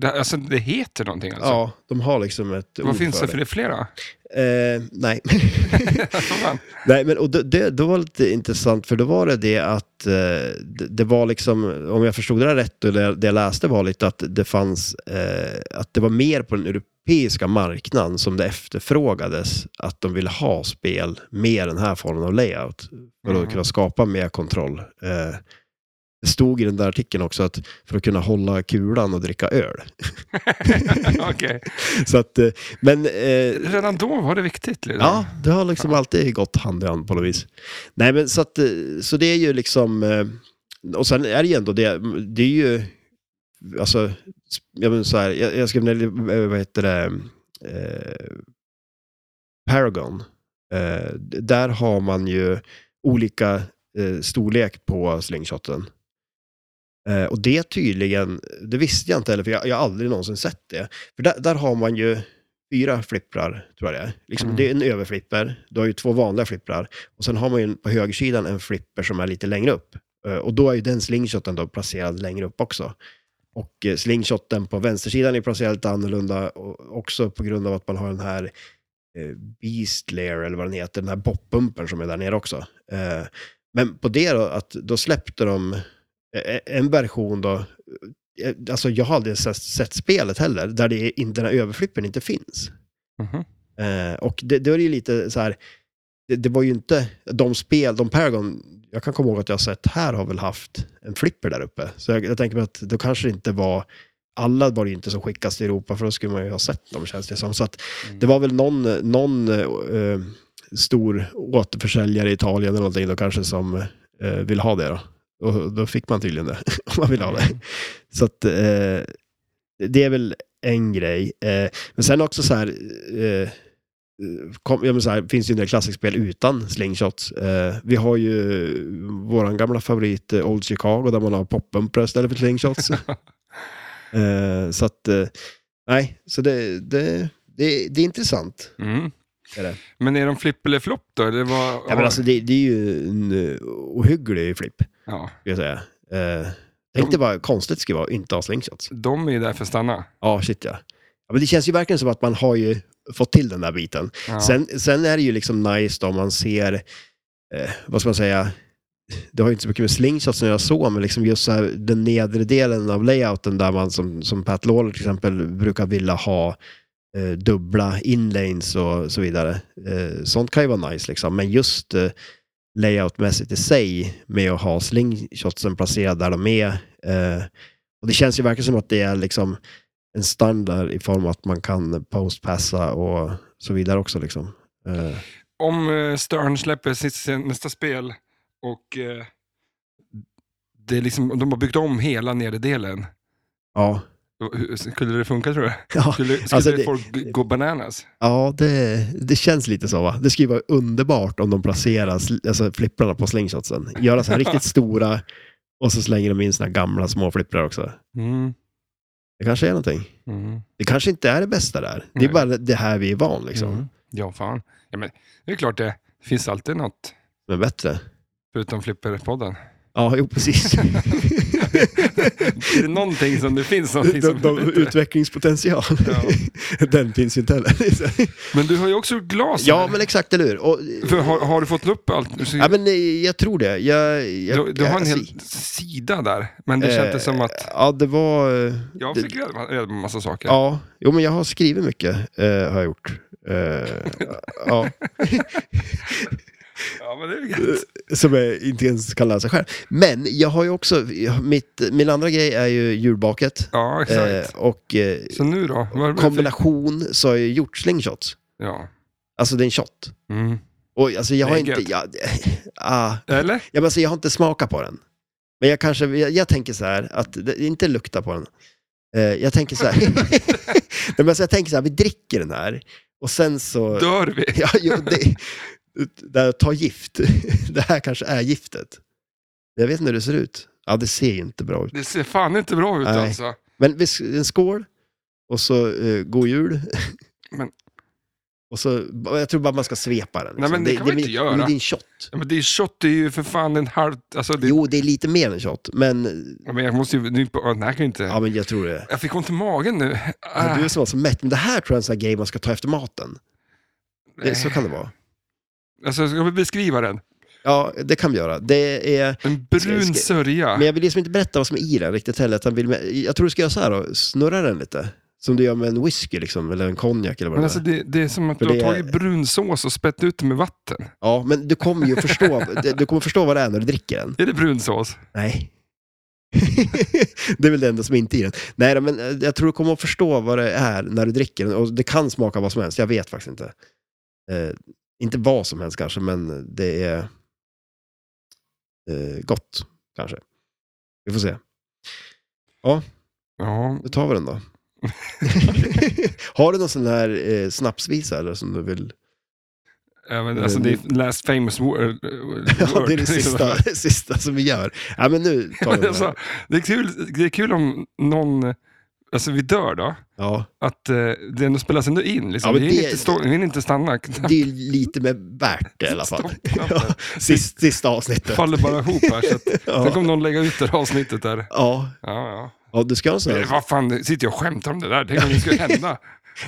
S1: Det, alltså, det heter någonting alltså?
S2: Ja, de har liksom ett
S1: Vad
S2: ord
S1: finns det
S2: för
S1: för det flera?
S2: det. Eh, nej.
S1: Alltså, fan.
S2: Nej, men och det, det, det var lite intressant, för då var det det att eh, det, det var liksom, om jag förstod det här rätt, och det, det jag läste var lite att det fanns, eh, att det var mer på den europeiska marknaden som det efterfrågades att de ville ha spel med den här formen av layout. För
S1: Mhm.
S2: att kunna skapa mer kontroll. Eh, det stod i den där artikeln också att för att kunna hålla kulan och dricka öl.
S1: Okej.
S2: Så att, eh, men... eh,
S1: Redan då var det viktigt. Liksom.
S2: Ja, det har liksom alltid gått hand i hand på något vis. Nej, men så, att, eh, så det är ju liksom... eh, Och sen är det ju ändå det, det är ju... Alltså, jag menar så här, jag, jag skrev ner, eh, vad heter det, eh, Paragon. Eh, d- där har man ju olika eh, storlek på slingshoten. Eh, och det tydligen, det visste jag inte heller, för jag, jag har aldrig någonsin sett det. För där, där har man ju fyra flipprar, tror jag det är. Liksom,
S1: Mm.
S2: Det är en överflipper, du har ju två vanliga flipprar. Och sen har man ju en- på högersidan en flipper som är lite längre upp. Eh, och då är ju den slingshoten då placerad längre upp också. Och eh, slingshoten på vänstersidan är placerad lite annorlunda, och också på grund av att man har den här eh, Beast Lair eller vad den heter, den här boppumpen som är där nere också. Eh, Men på det då, att då släppte de eh, en version då, eh, alltså jag har aldrig sett, sett spelet heller, där det är, inte- den här överflippen inte finns.
S1: Mhm.
S2: Eh, Och det, det var ju lite så här, det, det var ju inte de spel, de Paragon, jag kan komma ihåg att jag har sett här har väl haft en flipper där uppe. Så jag, jag tänker mig att då kanske det inte var, alla var det ju inte som skickas till Europa för då skulle man ju ha sett dem känns det som. Så att det var väl någon, någon eh, eh, stor återförsäljare i Italien eller någonting då kanske som eh, vill ha det då. Och då fick man tydligen det, om man vill ha det. Så att eh, det är väl en grej. Eh, men sen också så här, eh, kom, ja, men så här finns ju en del klassikspel utan slingshots. Eh, vi har ju våran gamla favorit eh, Old Chicago där man har poppumprar istället för slingshots. eh, så att, eh, nej, så det, det, det, det är intressant.
S1: Mm.
S2: Är det?
S1: Men är de flipp eller flopp då? Eller vad,
S2: Ja, men alltså, det, det är ju en eh, ohygglig flipp,
S1: ja.
S2: skulle jag säga. Eh, Tänk dig vad konstigt det skulle vara att inte ha slingshots.
S1: De är ju där för att stanna.
S2: Ja, shit ja. ja men det känns ju verkligen som att man har ju fått till den där biten.
S1: Ja.
S2: Sen, sen är det ju liksom nice då om man ser, eh, vad ska man säga, det har ju inte så mycket med slingshots som jag såg, men liksom just så här, den nedre delen av layouten där man som, som Pat Lawler till exempel brukar vilja ha eh, dubbla inlanes och så vidare. Eh, sånt kan ju vara nice liksom, men just eh, layoutmässigt i sig med att ha slingshotsen placerade där de är. Eh, och det känns ju verkligen som att det är liksom en standard i form av att man kan postpassa och så vidare också. Liksom. Eh,
S1: Om eh, Stern släpper sitt sin- nästa spel och eh, det är liksom, de har byggt om hela nederdelen,
S2: ja.
S1: då- hur- skulle det funka tror du?
S2: Ja,
S1: Skulle, skulle
S2: Alltså, det-
S1: folk g- gå bananas?
S2: ja det, det känns lite så va. Det skulle ju vara underbart om de placerar sl- alltså, flipprarna på slingshotsen. Göra så här riktigt stora och så slänger de in sina gamla små flipprar också.
S1: Mm.
S2: Det kanske är någonting.
S1: Mm.
S2: Det kanske inte är det bästa där. Det är
S1: Nej.
S2: bara det här vi är van liksom.
S1: Mm. Ja, fan. Ja, men, det är klart det finns alltid något,
S2: Men bättre.
S1: förutom flipperpodden.
S2: Ja, jo precis.
S1: är det någonting som det finns någonting
S2: de,
S1: som...
S2: de, utvecklingspotential.
S1: Ja.
S2: Den finns ju inte heller.
S1: Men du har ju också gjort glas.
S2: ja,
S1: här.
S2: men exakt, eller hur? Och,
S1: För, har, har du fått upp allt? Så-
S2: ja, men, eh, jag tror det. Jag, jag,
S1: du, du har en
S2: alltså,
S1: hel sida där, men det
S2: eh,
S1: kändes som att...
S2: Ja, det var... eh,
S1: Jag
S2: det-
S1: fick reda reda på en massa saker.
S2: Ja, jo men jag har skrivit mycket, eh, har jag gjort. Eh, ja,
S1: Ja, men det är väl gött.
S2: som jag inte ens kan läsa själv. Men jag har ju också, mitt, min andra grej är ju julbaket.
S1: Ja,
S2: Eh,
S1: exakt.
S2: och eh,
S1: Så nu då? Vad är det för-
S2: kombination så har jag ju gjort slingshots.
S1: Ja.
S2: Alltså det är en shot.
S1: Mm.
S2: Och alltså jag
S1: Det
S2: har
S1: är
S2: inte,
S1: gött.
S2: jag, ah,
S1: Eller?
S2: jag, alltså, jag har inte smakat på den. Men jag kanske, jag, jag tänker så här, att det, inte lukta på den. Eh, jag tänker så här, Nej, men alltså, jag tänker så här, vi dricker den här och sen så...
S1: Dör vi?
S2: Ja, jo, det, där jag tar gift. Det här kanske är giftet. Jag vet inte hur det ser ut. Ja, det ser ju inte bra ut.
S1: Det ser fan inte bra ut
S2: Nej.
S1: alltså.
S2: Men vi- en skål och så eh, god jul.
S1: Men-
S2: Och så, jag tror bara man ska svepa den.
S1: Nej, men det kan man inte göra.
S2: Men det är en shot.
S1: Ja, men det är shot, det är ju för fan en halv... Alltså, det,
S2: Jo, det är lite mer än shot, men,
S1: Ja, men jag måste ju... Nu, åh, nej, jag kan ju inte...
S2: ja, men jag tror det.
S1: Jag fick ont i magen nu.
S2: Alltså,
S1: Ah,
S2: du är som var så mätt, men det här tror jag är en sån här grej man ska ta efter maten. Det, så kan det vara.
S1: alltså, ska vi beskriva den?
S2: Ja, det kan vi göra. Det är,
S1: En
S2: Ska jag
S1: brun
S2: skriva-
S1: sörja.
S2: men jag vill liksom inte berätta vad som är i den riktigt heller. Utan vill, jag tror du ska göra så här då, snurra den lite. Som du gör med en whisky liksom, eller en konjak eller vad
S1: Men
S2: det
S1: alltså,
S2: är.
S1: det, det är som att
S2: För
S1: du har
S2: det är-
S1: tagit brun sås och spätt ut det med vatten.
S2: Ja, men du kommer ju förstå, du kommer förstå vad det är när du dricker den.
S1: Är det brun sås?
S2: Nej. det är väl det enda som inte är i den. Nej, då, men eh, jag tror du kommer att förstå vad det är när du dricker den. Och det kan smaka vad som helst, jag vet faktiskt inte. Eh, inte vad som helst kanske, men det är eh, gott kanske. Vi får se.
S1: Ja,
S2: Nu tar vi den då. Har du någon sån här eh, snapsvisa eller som du vill?
S1: ja, men
S2: Men
S1: alltså det är
S2: det-
S1: last famous word.
S2: Ja, det är det
S1: word.
S2: sista, sista som vi gör. Ja, men nu tar vi den
S1: alltså,
S2: här.
S1: det, är kul, det är kul om någon, alltså vi dör då,
S2: Ja,
S1: att eh, det ändå spelas ändå in. Liksom.
S2: Ja, men
S1: vi, hinner
S2: det-
S1: inte stå, vi hinner inte stanna.
S2: det är ju lite mer värt det i alla fall. Ja, sist, sista avsnittet.
S1: faller bara ihop här. Så att,
S2: Ja.
S1: Sen kommer någon lägga ut det här avsnittet där.
S2: Ja,
S1: Ja, ja.
S2: ja du ska ha en sån
S1: Men
S2: här.
S1: vad fan, sitter jag och skämtar om det där? Tänk om det skulle hända.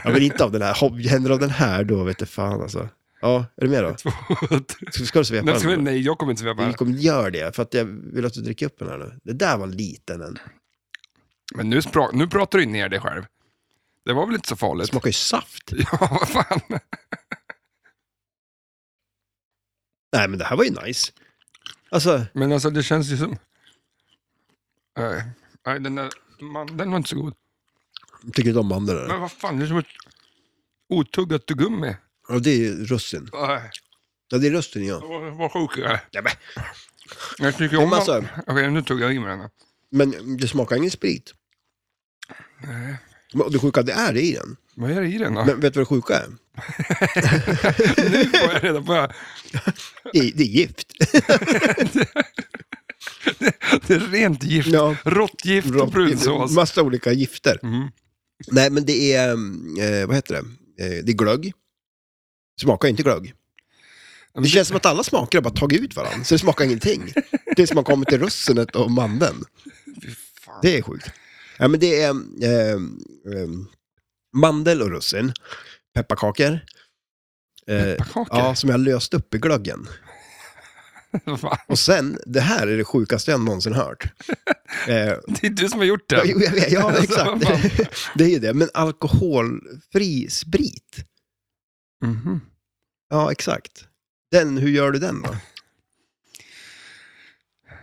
S2: Ja, men inte av den här. Hopp- Händer av den här då vet du fan alltså. Ja, är du med då?
S1: Två, tre.
S2: Ska, ska du svepa
S1: Nej, ska vi-
S2: den?
S1: Nej, jag kommer inte svepa.
S2: Vi
S1: här.
S2: kommer gör det, för att jag vill att du dricker upp den här nu. Det där var en liten en.
S1: Men nu, spra- nu pratar du ner dig själv. Det var väl inte så
S2: Det
S1: farligt?
S2: smakar ju saft.
S1: Ja, vad fan.
S2: Nej, men det här var ju nice. Alltså,
S1: Men alltså det känns ju som... Nej, nej den, där, man, den var inte så god.
S2: tycker inte om mandel eller?
S1: Men vad fan, det är som ett otuggat tuggummi.
S2: Ja, det är ju russin.
S1: Nej,
S2: Ja, det är russin ja.
S1: Vad vad sjuk jag är.
S2: ja men,
S1: Jag tycker
S2: Men
S1: om...
S2: alltså-
S1: Okej, nu tuggar jag i mig den. här.
S2: men det smakar ingen sprit.
S1: Nej,
S2: Men Det sjuka, det är det i den.
S1: Vad är det i den då?
S2: Men vet du vad det sjuka är?
S1: Nu får jag reda på...
S2: Det är, det är gift.
S1: Det är rent gift.
S2: Ja.
S1: Råttgift och brunsås.
S2: Massa olika gifter.
S1: Mm.
S2: Nej, men det är, eh, vad heter det, eh, det är glögg. Smakar ju inte glögg.
S1: men
S2: Det känns som att alla smaker har bara tagit ut varandra, så det smakar ingenting. Tills man kommer till russinet och mandeln.
S1: Fy fan.
S2: Det är sjukt. Ja, men det är eh, eh, mandel och russin, pepparkakor. Eh,
S1: Pepparkakor?
S2: ja, som jag löst upp i glöggen.
S1: Vad fan.
S2: Och sen, det här är det sjukaste jag någonsin hört. Eh,
S1: Det är du som har gjort det.
S2: Jo, jag vet. Ja,
S1: Alltså,
S2: exakt.
S1: vad
S2: det är ju det. Men alkoholfri sprit.
S1: Mhm.
S2: Ja, exakt. Den, hur gör du den då?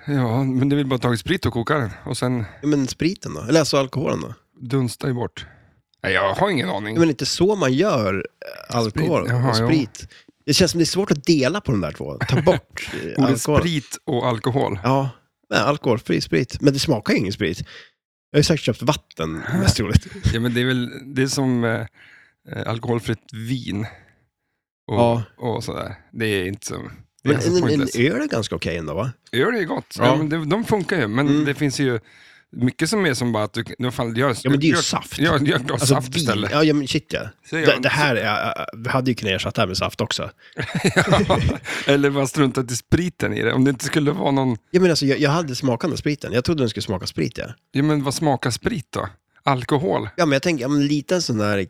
S1: Ja, men det vill bara tagit sprit och koka den. Och sen
S2: Ja, Men spriten då? Eller alltså alkoholen då?
S1: dunsta ju bort. Nej, jag har ingen aning.
S2: Ja, Men inte så man gör eh, alkohol
S1: Sprit. Jaha,
S2: och
S1: jo.
S2: sprit. Det känns som det är svårt att dela på de där två. Ta bort eh,
S1: Ordet
S2: alkohol.
S1: sprit och alkohol.
S2: Ja, nej, alkoholfri sprit. Men det smakar ju ingen sprit. Jag har ju säkert köpt vatten, mest troligt.
S1: Ja, men det är väl det är som eh, eh, alkoholfritt vin. Och,
S2: Ja.
S1: och sådär. Det är inte så... Det är
S2: Men
S1: ganska
S2: en, en
S1: pointless.
S2: öl är ganska okej ändå va?
S1: Öl är gott. Ja.
S2: Ja.
S1: men de, de funkar ju, men
S2: Mm.
S1: det finns ju mycket som är som bara att du... Vad fan, gör,
S2: Ja, men det är ju
S1: gör-
S2: saft.
S1: Ja, gör ett glas
S2: Alltså,
S1: saft
S2: vin-
S1: istället.
S2: Ja, ja, men shit ja.
S1: Så gör
S2: Det,
S1: man-
S2: det här, är- jag hade ju kunnat ersätta det här med saft också.
S1: Eller bara strunta till spriten i det. Om det inte skulle vara någon...
S2: Jag, menar, alltså, jag, jag hade smakande spriten. Jag trodde den skulle smaka sprit. Ja,
S1: Ja, men vad smakar sprit då? Alkohol?
S2: ja men jag tänker, ja, men en liten sån där,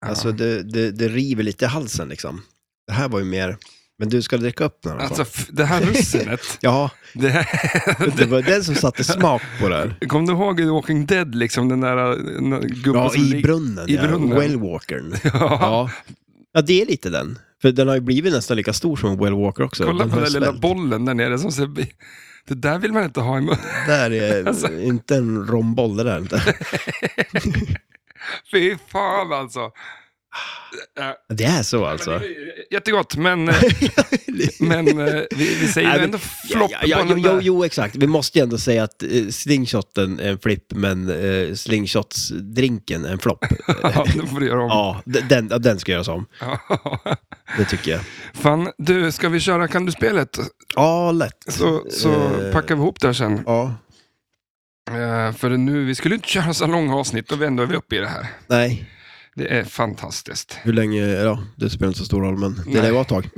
S1: Ja.
S2: alltså det, det, det river lite i halsen liksom. Det här var ju mer, men du ska dricka upp den här.
S1: Alltså,
S2: Alltså,
S1: f- det här russinet.
S2: ja,
S1: det här,
S2: det var den som satte smak på det. här.
S1: kom du ihåg i Walking Dead, liksom, den där eh, den där gubben
S2: Ja,
S1: som
S2: i
S1: ligger-
S2: brunnen.
S1: i
S2: ja.
S1: brunnen.
S2: Well Walkern.
S1: Ja,
S2: Ja. ja, det är lite den. För den har ju blivit nästan lika stor som Well Walker också.
S1: kolla
S2: den
S1: på den
S2: har
S1: där lilla
S2: svällt.
S1: bollen där nere. Som ser, det där vill man inte ha i munnen.
S2: Där är
S1: Alltså.
S2: inte en romboll det där inte.
S1: Fy fan alltså. Eh,
S2: Det är så alltså.
S1: Jättegott, men, eh, men eh, vi, vi säger
S2: Nej,
S1: ju
S2: men-
S1: ändå flopp
S2: ja, ja,
S1: på
S2: jo,
S1: den
S2: jo,
S1: där.
S2: jo, exakt. Vi måste ju ändå säga att eh, slingshoten är en flipp, men eh, slingshotsdrinken är en flopp.
S1: Ja, nu får du göra om.
S2: ja, d- den, ja, den ska göras om.
S1: Ja.
S2: Det tycker jag.
S1: Fan, du, ska vi köra Kan du-spelet?
S2: Ja, lätt.
S1: Så, så
S2: Eh,
S1: packar vi ihop det här sen.
S2: Ja,
S1: Eh, för nu, vi skulle inte köra så långa avsnitt och vi ändå är vi uppe i det här.
S2: nej.
S1: Det är fantastiskt.
S2: Hur länge, ja, det spelar inte så stor roll, men det
S1: Nej.
S2: lär vara ett tag.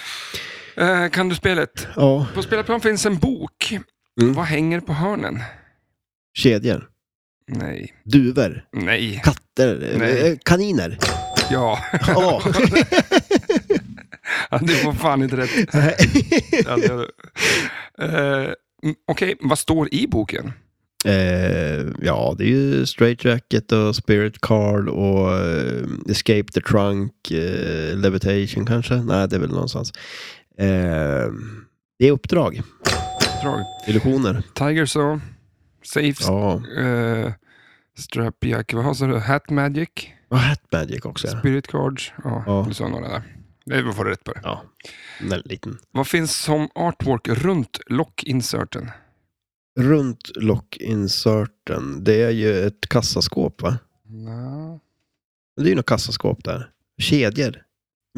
S1: Eh, kan du spelet?
S2: ja,
S1: På spelarplan finns en bok.
S2: Mm.
S1: Vad hänger på hörnen?
S2: kedjor,
S1: Nej.
S2: duvor,
S1: Nej.
S2: katter, eh,
S1: Nej.
S2: kaniner.
S1: Ja.
S2: Ja.
S1: Ja, Du får fan inte rätt.
S2: Nej.
S1: Ja, det gör du. Eh, mm, Okej, vad står i boken?
S2: eh, ja, det är ju Straight Jacket och Spirit Card och eh, Escape the Trunk, eh, Levitation kanske? Nej, det är väl någonstans. Eh, det är uppdrag,
S1: Drag.
S2: illusioner.
S1: Tiger Saw, Safe,
S2: Ja,
S1: eh, Strap Jack, vad har så du? Hat Magic,
S2: och Hat Magic också. ja.
S1: Spirit Cards. Ja,
S2: Ja.
S1: du sa några där. Nej, vi får rätt på det.
S2: Ja, en liten.
S1: Vad finns som artwork runt lockinserten?
S2: Runt lockinserten, det är ju ett kassaskåp va?
S1: Nå.
S2: Det är ju något kassaskåp där. Kedjor.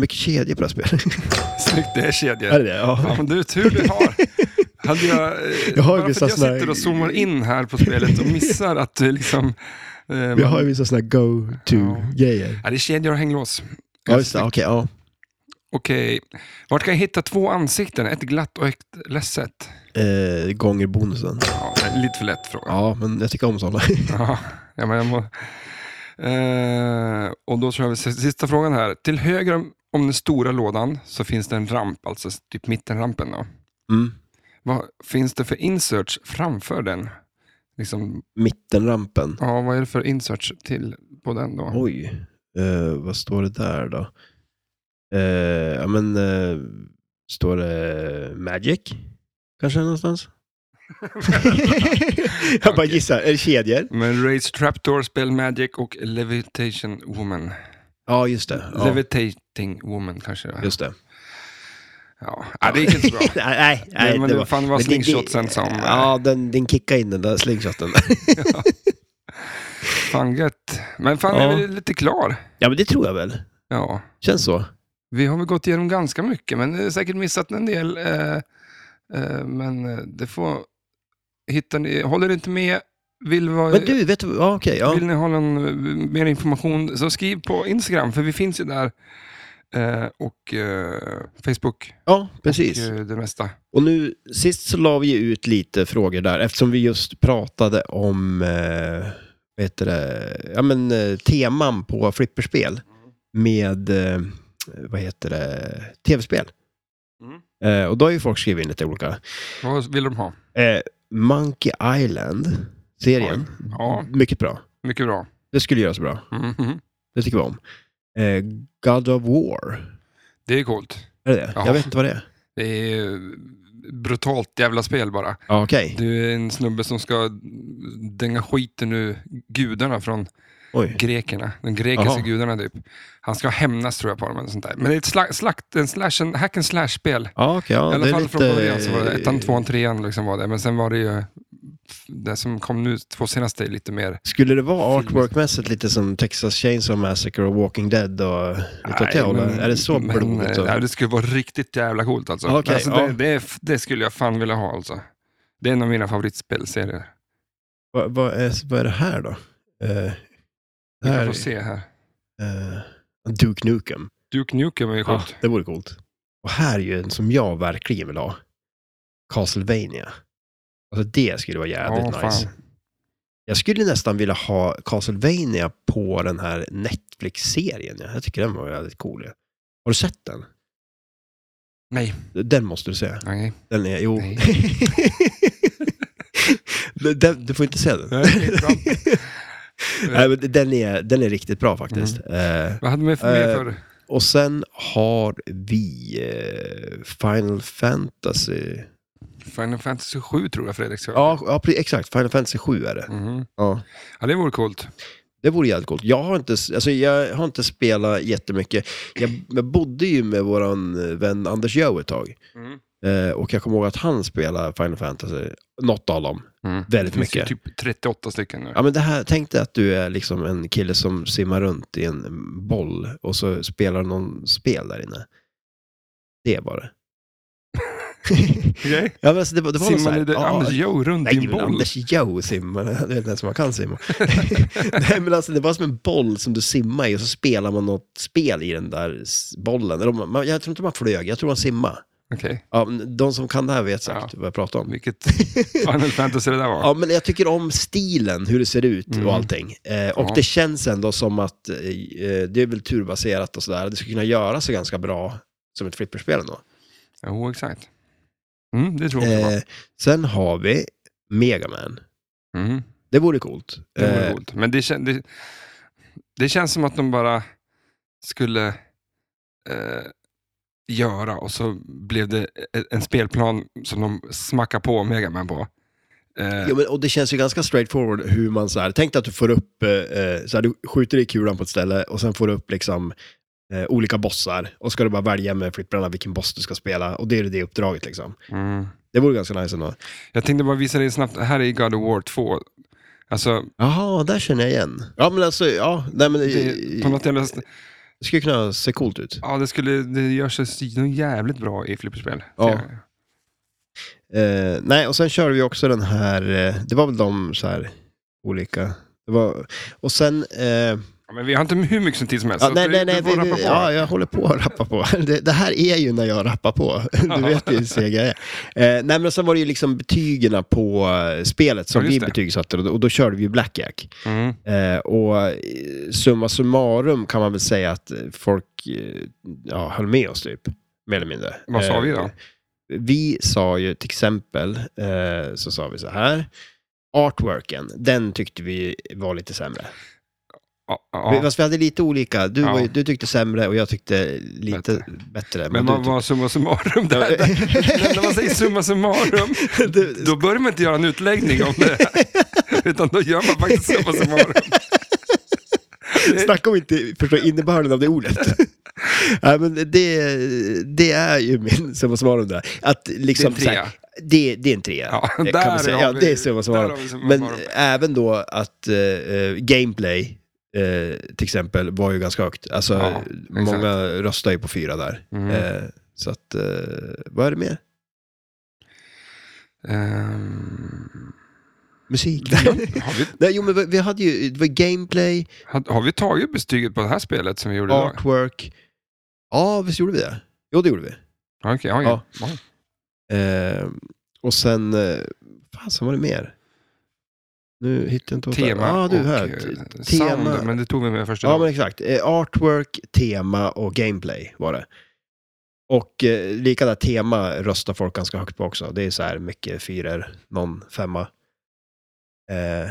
S2: Mycket kedjor på det här spelet.
S1: Snyggt, det är
S2: Är
S1: kedjor.
S2: det det?
S1: Ja,
S2: Ja.
S1: men du, tur du har. Hade jag, eh,
S2: Jag har ju
S1: bara för
S2: vissa
S1: att jag
S2: såna här-
S1: sitter och zoomar in här på spelet och missar att det liksom... Eh,
S2: Vi har ju vissa sådana här go-to-grejer.
S1: ja, det är kedjor och hänglås.
S2: Ja, just det. Okej, ja.
S1: Okej. Vart kan jag hitta två ansikten? Ett glatt och ett ledset?
S2: Eh, gånger bonusen.
S1: Ja, det är lite för lätt fråga.
S2: Ja, men jag tycker om sådana.
S1: Ja, ja, men jag må... eh, och då tror jag vi ser sista frågan här. Till höger om, om den stora lådan så finns det en ramp, alltså typ mittenrampen. Då.
S2: Mm.
S1: Vad finns det för inserts framför den? Liksom,
S2: Mittenrampen.
S1: ja, vad är det för inserts till på den då?
S2: Oj, eh, vad står det där då? Eh, ja, men eh, står det Magic? Kanske någonstans? jag bara
S1: Okej.
S2: gissar. Är det kedjor?
S1: Men Raise Trapdoor, Spell Magic och Levitation Woman.
S2: Ja, just det. Ja,
S1: Levitating Woman kanske det är.
S2: just det.
S1: Ja. ja, det gick inte så bra.
S2: nej, nej,
S1: Nej, men det
S2: var-
S1: fan var
S2: men det- det-
S1: slingshotsen som... eh,
S2: Ja, den, den kickade in den där slingshoten.
S1: Fan gött. Men fan,
S2: Ja.
S1: är vi lite klar?
S2: ja, men det tror jag väl.
S1: Ja.
S2: Känns så.
S1: Vi har väl gått igenom ganska mycket, men eh, säkert missat en del. Eh, eh, men eh, det får... Hittar ni, håller ni inte med? Vill, vara,
S2: Men du, vet du, ja, okej. ja.
S1: vill ni ha någon eh, mer information så skriv på Instagram, för vi finns ju där. Eh, och eh, Facebook
S2: ja, precis.
S1: och eh, det mesta.
S2: Och nu, sist så la vi ju ut lite frågor där, eftersom vi just pratade om, eh, vad heter det, ja men eh, teman på flipperspel med, eh, vad heter det, tv-spel.
S1: Mm.
S2: Eh, och då har ju folk skrivit in lite olika.
S1: Vad vill de ha?
S2: Eh, Monkey Island, serien,
S1: Ja,
S2: mycket bra.
S1: mycket bra.
S2: Det skulle göras bra,
S1: Mhm.
S2: det tycker vi om. Eh, God of War,
S1: Det är coolt.
S2: är det det?
S1: Ja.
S2: Jag vet inte vad det är.
S1: Det är eh, brutalt jävla spel bara.
S2: Ja, okej.
S1: Du är en snubbe som ska dänga skiten ur gudarna från
S2: Oj.
S1: grekerna. De grekiska
S2: Jaha.
S1: gudarna typ. Han ska hämnas tror jag på dem eller sånt där. Men det är ett sla- slakt, en slash, en hack and slash-spel.
S2: Ja, okej. ja,
S1: I alla
S2: det är
S1: fall
S2: lite... eh,
S1: från början så var det ettan, tvåan, trean liksom var det. Men sen var det ju det som kom nu, två senaste, är lite mer...
S2: Skulle det vara
S1: Film.
S2: artworkmässigt lite som Texas Chainsaw Massacre och Walking Dead och lite åt det hållet? Är det så
S1: men,
S2: blodigt? så?
S1: eh, nej, det skulle vara riktigt jävla coolt alltså.
S2: Okej,
S1: Men alltså
S2: ja.
S1: det, det, är, f- det skulle jag fan vilja ha alltså. Det är en av mina favoritspelserier.
S2: Vad, vad, är, vad är det här då? Eh, det
S1: Vi
S2: här,
S1: kan få se här.
S2: eh, Duke Nukem.
S1: Duke Nukem är ju
S2: Ja,
S1: coolt.
S2: det vore coolt. Och här är ju en som jag verkligen vill ha. Castlevania. Alltså det skulle vara jävligt
S1: Ja, fan.
S2: nice. Jag skulle nästan vilja ha Castlevania på den här Netflix-serien. ja. Jag tycker den var väldigt cool. ja. Har du sett den?
S1: Nej.
S2: Den måste du se.
S1: Nej.
S2: Den är, jo.
S1: Nej.
S2: du, den, du får inte se den.
S1: Nej, det är bra.
S2: Nej, men den, är, den är riktigt bra faktiskt. Eh,
S1: Vad hade man för mer
S2: Eh,
S1: för?
S2: och sen har vi eh, Final Fantasy.
S1: Final Fantasy 7 tror jag Fredrik sa.
S2: Ja, ja, pre- exakt. Final Fantasy 7 är det.
S1: Mhm.
S2: Ja.
S1: Ja, det vore coolt.
S2: Det vore jävligt coolt. Jag har inte, alltså jag har inte spelat jättemycket. Jag, jag bodde ju med vår vän Anders Joe ett tag.
S1: Mm.
S2: Eh, och jag kommer ihåg att han spelade Final Fantasy, något av dem.
S1: Mm.
S2: Väldigt
S1: det finns ju
S2: mycket.
S1: typ 38 stycken nu.
S2: Ja, men det här, tänk dig att du är liksom en kille som simmar runt i en boll och så spelar någon spel där inne. Det var det.
S1: Okej?
S2: ja, men alltså, det, var- det var någon så här-
S1: Simmade det
S2: ja,
S1: Anders Joe runt
S2: Nej,
S1: din
S2: men
S1: boll?
S2: Anders Joe simmar. Jag vet inte ens om man kan simma. Nej, men alltså det var som en boll som du simmar i och så spelar man något spel i den där s- bollen. Eller om man, jag tror inte man flög, jag tror man simmade.
S1: Okej,
S2: Ja, men de som kan det här vet säkert
S1: Ja.
S2: vad jag pratar om.
S1: vilket Final Fantasy det där var.
S2: Ja, men jag tycker om stilen, hur det ser ut
S1: Mm.
S2: och allting. Eh, och
S1: Ja.
S2: det känns ändå som att eh, eh, det är väl turbaserat och sådär. Det skulle kunna göra sig ganska bra som ett flipperspel ändå.
S1: Jo, oh, exakt. Mm, det tror jag också det var.
S2: Eh, sen har vi Mega Man.
S1: Mm,
S2: Det vore coolt.
S1: det vore
S2: Eh,
S1: coolt. Men det, kän, det, det känns som att de bara skulle eh, göra och så blev det e- en spelplan som de smackade på Mega Man på. Eh,
S2: Ja, men, och det känns ju ganska straightforward hur man så här, tänk dig att du får upp, eh, eh, så här, du skjuter i kulan på ett ställe och sen får du upp liksom eh, olika bossar och ska du bara välja med flipprarna vilken boss du ska spela och det är det uppdraget liksom.
S1: mm.
S2: Det vore ganska nice ändå.
S1: Jag tänkte bara visa dig snabbt, här är God of War 2. Alltså,
S2: Jaha, där känner jag igen. Ja men alltså, ja, nej men
S1: det,
S2: det,
S1: på något jävla,
S2: det skulle kunna se coolt ut.
S1: ja, det, skulle, det gör sig så jävligt bra i flipperspel.
S2: Ja.
S1: Det-
S2: Eh, nej, och sen körde vi också den här, eh, det var väl de så här olika, det var, och sen eh,
S1: Ja, men vi har inte hur mycket tid som helst.
S2: Ja,
S1: så
S2: nej,
S1: Alltså, du- du
S2: nej, nej,
S1: får
S2: vi,
S1: rappa
S2: vi,
S1: på.
S2: ja, jag håller på att rappa på. Det, det här är ju när jag rappar på. Du vet ju hur seg jag är. Eh, nej, men sen var det ju liksom betygerna på eh, spelet som
S1: Ja, just
S2: vi
S1: det.
S2: betygsatte och då, och då körde vi ju Blackjack.
S1: Mm.
S2: Eh, och eh, summa summarum kan man väl säga att eh, folk eh, ja, höll med oss typ, mer eller mindre.
S1: Vad sa
S2: Eh,
S1: vi då?
S2: Vi sa ju till exempel, eh, så sa vi så här, artworken, den tyckte vi var lite sämre.
S1: Ja,
S2: Vi,
S1: ja.
S2: fast vi hade lite olika. Du,
S1: Ja.
S2: var ju- du tyckte sämre och jag tyckte lite
S1: Bättre.
S2: bättre.
S1: Men
S2: du
S1: vad var summa summarum där?
S2: Ja.
S1: När när man säger summa summarum,
S2: Du-
S1: då börjar man inte göra en utläggning om det. Utan då gör man faktiskt summa summarum. Eh.
S2: tyckte, snacka om inte förstå innebörden av det ordet. Nej, men det, det är ju min summa summarum där. Att liksom,
S1: Det är en trea.
S2: så här, det, det är en trea.
S1: Ja,
S2: det
S1: där
S2: kan man säga.
S1: har
S2: Ja,
S1: vi-
S2: det är summa
S1: där
S2: summarum.
S1: har vi summa
S2: Men
S1: summarum.
S2: även då att eh, eh, gameplay, eh, till exempel, var ju ganska högt. Alltså,
S1: Ja, exakt.
S2: många röstar ju på fyra där.
S1: Mm.
S2: Eh, så att, eh, vad är det mer?
S1: Ehm,
S2: Musik?
S1: har, vi,
S2: Nej, jo, men vi- vi hade ju, det var gameplay,
S1: har, har vi tagit betyget på det här spelet som vi gjorde idag?
S2: artwork. Ja, visst gjorde vi det? Jo, det gjorde vi.
S1: Ja, Okej, ja, ja. Ja.
S2: Eh, och sen, eh, fan, sen var det mer. Nu hittar jag inte... vad-
S1: Tema
S2: ja, du,
S1: och
S2: här.
S1: eh,
S2: T- tema.
S1: sound, men det tog vi med första
S2: Ja, men
S1: dagen.
S2: exakt. Eh, artwork, tema och gameplay var det. Och eh, lika där tema röstar folk ganska högt på också. Det är så här mycket fyror, någon femma. Eh,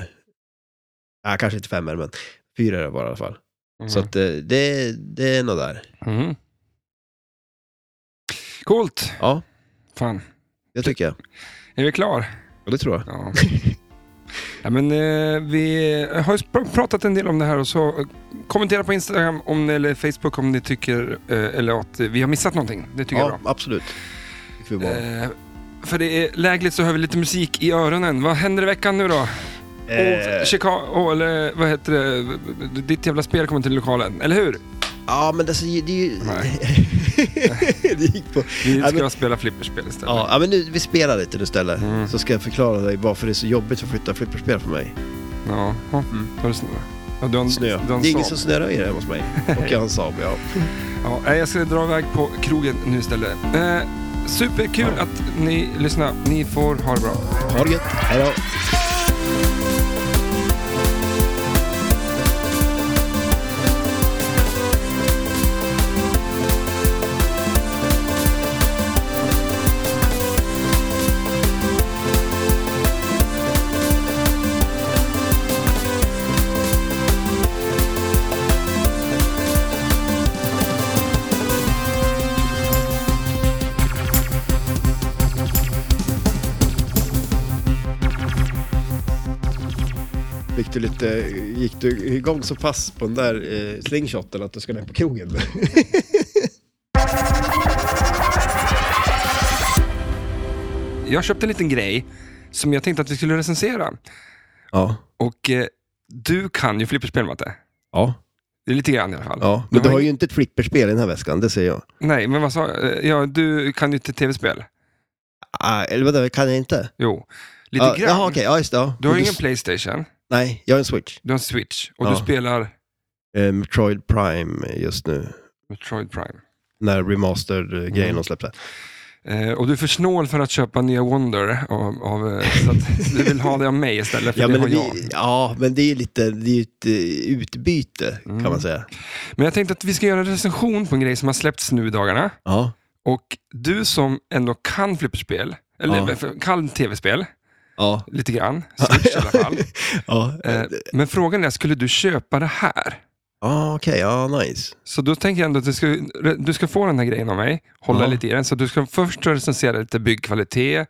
S2: nej, kanske inte femmor, men fyror var det i alla fall. Så
S1: Mhm.
S2: att eh, det, det är nog där.
S1: Mm. Mm. Coolt.
S2: Ja,
S1: Fan,
S2: det tycker jag.
S1: är vi klar?
S2: Och det tror jag.
S1: Ja. Ja, men, eh, vi har ju pr- pratat en del om det här och så eh, kommentera på Instagram om, eller Facebook om ni tycker eh, eller att vi har missat någonting. Det tycker jag är
S2: Ja,
S1: bra.
S2: absolut. Det får vi vara.
S1: Eh, för det är lägligt så hör vi lite musik i öronen. Vad händer i veckan nu då?
S2: Eh,
S1: Och Chicago, eller vad heter det? Ditt jävla spel kommer till lokalen, eller hur?
S2: ja, men alltså, det är ju...
S1: Nej.
S2: det gick på...
S1: Vi
S2: Ja,
S1: ska
S2: men-
S1: spela flipperspel istället.
S2: Ja, ja, men nu, vi spelar lite nu istället.
S1: Mm.
S2: Så ska jag förklara dig varför det är så jobbigt att flytta flipperspel för mig.
S1: Ja. Ja. Har du snö? Ja, du har en,
S2: Mm. Snö.
S1: Du har en
S2: det är ingen
S1: Saab.
S2: som snöröjer hemma hos mig. Och jag har en Saab, ja.
S1: Ja, nej, jag ska dra iväg på krogen nu istället. Eh, superkul att ni lyssnar. Ni får ha det bra.
S2: Ha det gött. Hej då. Fick du lite, gick du igång så pass på den där eh, slingshoten att du ska ner på krogen?
S1: Jag köpte en liten grej som jag tänkte att vi skulle recensera.
S2: Ja.
S1: Och eh, du kan ju flipperspel, Matte.
S2: Ja.
S1: Det är lite grann i alla fall.
S2: ja.
S1: Du
S2: Men du
S1: har
S2: har ju inte ett flipperspel i den här väskan, det ser jag.
S1: eh, Nej, men vad sa jag? Ja, du kan ju inte tv-spel.
S2: Ah, eller vadå, kan jag inte?
S1: Jo, lite
S2: Ja,
S1: grann.
S2: Jaha, okej. Ja, just det. ja.
S1: Du har ju
S2: Men
S1: ingen Playstation,
S2: Nej, jag har en Switch.
S1: du har en Switch och
S2: Ja.
S1: du spelar
S2: Eh, Metroid Prime just nu.
S1: Metroid Prime.
S2: När remastered-grejen
S1: Mm.
S2: de släppte.
S1: Eh, och du är för snål för att köpa nya Wonder, av, av, eh, så att du vill ha det av mig istället, för
S2: Ja
S1: det
S2: men,
S1: har jag.
S2: vi, ja, men det är ju lite, det är ju ett eh, utbyte
S1: Mm.
S2: kan man säga.
S1: Men jag tänkte att vi ska göra en recension på en grej som har släppts nu i dagarna.
S2: Ja,
S1: Och du som ändå kan flipperspel, eller
S2: Ja.
S1: för- kan tv-spel,
S2: ja,
S1: lite grann, Switch i alla fall.
S2: ja.
S1: Eh, men frågan är, skulle du köpa det här?
S2: ja ah, okej, ja nice.
S1: Så då tänker jag ändå att du ska, du ska få den här grejen av mig, hålla
S2: Ja.
S1: lite i den. Så du ska först recensera lite byggkvalitet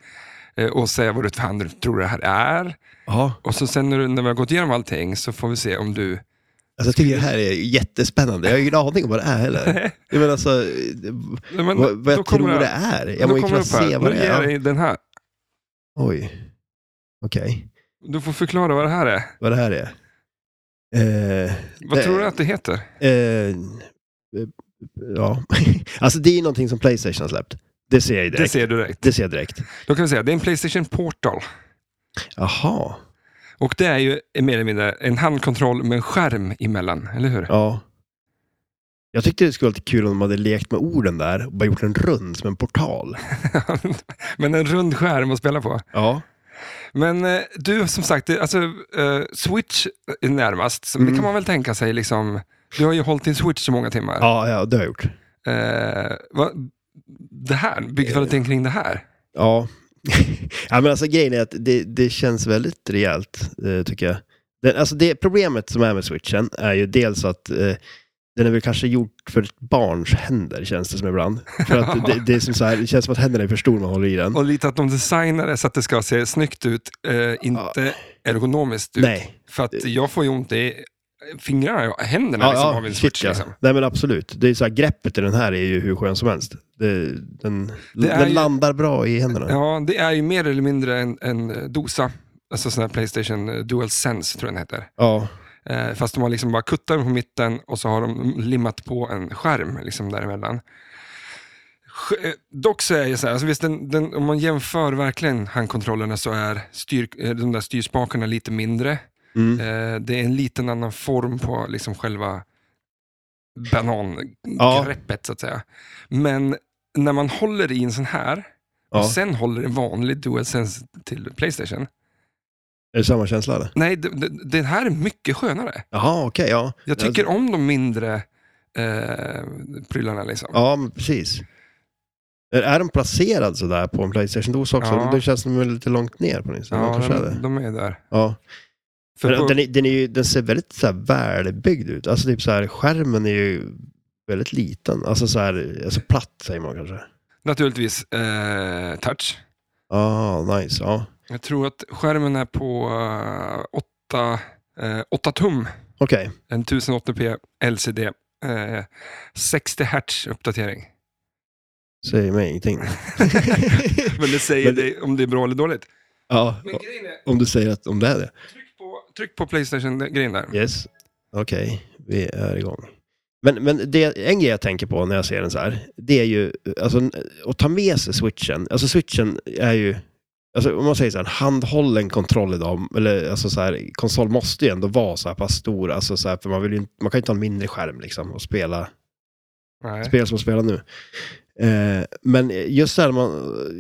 S1: eh, och säga vad du fan du tror det här är.
S2: Ja,
S1: Och så sen när, du, när vi har gått igenom allting så får vi se om du...
S2: alltså, jag tycker det här är jättespännande. Jag har ingen aning om vad det är heller. Jag menar alltså, eh,
S1: Nej, men
S2: vad, vad
S1: då
S2: jag
S1: kommer
S2: tror det
S1: här.
S2: är. Jag må
S1: Då
S2: ju
S1: kommer
S2: kunna
S1: det upp här.
S2: se vad
S1: Nu
S2: det
S1: ger jag
S2: är. Ja.
S1: dig den här.
S2: Oj, okej.
S1: Du får förklara vad det här är.
S2: Vad det här är. Eh,
S1: Vad
S2: det-
S1: tror du att det heter?
S2: Eh, ja, alltså det är ju någonting som Playstation har släppt. Det ser jag ju
S1: Det
S2: direkt.
S1: ser du direkt.
S2: Det ser jag direkt.
S1: Då kan vi säga det är en Playstation Portal.
S2: Jaha.
S1: Och det är ju mer eller mindre en handkontroll med en skärm emellan, eller hur?
S2: Ja. Jag tyckte det skulle vara lite kul om de hade lekt med orden där och bara gjort en rund som en portal.
S1: Men en rund skärm att spela på.
S2: Ja.
S1: Men eh, du, som sagt, det- alltså, eh, Switch är närmast. Så Det
S2: Mm.
S1: kan man väl tänka sig. Liksom, du har ju hållit din Switch så många timmar.
S2: Ja, ja det har jag gjort.
S1: Eh, vad- det här, byggkvaliteten kring det här.
S2: Ja. ja, men alltså grejen är att det, det känns väldigt rejält, eh, tycker jag. Den, alltså det problemet som är med switchen är ju dels att eh, den är väl kanske gjord för ett barns händer, känns det som ibland. För att det, det, är som så här, det känns som att händerna är för stora när man håller i den.
S1: Och lite att de designar det så att det ska se snyggt ut, eh, inte ergonomiskt ut.
S2: Nej.
S1: För att jag får ju ont i fingrarna, och händerna liksom, av min
S2: shit,
S1: Switch.
S2: ja.
S1: Liksom.
S2: Nej men absolut. Det är så här, greppet i den här är ju hur skön som helst. Det, den
S1: Det är
S2: den
S1: ju-
S2: landar bra i händerna.
S1: Ja, det är ju mer eller mindre en, en dosa. Alltså sån här Playstation eh, DualSense tror jag den heter.
S2: Ja.
S1: Eh, fast de har liksom bara kuttat den på mitten och så har de limmat på en skärm liksom däremellan. Sk- eh, Dock så är jag så här, alltså visst, den, den, om man jämför verkligen handkontrollerna så är styr, eh, de där styrspakarna lite mindre.
S2: Mm.
S1: Eh, det är en liten annan form på liksom själva
S2: Ja.
S1: banangreppet så att säga. Men när man håller i en sån här
S2: ja.
S1: och sen håller en vanlig DualSense till Playstation.
S2: Är det samma känsla eller?
S1: Nej, d- d- den här är mycket skönare.
S2: Jaha, okej, ja.
S1: Jag tycker om de mindre eh, prylarna liksom.
S2: Ja, men precis. Är, är de placerad sådär på en Playstation-dos också?
S1: Ja.
S2: Det känns som de är lite långt ner på något sätt. Ja,
S1: Ja,
S2: kanske
S1: de,
S2: är det.
S1: de är där.
S2: Ja.
S1: För
S2: Men
S1: på,
S2: den, är, den, är ju, den ser väldigt så här, välbyggd ut. Alltså typ så här, skärmen är ju väldigt liten. Alltså så här, alltså platt säger man kanske.
S1: Naturligtvis eh, touch.
S2: Ah, nice. Ja,
S1: Jag tror att skärmen är på 8 eh, åtta tum.
S2: okej.
S1: En 1080p LCD. Eh, 60 hertz uppdatering.
S2: Säger mig ingenting.
S1: Men det säger
S2: Men det-
S1: dig om det är bra eller dåligt.
S2: ja,
S1: Men grejen är,
S2: om du säger att om det är det.
S1: tryck på, tryck på Playstation-grejen där.
S2: Yes. Okej, vi är igång. Men, men det, en grej jag tänker på när jag ser den så här, det är ju alltså, att ta med sig switchen. Alltså switchen är ju, alltså, om man säger så här, en handhållen kontroll idag, eller alltså så här, konsol måste ju ändå vara så här pass stor, alltså så här, för man, vill ju, inte- man kan ju inte ha en mindre skärm liksom och spela
S1: Nej.
S2: spel som jag spelar nu. Eh, men just där man,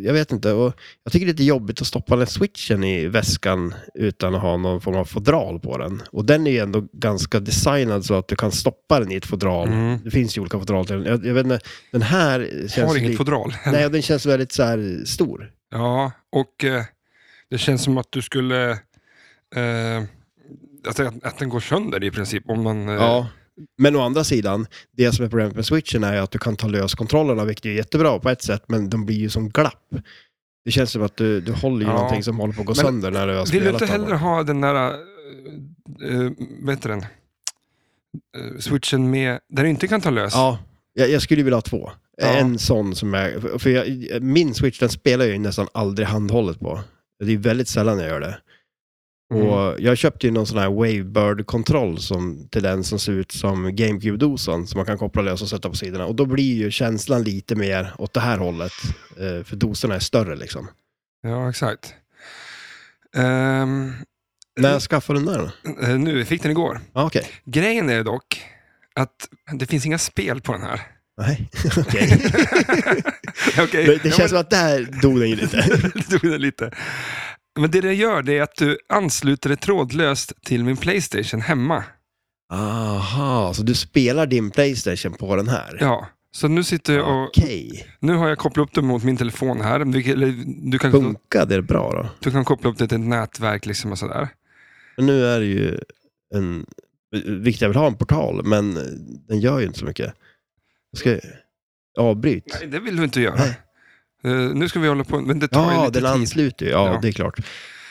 S2: jag vet inte, och jag tycker det är lite jobbigt att stoppa den switchen i väskan utan att ha någon form av fodral på den. Och den är ju ändå ganska designad så att du kan stoppa den i ett fodral.
S1: Mm.
S2: Det finns ju olika fodral till den. Jag, jag vet inte, den här känns
S1: Har
S2: ju
S1: inget
S2: lite,
S1: fodral.
S2: nej, och den känns väldigt så här stor.
S1: Ja, och eh, det känns som att du skulle... Eh, alltså att, att den går sönder i princip om man... Eh,
S2: Ja. Men å andra sidan, det som är problemet med switchen är ju att du kan ta lös kontrollerna, vilket är jättebra på ett sätt, men de blir ju som glapp. Det känns som att du, du håller ju
S1: Ja.
S2: någonting som håller på att gå
S1: Men
S2: sönder när du har
S1: Vill
S2: spelat
S1: du inte
S2: den.
S1: hellre ha den där... Eh, eh, vad heter den? Eh, switchen med... Där du inte kan ta lös.
S2: Ja, jag, jag skulle vilja ha två.
S1: Ja.
S2: En sån som är... För jag, min switch den spelar jag ju nästan aldrig handhållet på. Det är väldigt sällan jag gör det.
S1: Mm.
S2: Och jag köpte ju någon sån här Wavebird-kontroll som, till den som ser ut som GameCube-dosan som man kan koppla lös och sätta på sidorna. Och då blir ju känslan lite mer åt det här hållet. eh, För dosorna är större liksom.
S1: Ja, exakt. Ehm,
S2: När skaffade du den där då?
S1: eh, nu, jag fick den igår.
S2: Ah, Okej.
S1: Grejen är dock att det finns inga spel på den här.
S2: Nej, okej.
S1: Okej,
S2: Det, det
S1: ja,
S2: känns som att där dog den ju lite.
S1: Det tog det lite. Men det det gör det är att du ansluter det trådlöst till min Playstation hemma.
S2: Aha, så du spelar din Playstation på den här?
S1: Ja. Så nu sitter jag och,
S2: Okej.
S1: nu har jag kopplat upp det mot min telefon här. Du, eller, du, kan,
S2: Funkade det bra då?
S1: du kan koppla upp det till ett nätverk liksom och sådär.
S2: Men nu är det ju en... Vilket jag vill ha en portal, men den gör ju inte så mycket. Jag ska... Avbryt.
S1: Nej, det vill du inte göra.
S2: Nej.
S1: Eh, nu ska vi hålla på, men det tar ju
S2: Ja,
S1: lite
S2: den
S1: tid.
S2: ansluter ju. Ja,
S1: Ja.
S2: det är klart.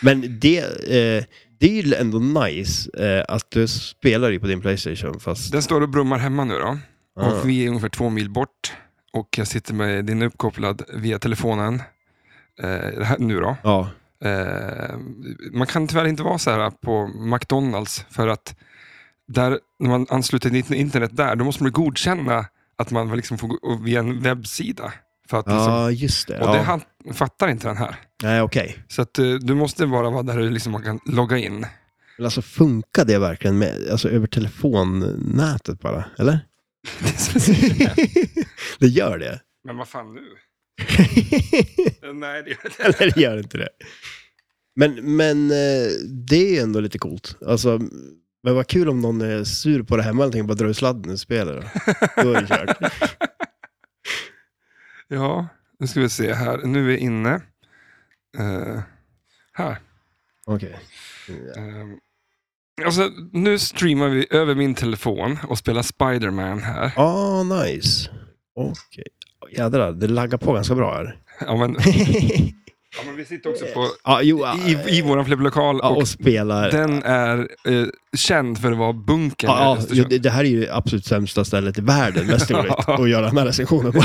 S2: Men det, eh, det är ju ändå nice eh, att du spelar ju på din Playstation fast...
S1: Den står och brummar hemma nu då.
S2: Ah.
S1: Och vi är ungefär två mil bort. Och jag sitter med din uppkopplad via telefonen. Eh, det här, nu då.
S2: Ja,
S1: Eh, man kan tyvärr inte vara så här på McDonalds för att där, när man ansluter till internet där, då måste man godkänna att man liksom får gå via en webbsida. För att liksom,
S2: ja just det.
S1: och det
S2: Ja.
S1: han- fattar inte den här.
S2: Nej, okej.
S1: Så att, eh, du måste bara vara där du liksom man kan logga in.
S2: Men alltså funkar det verkligen med, alltså över telefonnätet bara, eller?
S1: Det är så-
S2: det gör det.
S1: Men vad fan nu? Eh, Nej, det gör det
S2: eller det gör inte det. Men, men eh, det är ju ändå lite coolt. Alltså, men vad kul om någon är sur på det hemma eller tänker bara dra ur sladden och spela då. Då är det kört.
S1: Ja, nu ska vi se här. Nu är vi inne. Eh, här.
S2: Okej.
S1: Ehm, Alltså, nu streamar vi över min telefon och spelar Spider-Man här.
S2: Ah, nice. Okej. Jädrar, det laggar på ganska bra här.
S1: Ja, men, ja, men vi sitter också på,
S2: ja, jo, ja,
S1: i, i vår flipplokal
S2: ja,
S1: och
S2: och spelar.
S1: den är eh, känd för att vara bunkern i
S2: Ja, ja,
S1: Östersund.
S2: ju- det, det här är ju det absolut sämsta stället i världen mest troligt att göra den här recensionen på.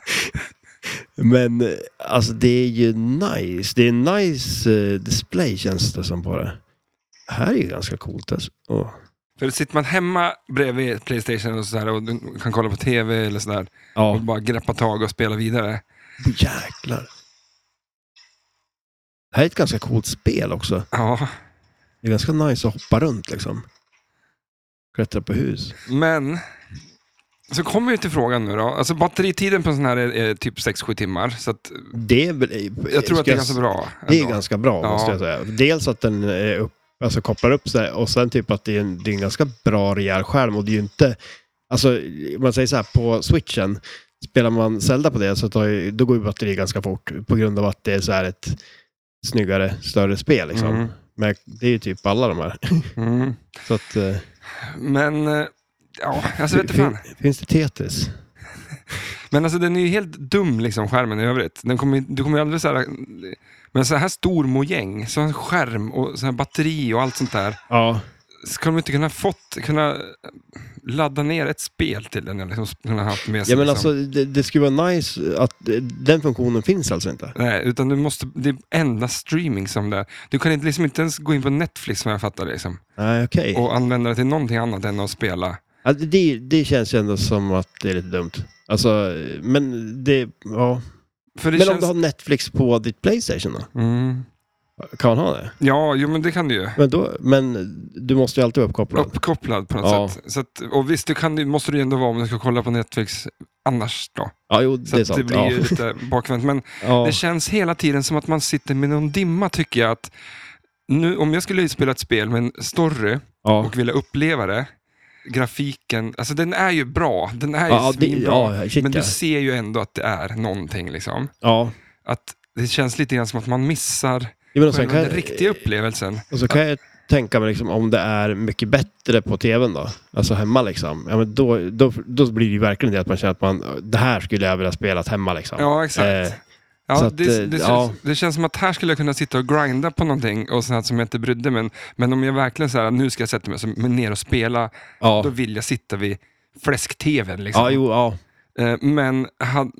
S2: Men eh, alltså det är ju nice. Det är en nice eh, display känns det som på det. Det här är ju ganska coolt alltså. Åh.
S1: För sitter man hemma bredvid Playstation och, så här, och du kan kolla på TV eller sådär och
S2: Ja,
S1: bara greppa tag och spela vidare.
S2: jäklar. Det här är ett ganska coolt spel också.
S1: Ja,
S2: Det är ganska nice att hoppa runt liksom. Klättra på hus.
S1: men så kommer vi till frågan nu då. Alltså batteritiden på en sån här är, är typ 6-7 timmar. Så att,
S2: Det är väl...
S1: jag tror att
S2: ska
S1: det är
S2: jag
S1: ganska bra.
S2: Det är
S1: ändå.
S2: ganska bra,
S1: Ja.
S2: måste jag säga. Dels att den är upp, alltså kopplar upp sig och sen typ att det är en, det är en ganska bra rejäl skärm och det är ju inte... Alltså, om man säger så här, på switchen, spelar man Zelda på det så tar ju, då går ju batteriet ganska fort på grund av att det är så här ett snyggare, större spel liksom.
S1: Mm.
S2: Men det är ju typ alla de här.
S1: Mm.
S2: Så att, eh,
S1: Men, eh, ja, alltså vet du fan.
S2: fin- Finns det Tetris?
S1: Men alltså den är ju helt dum liksom, skärmen i övrigt. Den kommer, ju- du kommer ju aldrig så här... Men så här stor mojäng, så här skärm och så här batteri och allt sånt där.
S2: Ja.
S1: Ska de inte kunna fått, kunna ladda ner ett spel till den? eller Liksom, kunna haft med sig,
S2: Ja men
S1: liksom.
S2: alltså det, det skulle vara nice att eh, den funktionen finns alltså inte.
S1: Nej, utan du måste, det är endast streaming som det är. Du kan inte, liksom, inte ens gå in på Netflix som jag fattar det, liksom,
S2: Nej okej.
S1: och använda det till någonting annat än att spela.
S2: Ja, Alltså, det, det känns ju ändå som att det är lite dumt. Alltså, men det, ja.
S1: För det
S2: men om
S1: känns...
S2: du har Netflix på ditt Playstation då?
S1: mm.
S2: Kan man ha det?
S1: Ja, jo, men det kan du ju.
S2: Men, då, men du måste ju alltid vara uppkopplad.
S1: Uppkopplad på något
S2: Ja.
S1: sätt. Så att, och visst, du kan, det måste du ju ändå vara om du ska kolla på Netflix annars då.
S2: Ja, jo,
S1: Så
S2: det är
S1: att
S2: sant.
S1: det blir
S2: ja.
S1: ju lite bakvänt. Men
S2: ja.
S1: det känns hela tiden som att man sitter med någon dimma tycker jag. Att nu, om jag skulle spela ett spel med en story
S2: ja.
S1: och vilja uppleva det, grafiken, alltså den är ju bra. Den är ju
S2: Ja, det-
S1: svinbra.
S2: ja, shit,
S1: men du
S2: ja.
S1: ser ju ändå att det är någonting liksom.
S2: ja.
S1: Att det känns lite grann som att man missar
S2: Ja, men och, sen
S1: själva
S2: kan,
S1: den riktiga upplevelsen.
S2: och så kan jag tänka mig liksom, om det är mycket bättre på tvn då, alltså hemma liksom, ja, men då, då, då blir det ju verkligen det att man känner att man, det här skulle jag vilja spela hemma liksom.
S1: Ja, exakt.
S2: Eh, så
S1: Ja,
S2: att,
S1: det,
S2: eh,
S1: det, känns,
S2: ja.
S1: det känns som att här skulle jag kunna sitta och grinda på någonting och sånt som jag inte brydde mig men, men om jag verkligen så här, nu ska jag sätta mig så, men ner och spela,
S2: ja.
S1: då vill jag sitta vid fläsk-tvn. Liksom.
S2: ja, jo, ja.
S1: Eh, Men han,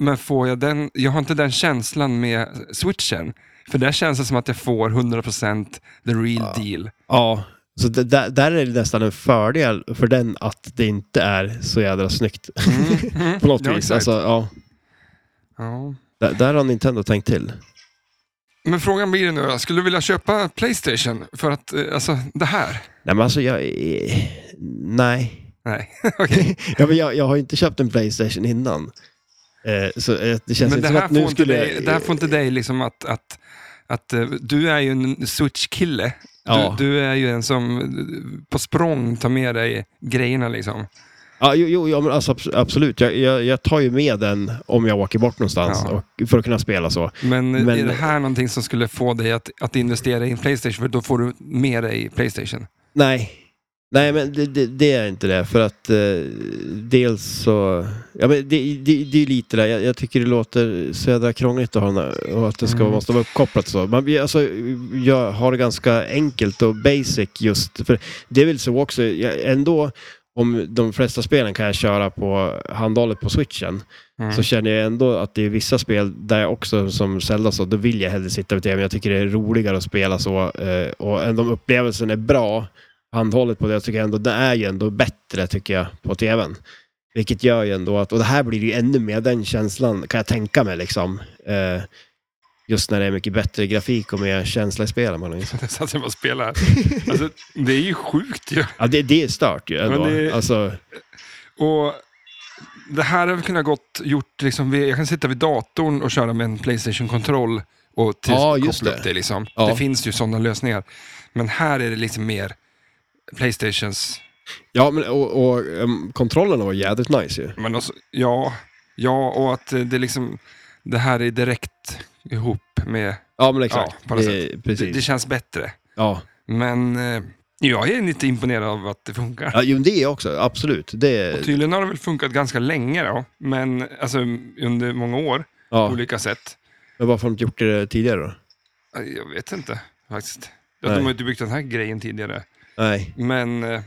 S1: Men får jag den, jag har inte den känslan med switchen. För där känns det som att jag får 100% the real deal.
S2: Ja, så det, där, där är det nästan en fördel för den att det inte är så jädra snyggt
S1: Mm. Mm.
S2: på något
S1: Ja,
S2: vis.
S1: exakt.
S2: Alltså, ja,
S1: Ja.
S2: där, där har Nintendo tänkt till.
S1: Men frågan blir nu, då, skulle du vilja köpa Playstation för att, eh, alltså det här?
S2: Nej, men alltså jag... eh, Nej.
S1: Nej, okej.
S2: Ja, men jag, jag har ju inte köpt en Playstation innan. Eh, så eh, det känns
S1: Men
S2: inte
S1: det
S2: som
S1: här,
S2: att
S1: får
S2: nu
S1: inte
S2: skulle...
S1: dig, det här får inte dig liksom att, att, att eh, du är ju en switch-kille.
S2: Ja.
S1: Du, du är ju en som eh, på språng tar med dig grejerna liksom.
S2: Ja, jo, jo ja, men alltså, abs- absolut. Jag, jag, jag tar ju med den om jag åker bort någonstans
S1: Ja.
S2: och, för att kunna spela så.
S1: Men, eh,
S2: Men-
S1: är det här någonting som skulle få dig att, att investera i en Playstation? För då får du med dig Playstation.
S2: Nej. Nej, men det, det, det är inte det. För att eh, dels så... Ja, men det, det, det är lite det. Jag, jag tycker det låter så jädra krångligt att ha den här, och att det ska,
S1: Mm.
S2: måste vara uppkopplat så. Man, alltså, jag har det ganska enkelt och basic just. För det är väl så också. Jag, ändå, om de flesta spelen kan jag köra på handhållet på switchen.
S1: Mm.
S2: Så känner jag ändå att det är vissa spel där jag också, som Zelda så, då vill jag hellre sitta vid tvn. Jag tycker det är roligare att spela så. eh, Och ändå om upplevelsen är bra, handhållet på det, jag tycker ändå det är ju ändå bättre tycker jag på tvn. Vilket gör ju ändå att, och det här blir ju ännu mer den känslan kan jag tänka mig liksom. Eh, Just när det är mycket bättre grafik och mer känsla i spelen. Man har ju-
S1: Jag satt och bara spelade. Alltså, det är ju sjukt ju.
S2: ja, det, det är stört ju ändå.
S1: Men det-
S2: Alltså,
S1: Och det här hade vi kunnat gott gjort, liksom, vid- jag kan sitta vid datorn och köra med en Playstation-kontroll och till,
S2: Ja, just
S1: koppla upp
S2: det.
S1: det. Liksom.
S2: Ja.
S1: Det finns ju sådana lösningar. Men här är det liksom mer Playstations...
S2: ja, men och, och um, kontrollerna var jädrigt nice ju.
S1: Men alltså, ja, ja, och att eh, det, liksom, det här är direkt ihop med...
S2: Ja, men exakt.
S1: på något
S2: Det-
S1: Det,
S2: Precis.
S1: det känns bättre.
S2: Ja.
S1: Men eh, jag är lite imponerad av att det funkar.
S2: Ja, jo, men det också, absolut. Det,
S1: Och tydligen har det väl funkat ganska länge då, men alltså under många år på
S2: ja.
S1: olika sätt.
S2: Men varför har de inte gjort det tidigare då?
S1: Nej, Jag vet inte faktiskt. Jag
S2: Nej.
S1: de har inte byggt den här grejen tidigare.
S2: Nej.
S1: Men, eh,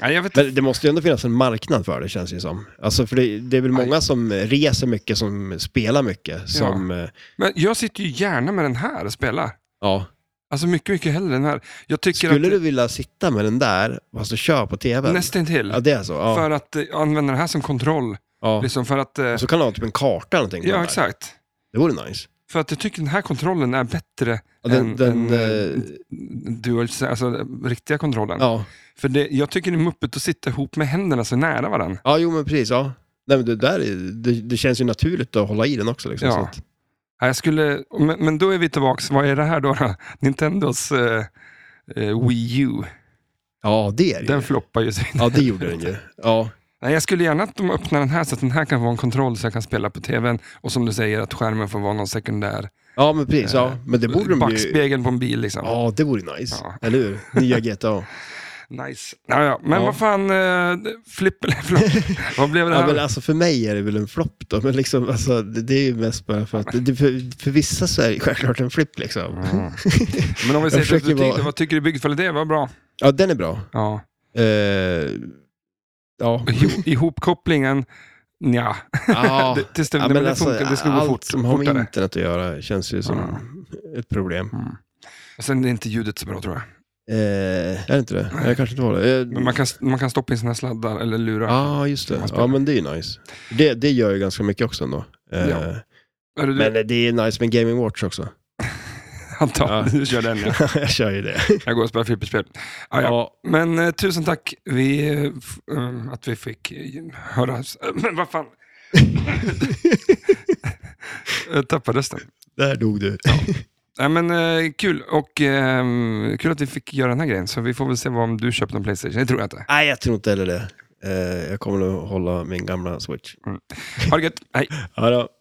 S1: nej, jag vet inte.
S2: Men det måste ju ändå finnas en marknad för det känns det ju som. Alltså för det, det är väl
S1: Nej.
S2: många som reser mycket, som spelar mycket, som... eh,
S1: Men jag sitter ju gärna med den här och spelar.
S2: Ja.
S1: Alltså mycket, mycket hellre den här. Jag tycker
S2: Skulle du
S1: att,
S2: vilja sitta med den där, fast du kör på tvn?
S1: nästintill.
S2: Ja, det är så. Ja.
S1: För att eh, använda den här som kontroll.
S2: ja.
S1: Liksom för att, eh,
S2: Så kan du ha typ en karta eller någonting. på den
S1: ja,
S2: där.
S1: exakt.
S2: Det vore nice.
S1: För att jag tycker den här kontrollen är bättre
S2: Ja, den,
S1: än,
S2: den,
S1: än
S2: eh,
S1: eh, dual, alltså den riktiga kontrollen.
S2: ja.
S1: För det, jag tycker det är muppet att sitta ihop med händerna så nära varandra.
S2: ja, jo men precis. Ja. Nej, men det, där är, det, det känns ju naturligt att hålla i den också. Liksom,
S1: Ja.
S2: så att,
S1: Ja, Jag skulle, men, men då är vi tillbaka, vad är det här då? då? Nintendos eh, eh, Wii U.
S2: ja det är det ju.
S1: Den floppar ju. så in.
S2: Ja, det gjorde den ju. Ja.
S1: Nej, jag skulle gärna att de öppnar den här så att den här kan vara en kontroll så jag kan spela på tvn. Och som du säger, att skärmen får vara någon sekundär.
S2: ja, men precis. Ja. Men det borde de ju...
S1: Eh, Backspegeln på en bil liksom.
S2: Ja, det vore nice.
S1: Ja.
S2: Eller hur? Nya GTA.
S1: Nice. Ja, ja. Men
S2: Ja.
S1: vad fan, eh, flipp eller flopp? vad blev det
S2: Ja,
S1: här?
S2: men alltså för mig är det väl en flopp då, men liksom, alltså, det, det är ju mest bara för att, det, för, för vissa så är det självklart en flipp liksom.
S1: Mm. men om vi säger
S2: försöker
S1: till
S2: vara-
S1: vad tycker du byggkvalitet? Vad bra.
S2: Ja, den är bra.
S1: Ja.
S2: Eh, ja.
S1: Iho- Ihopkopplingen, nja.
S2: ja.
S1: det, tills det, nej, men det,
S2: alltså,
S1: funkar, det skulle gå
S2: allt
S1: fort,
S2: som har med
S1: fortare.
S2: internet att göra känns ju som ett problem.
S1: Mm. Och sen är inte ljudet så bra tror jag.
S2: Eh, är det inte det? Nej, kanske inte var det. Eh,
S1: Men man kan, man kan stoppa in sina sladdar eller lurar.
S2: Ja, ah, just det. Ja, men det är ju nice. Det, det gör ju ganska mycket också ändå. Eh,
S1: Ja. Är det du?
S2: Men det är nice med Gaming Watch också.
S1: Antar
S2: Ja.
S1: du kör den ja.
S2: Jag kör ju det.
S1: Jag går och spelar flipperspel. Ah, ja.
S2: Ja,
S1: Men eh, tusen tack vi, eh, f- eh, att vi fick eh, höra. Men vad fan. Jag tappade eh, rösten.
S2: där dog du.
S1: Nej, men, eh, kul och ehm, kul att vi fick göra den här grejen. Så vi får väl se vad om du köper någon Playstation. Det tror jag inte.
S2: Nej, jag tror inte heller det. Eh, jag kommer nog hålla min gamla switch.
S1: Ha det gött. Hej.
S2: Ja då.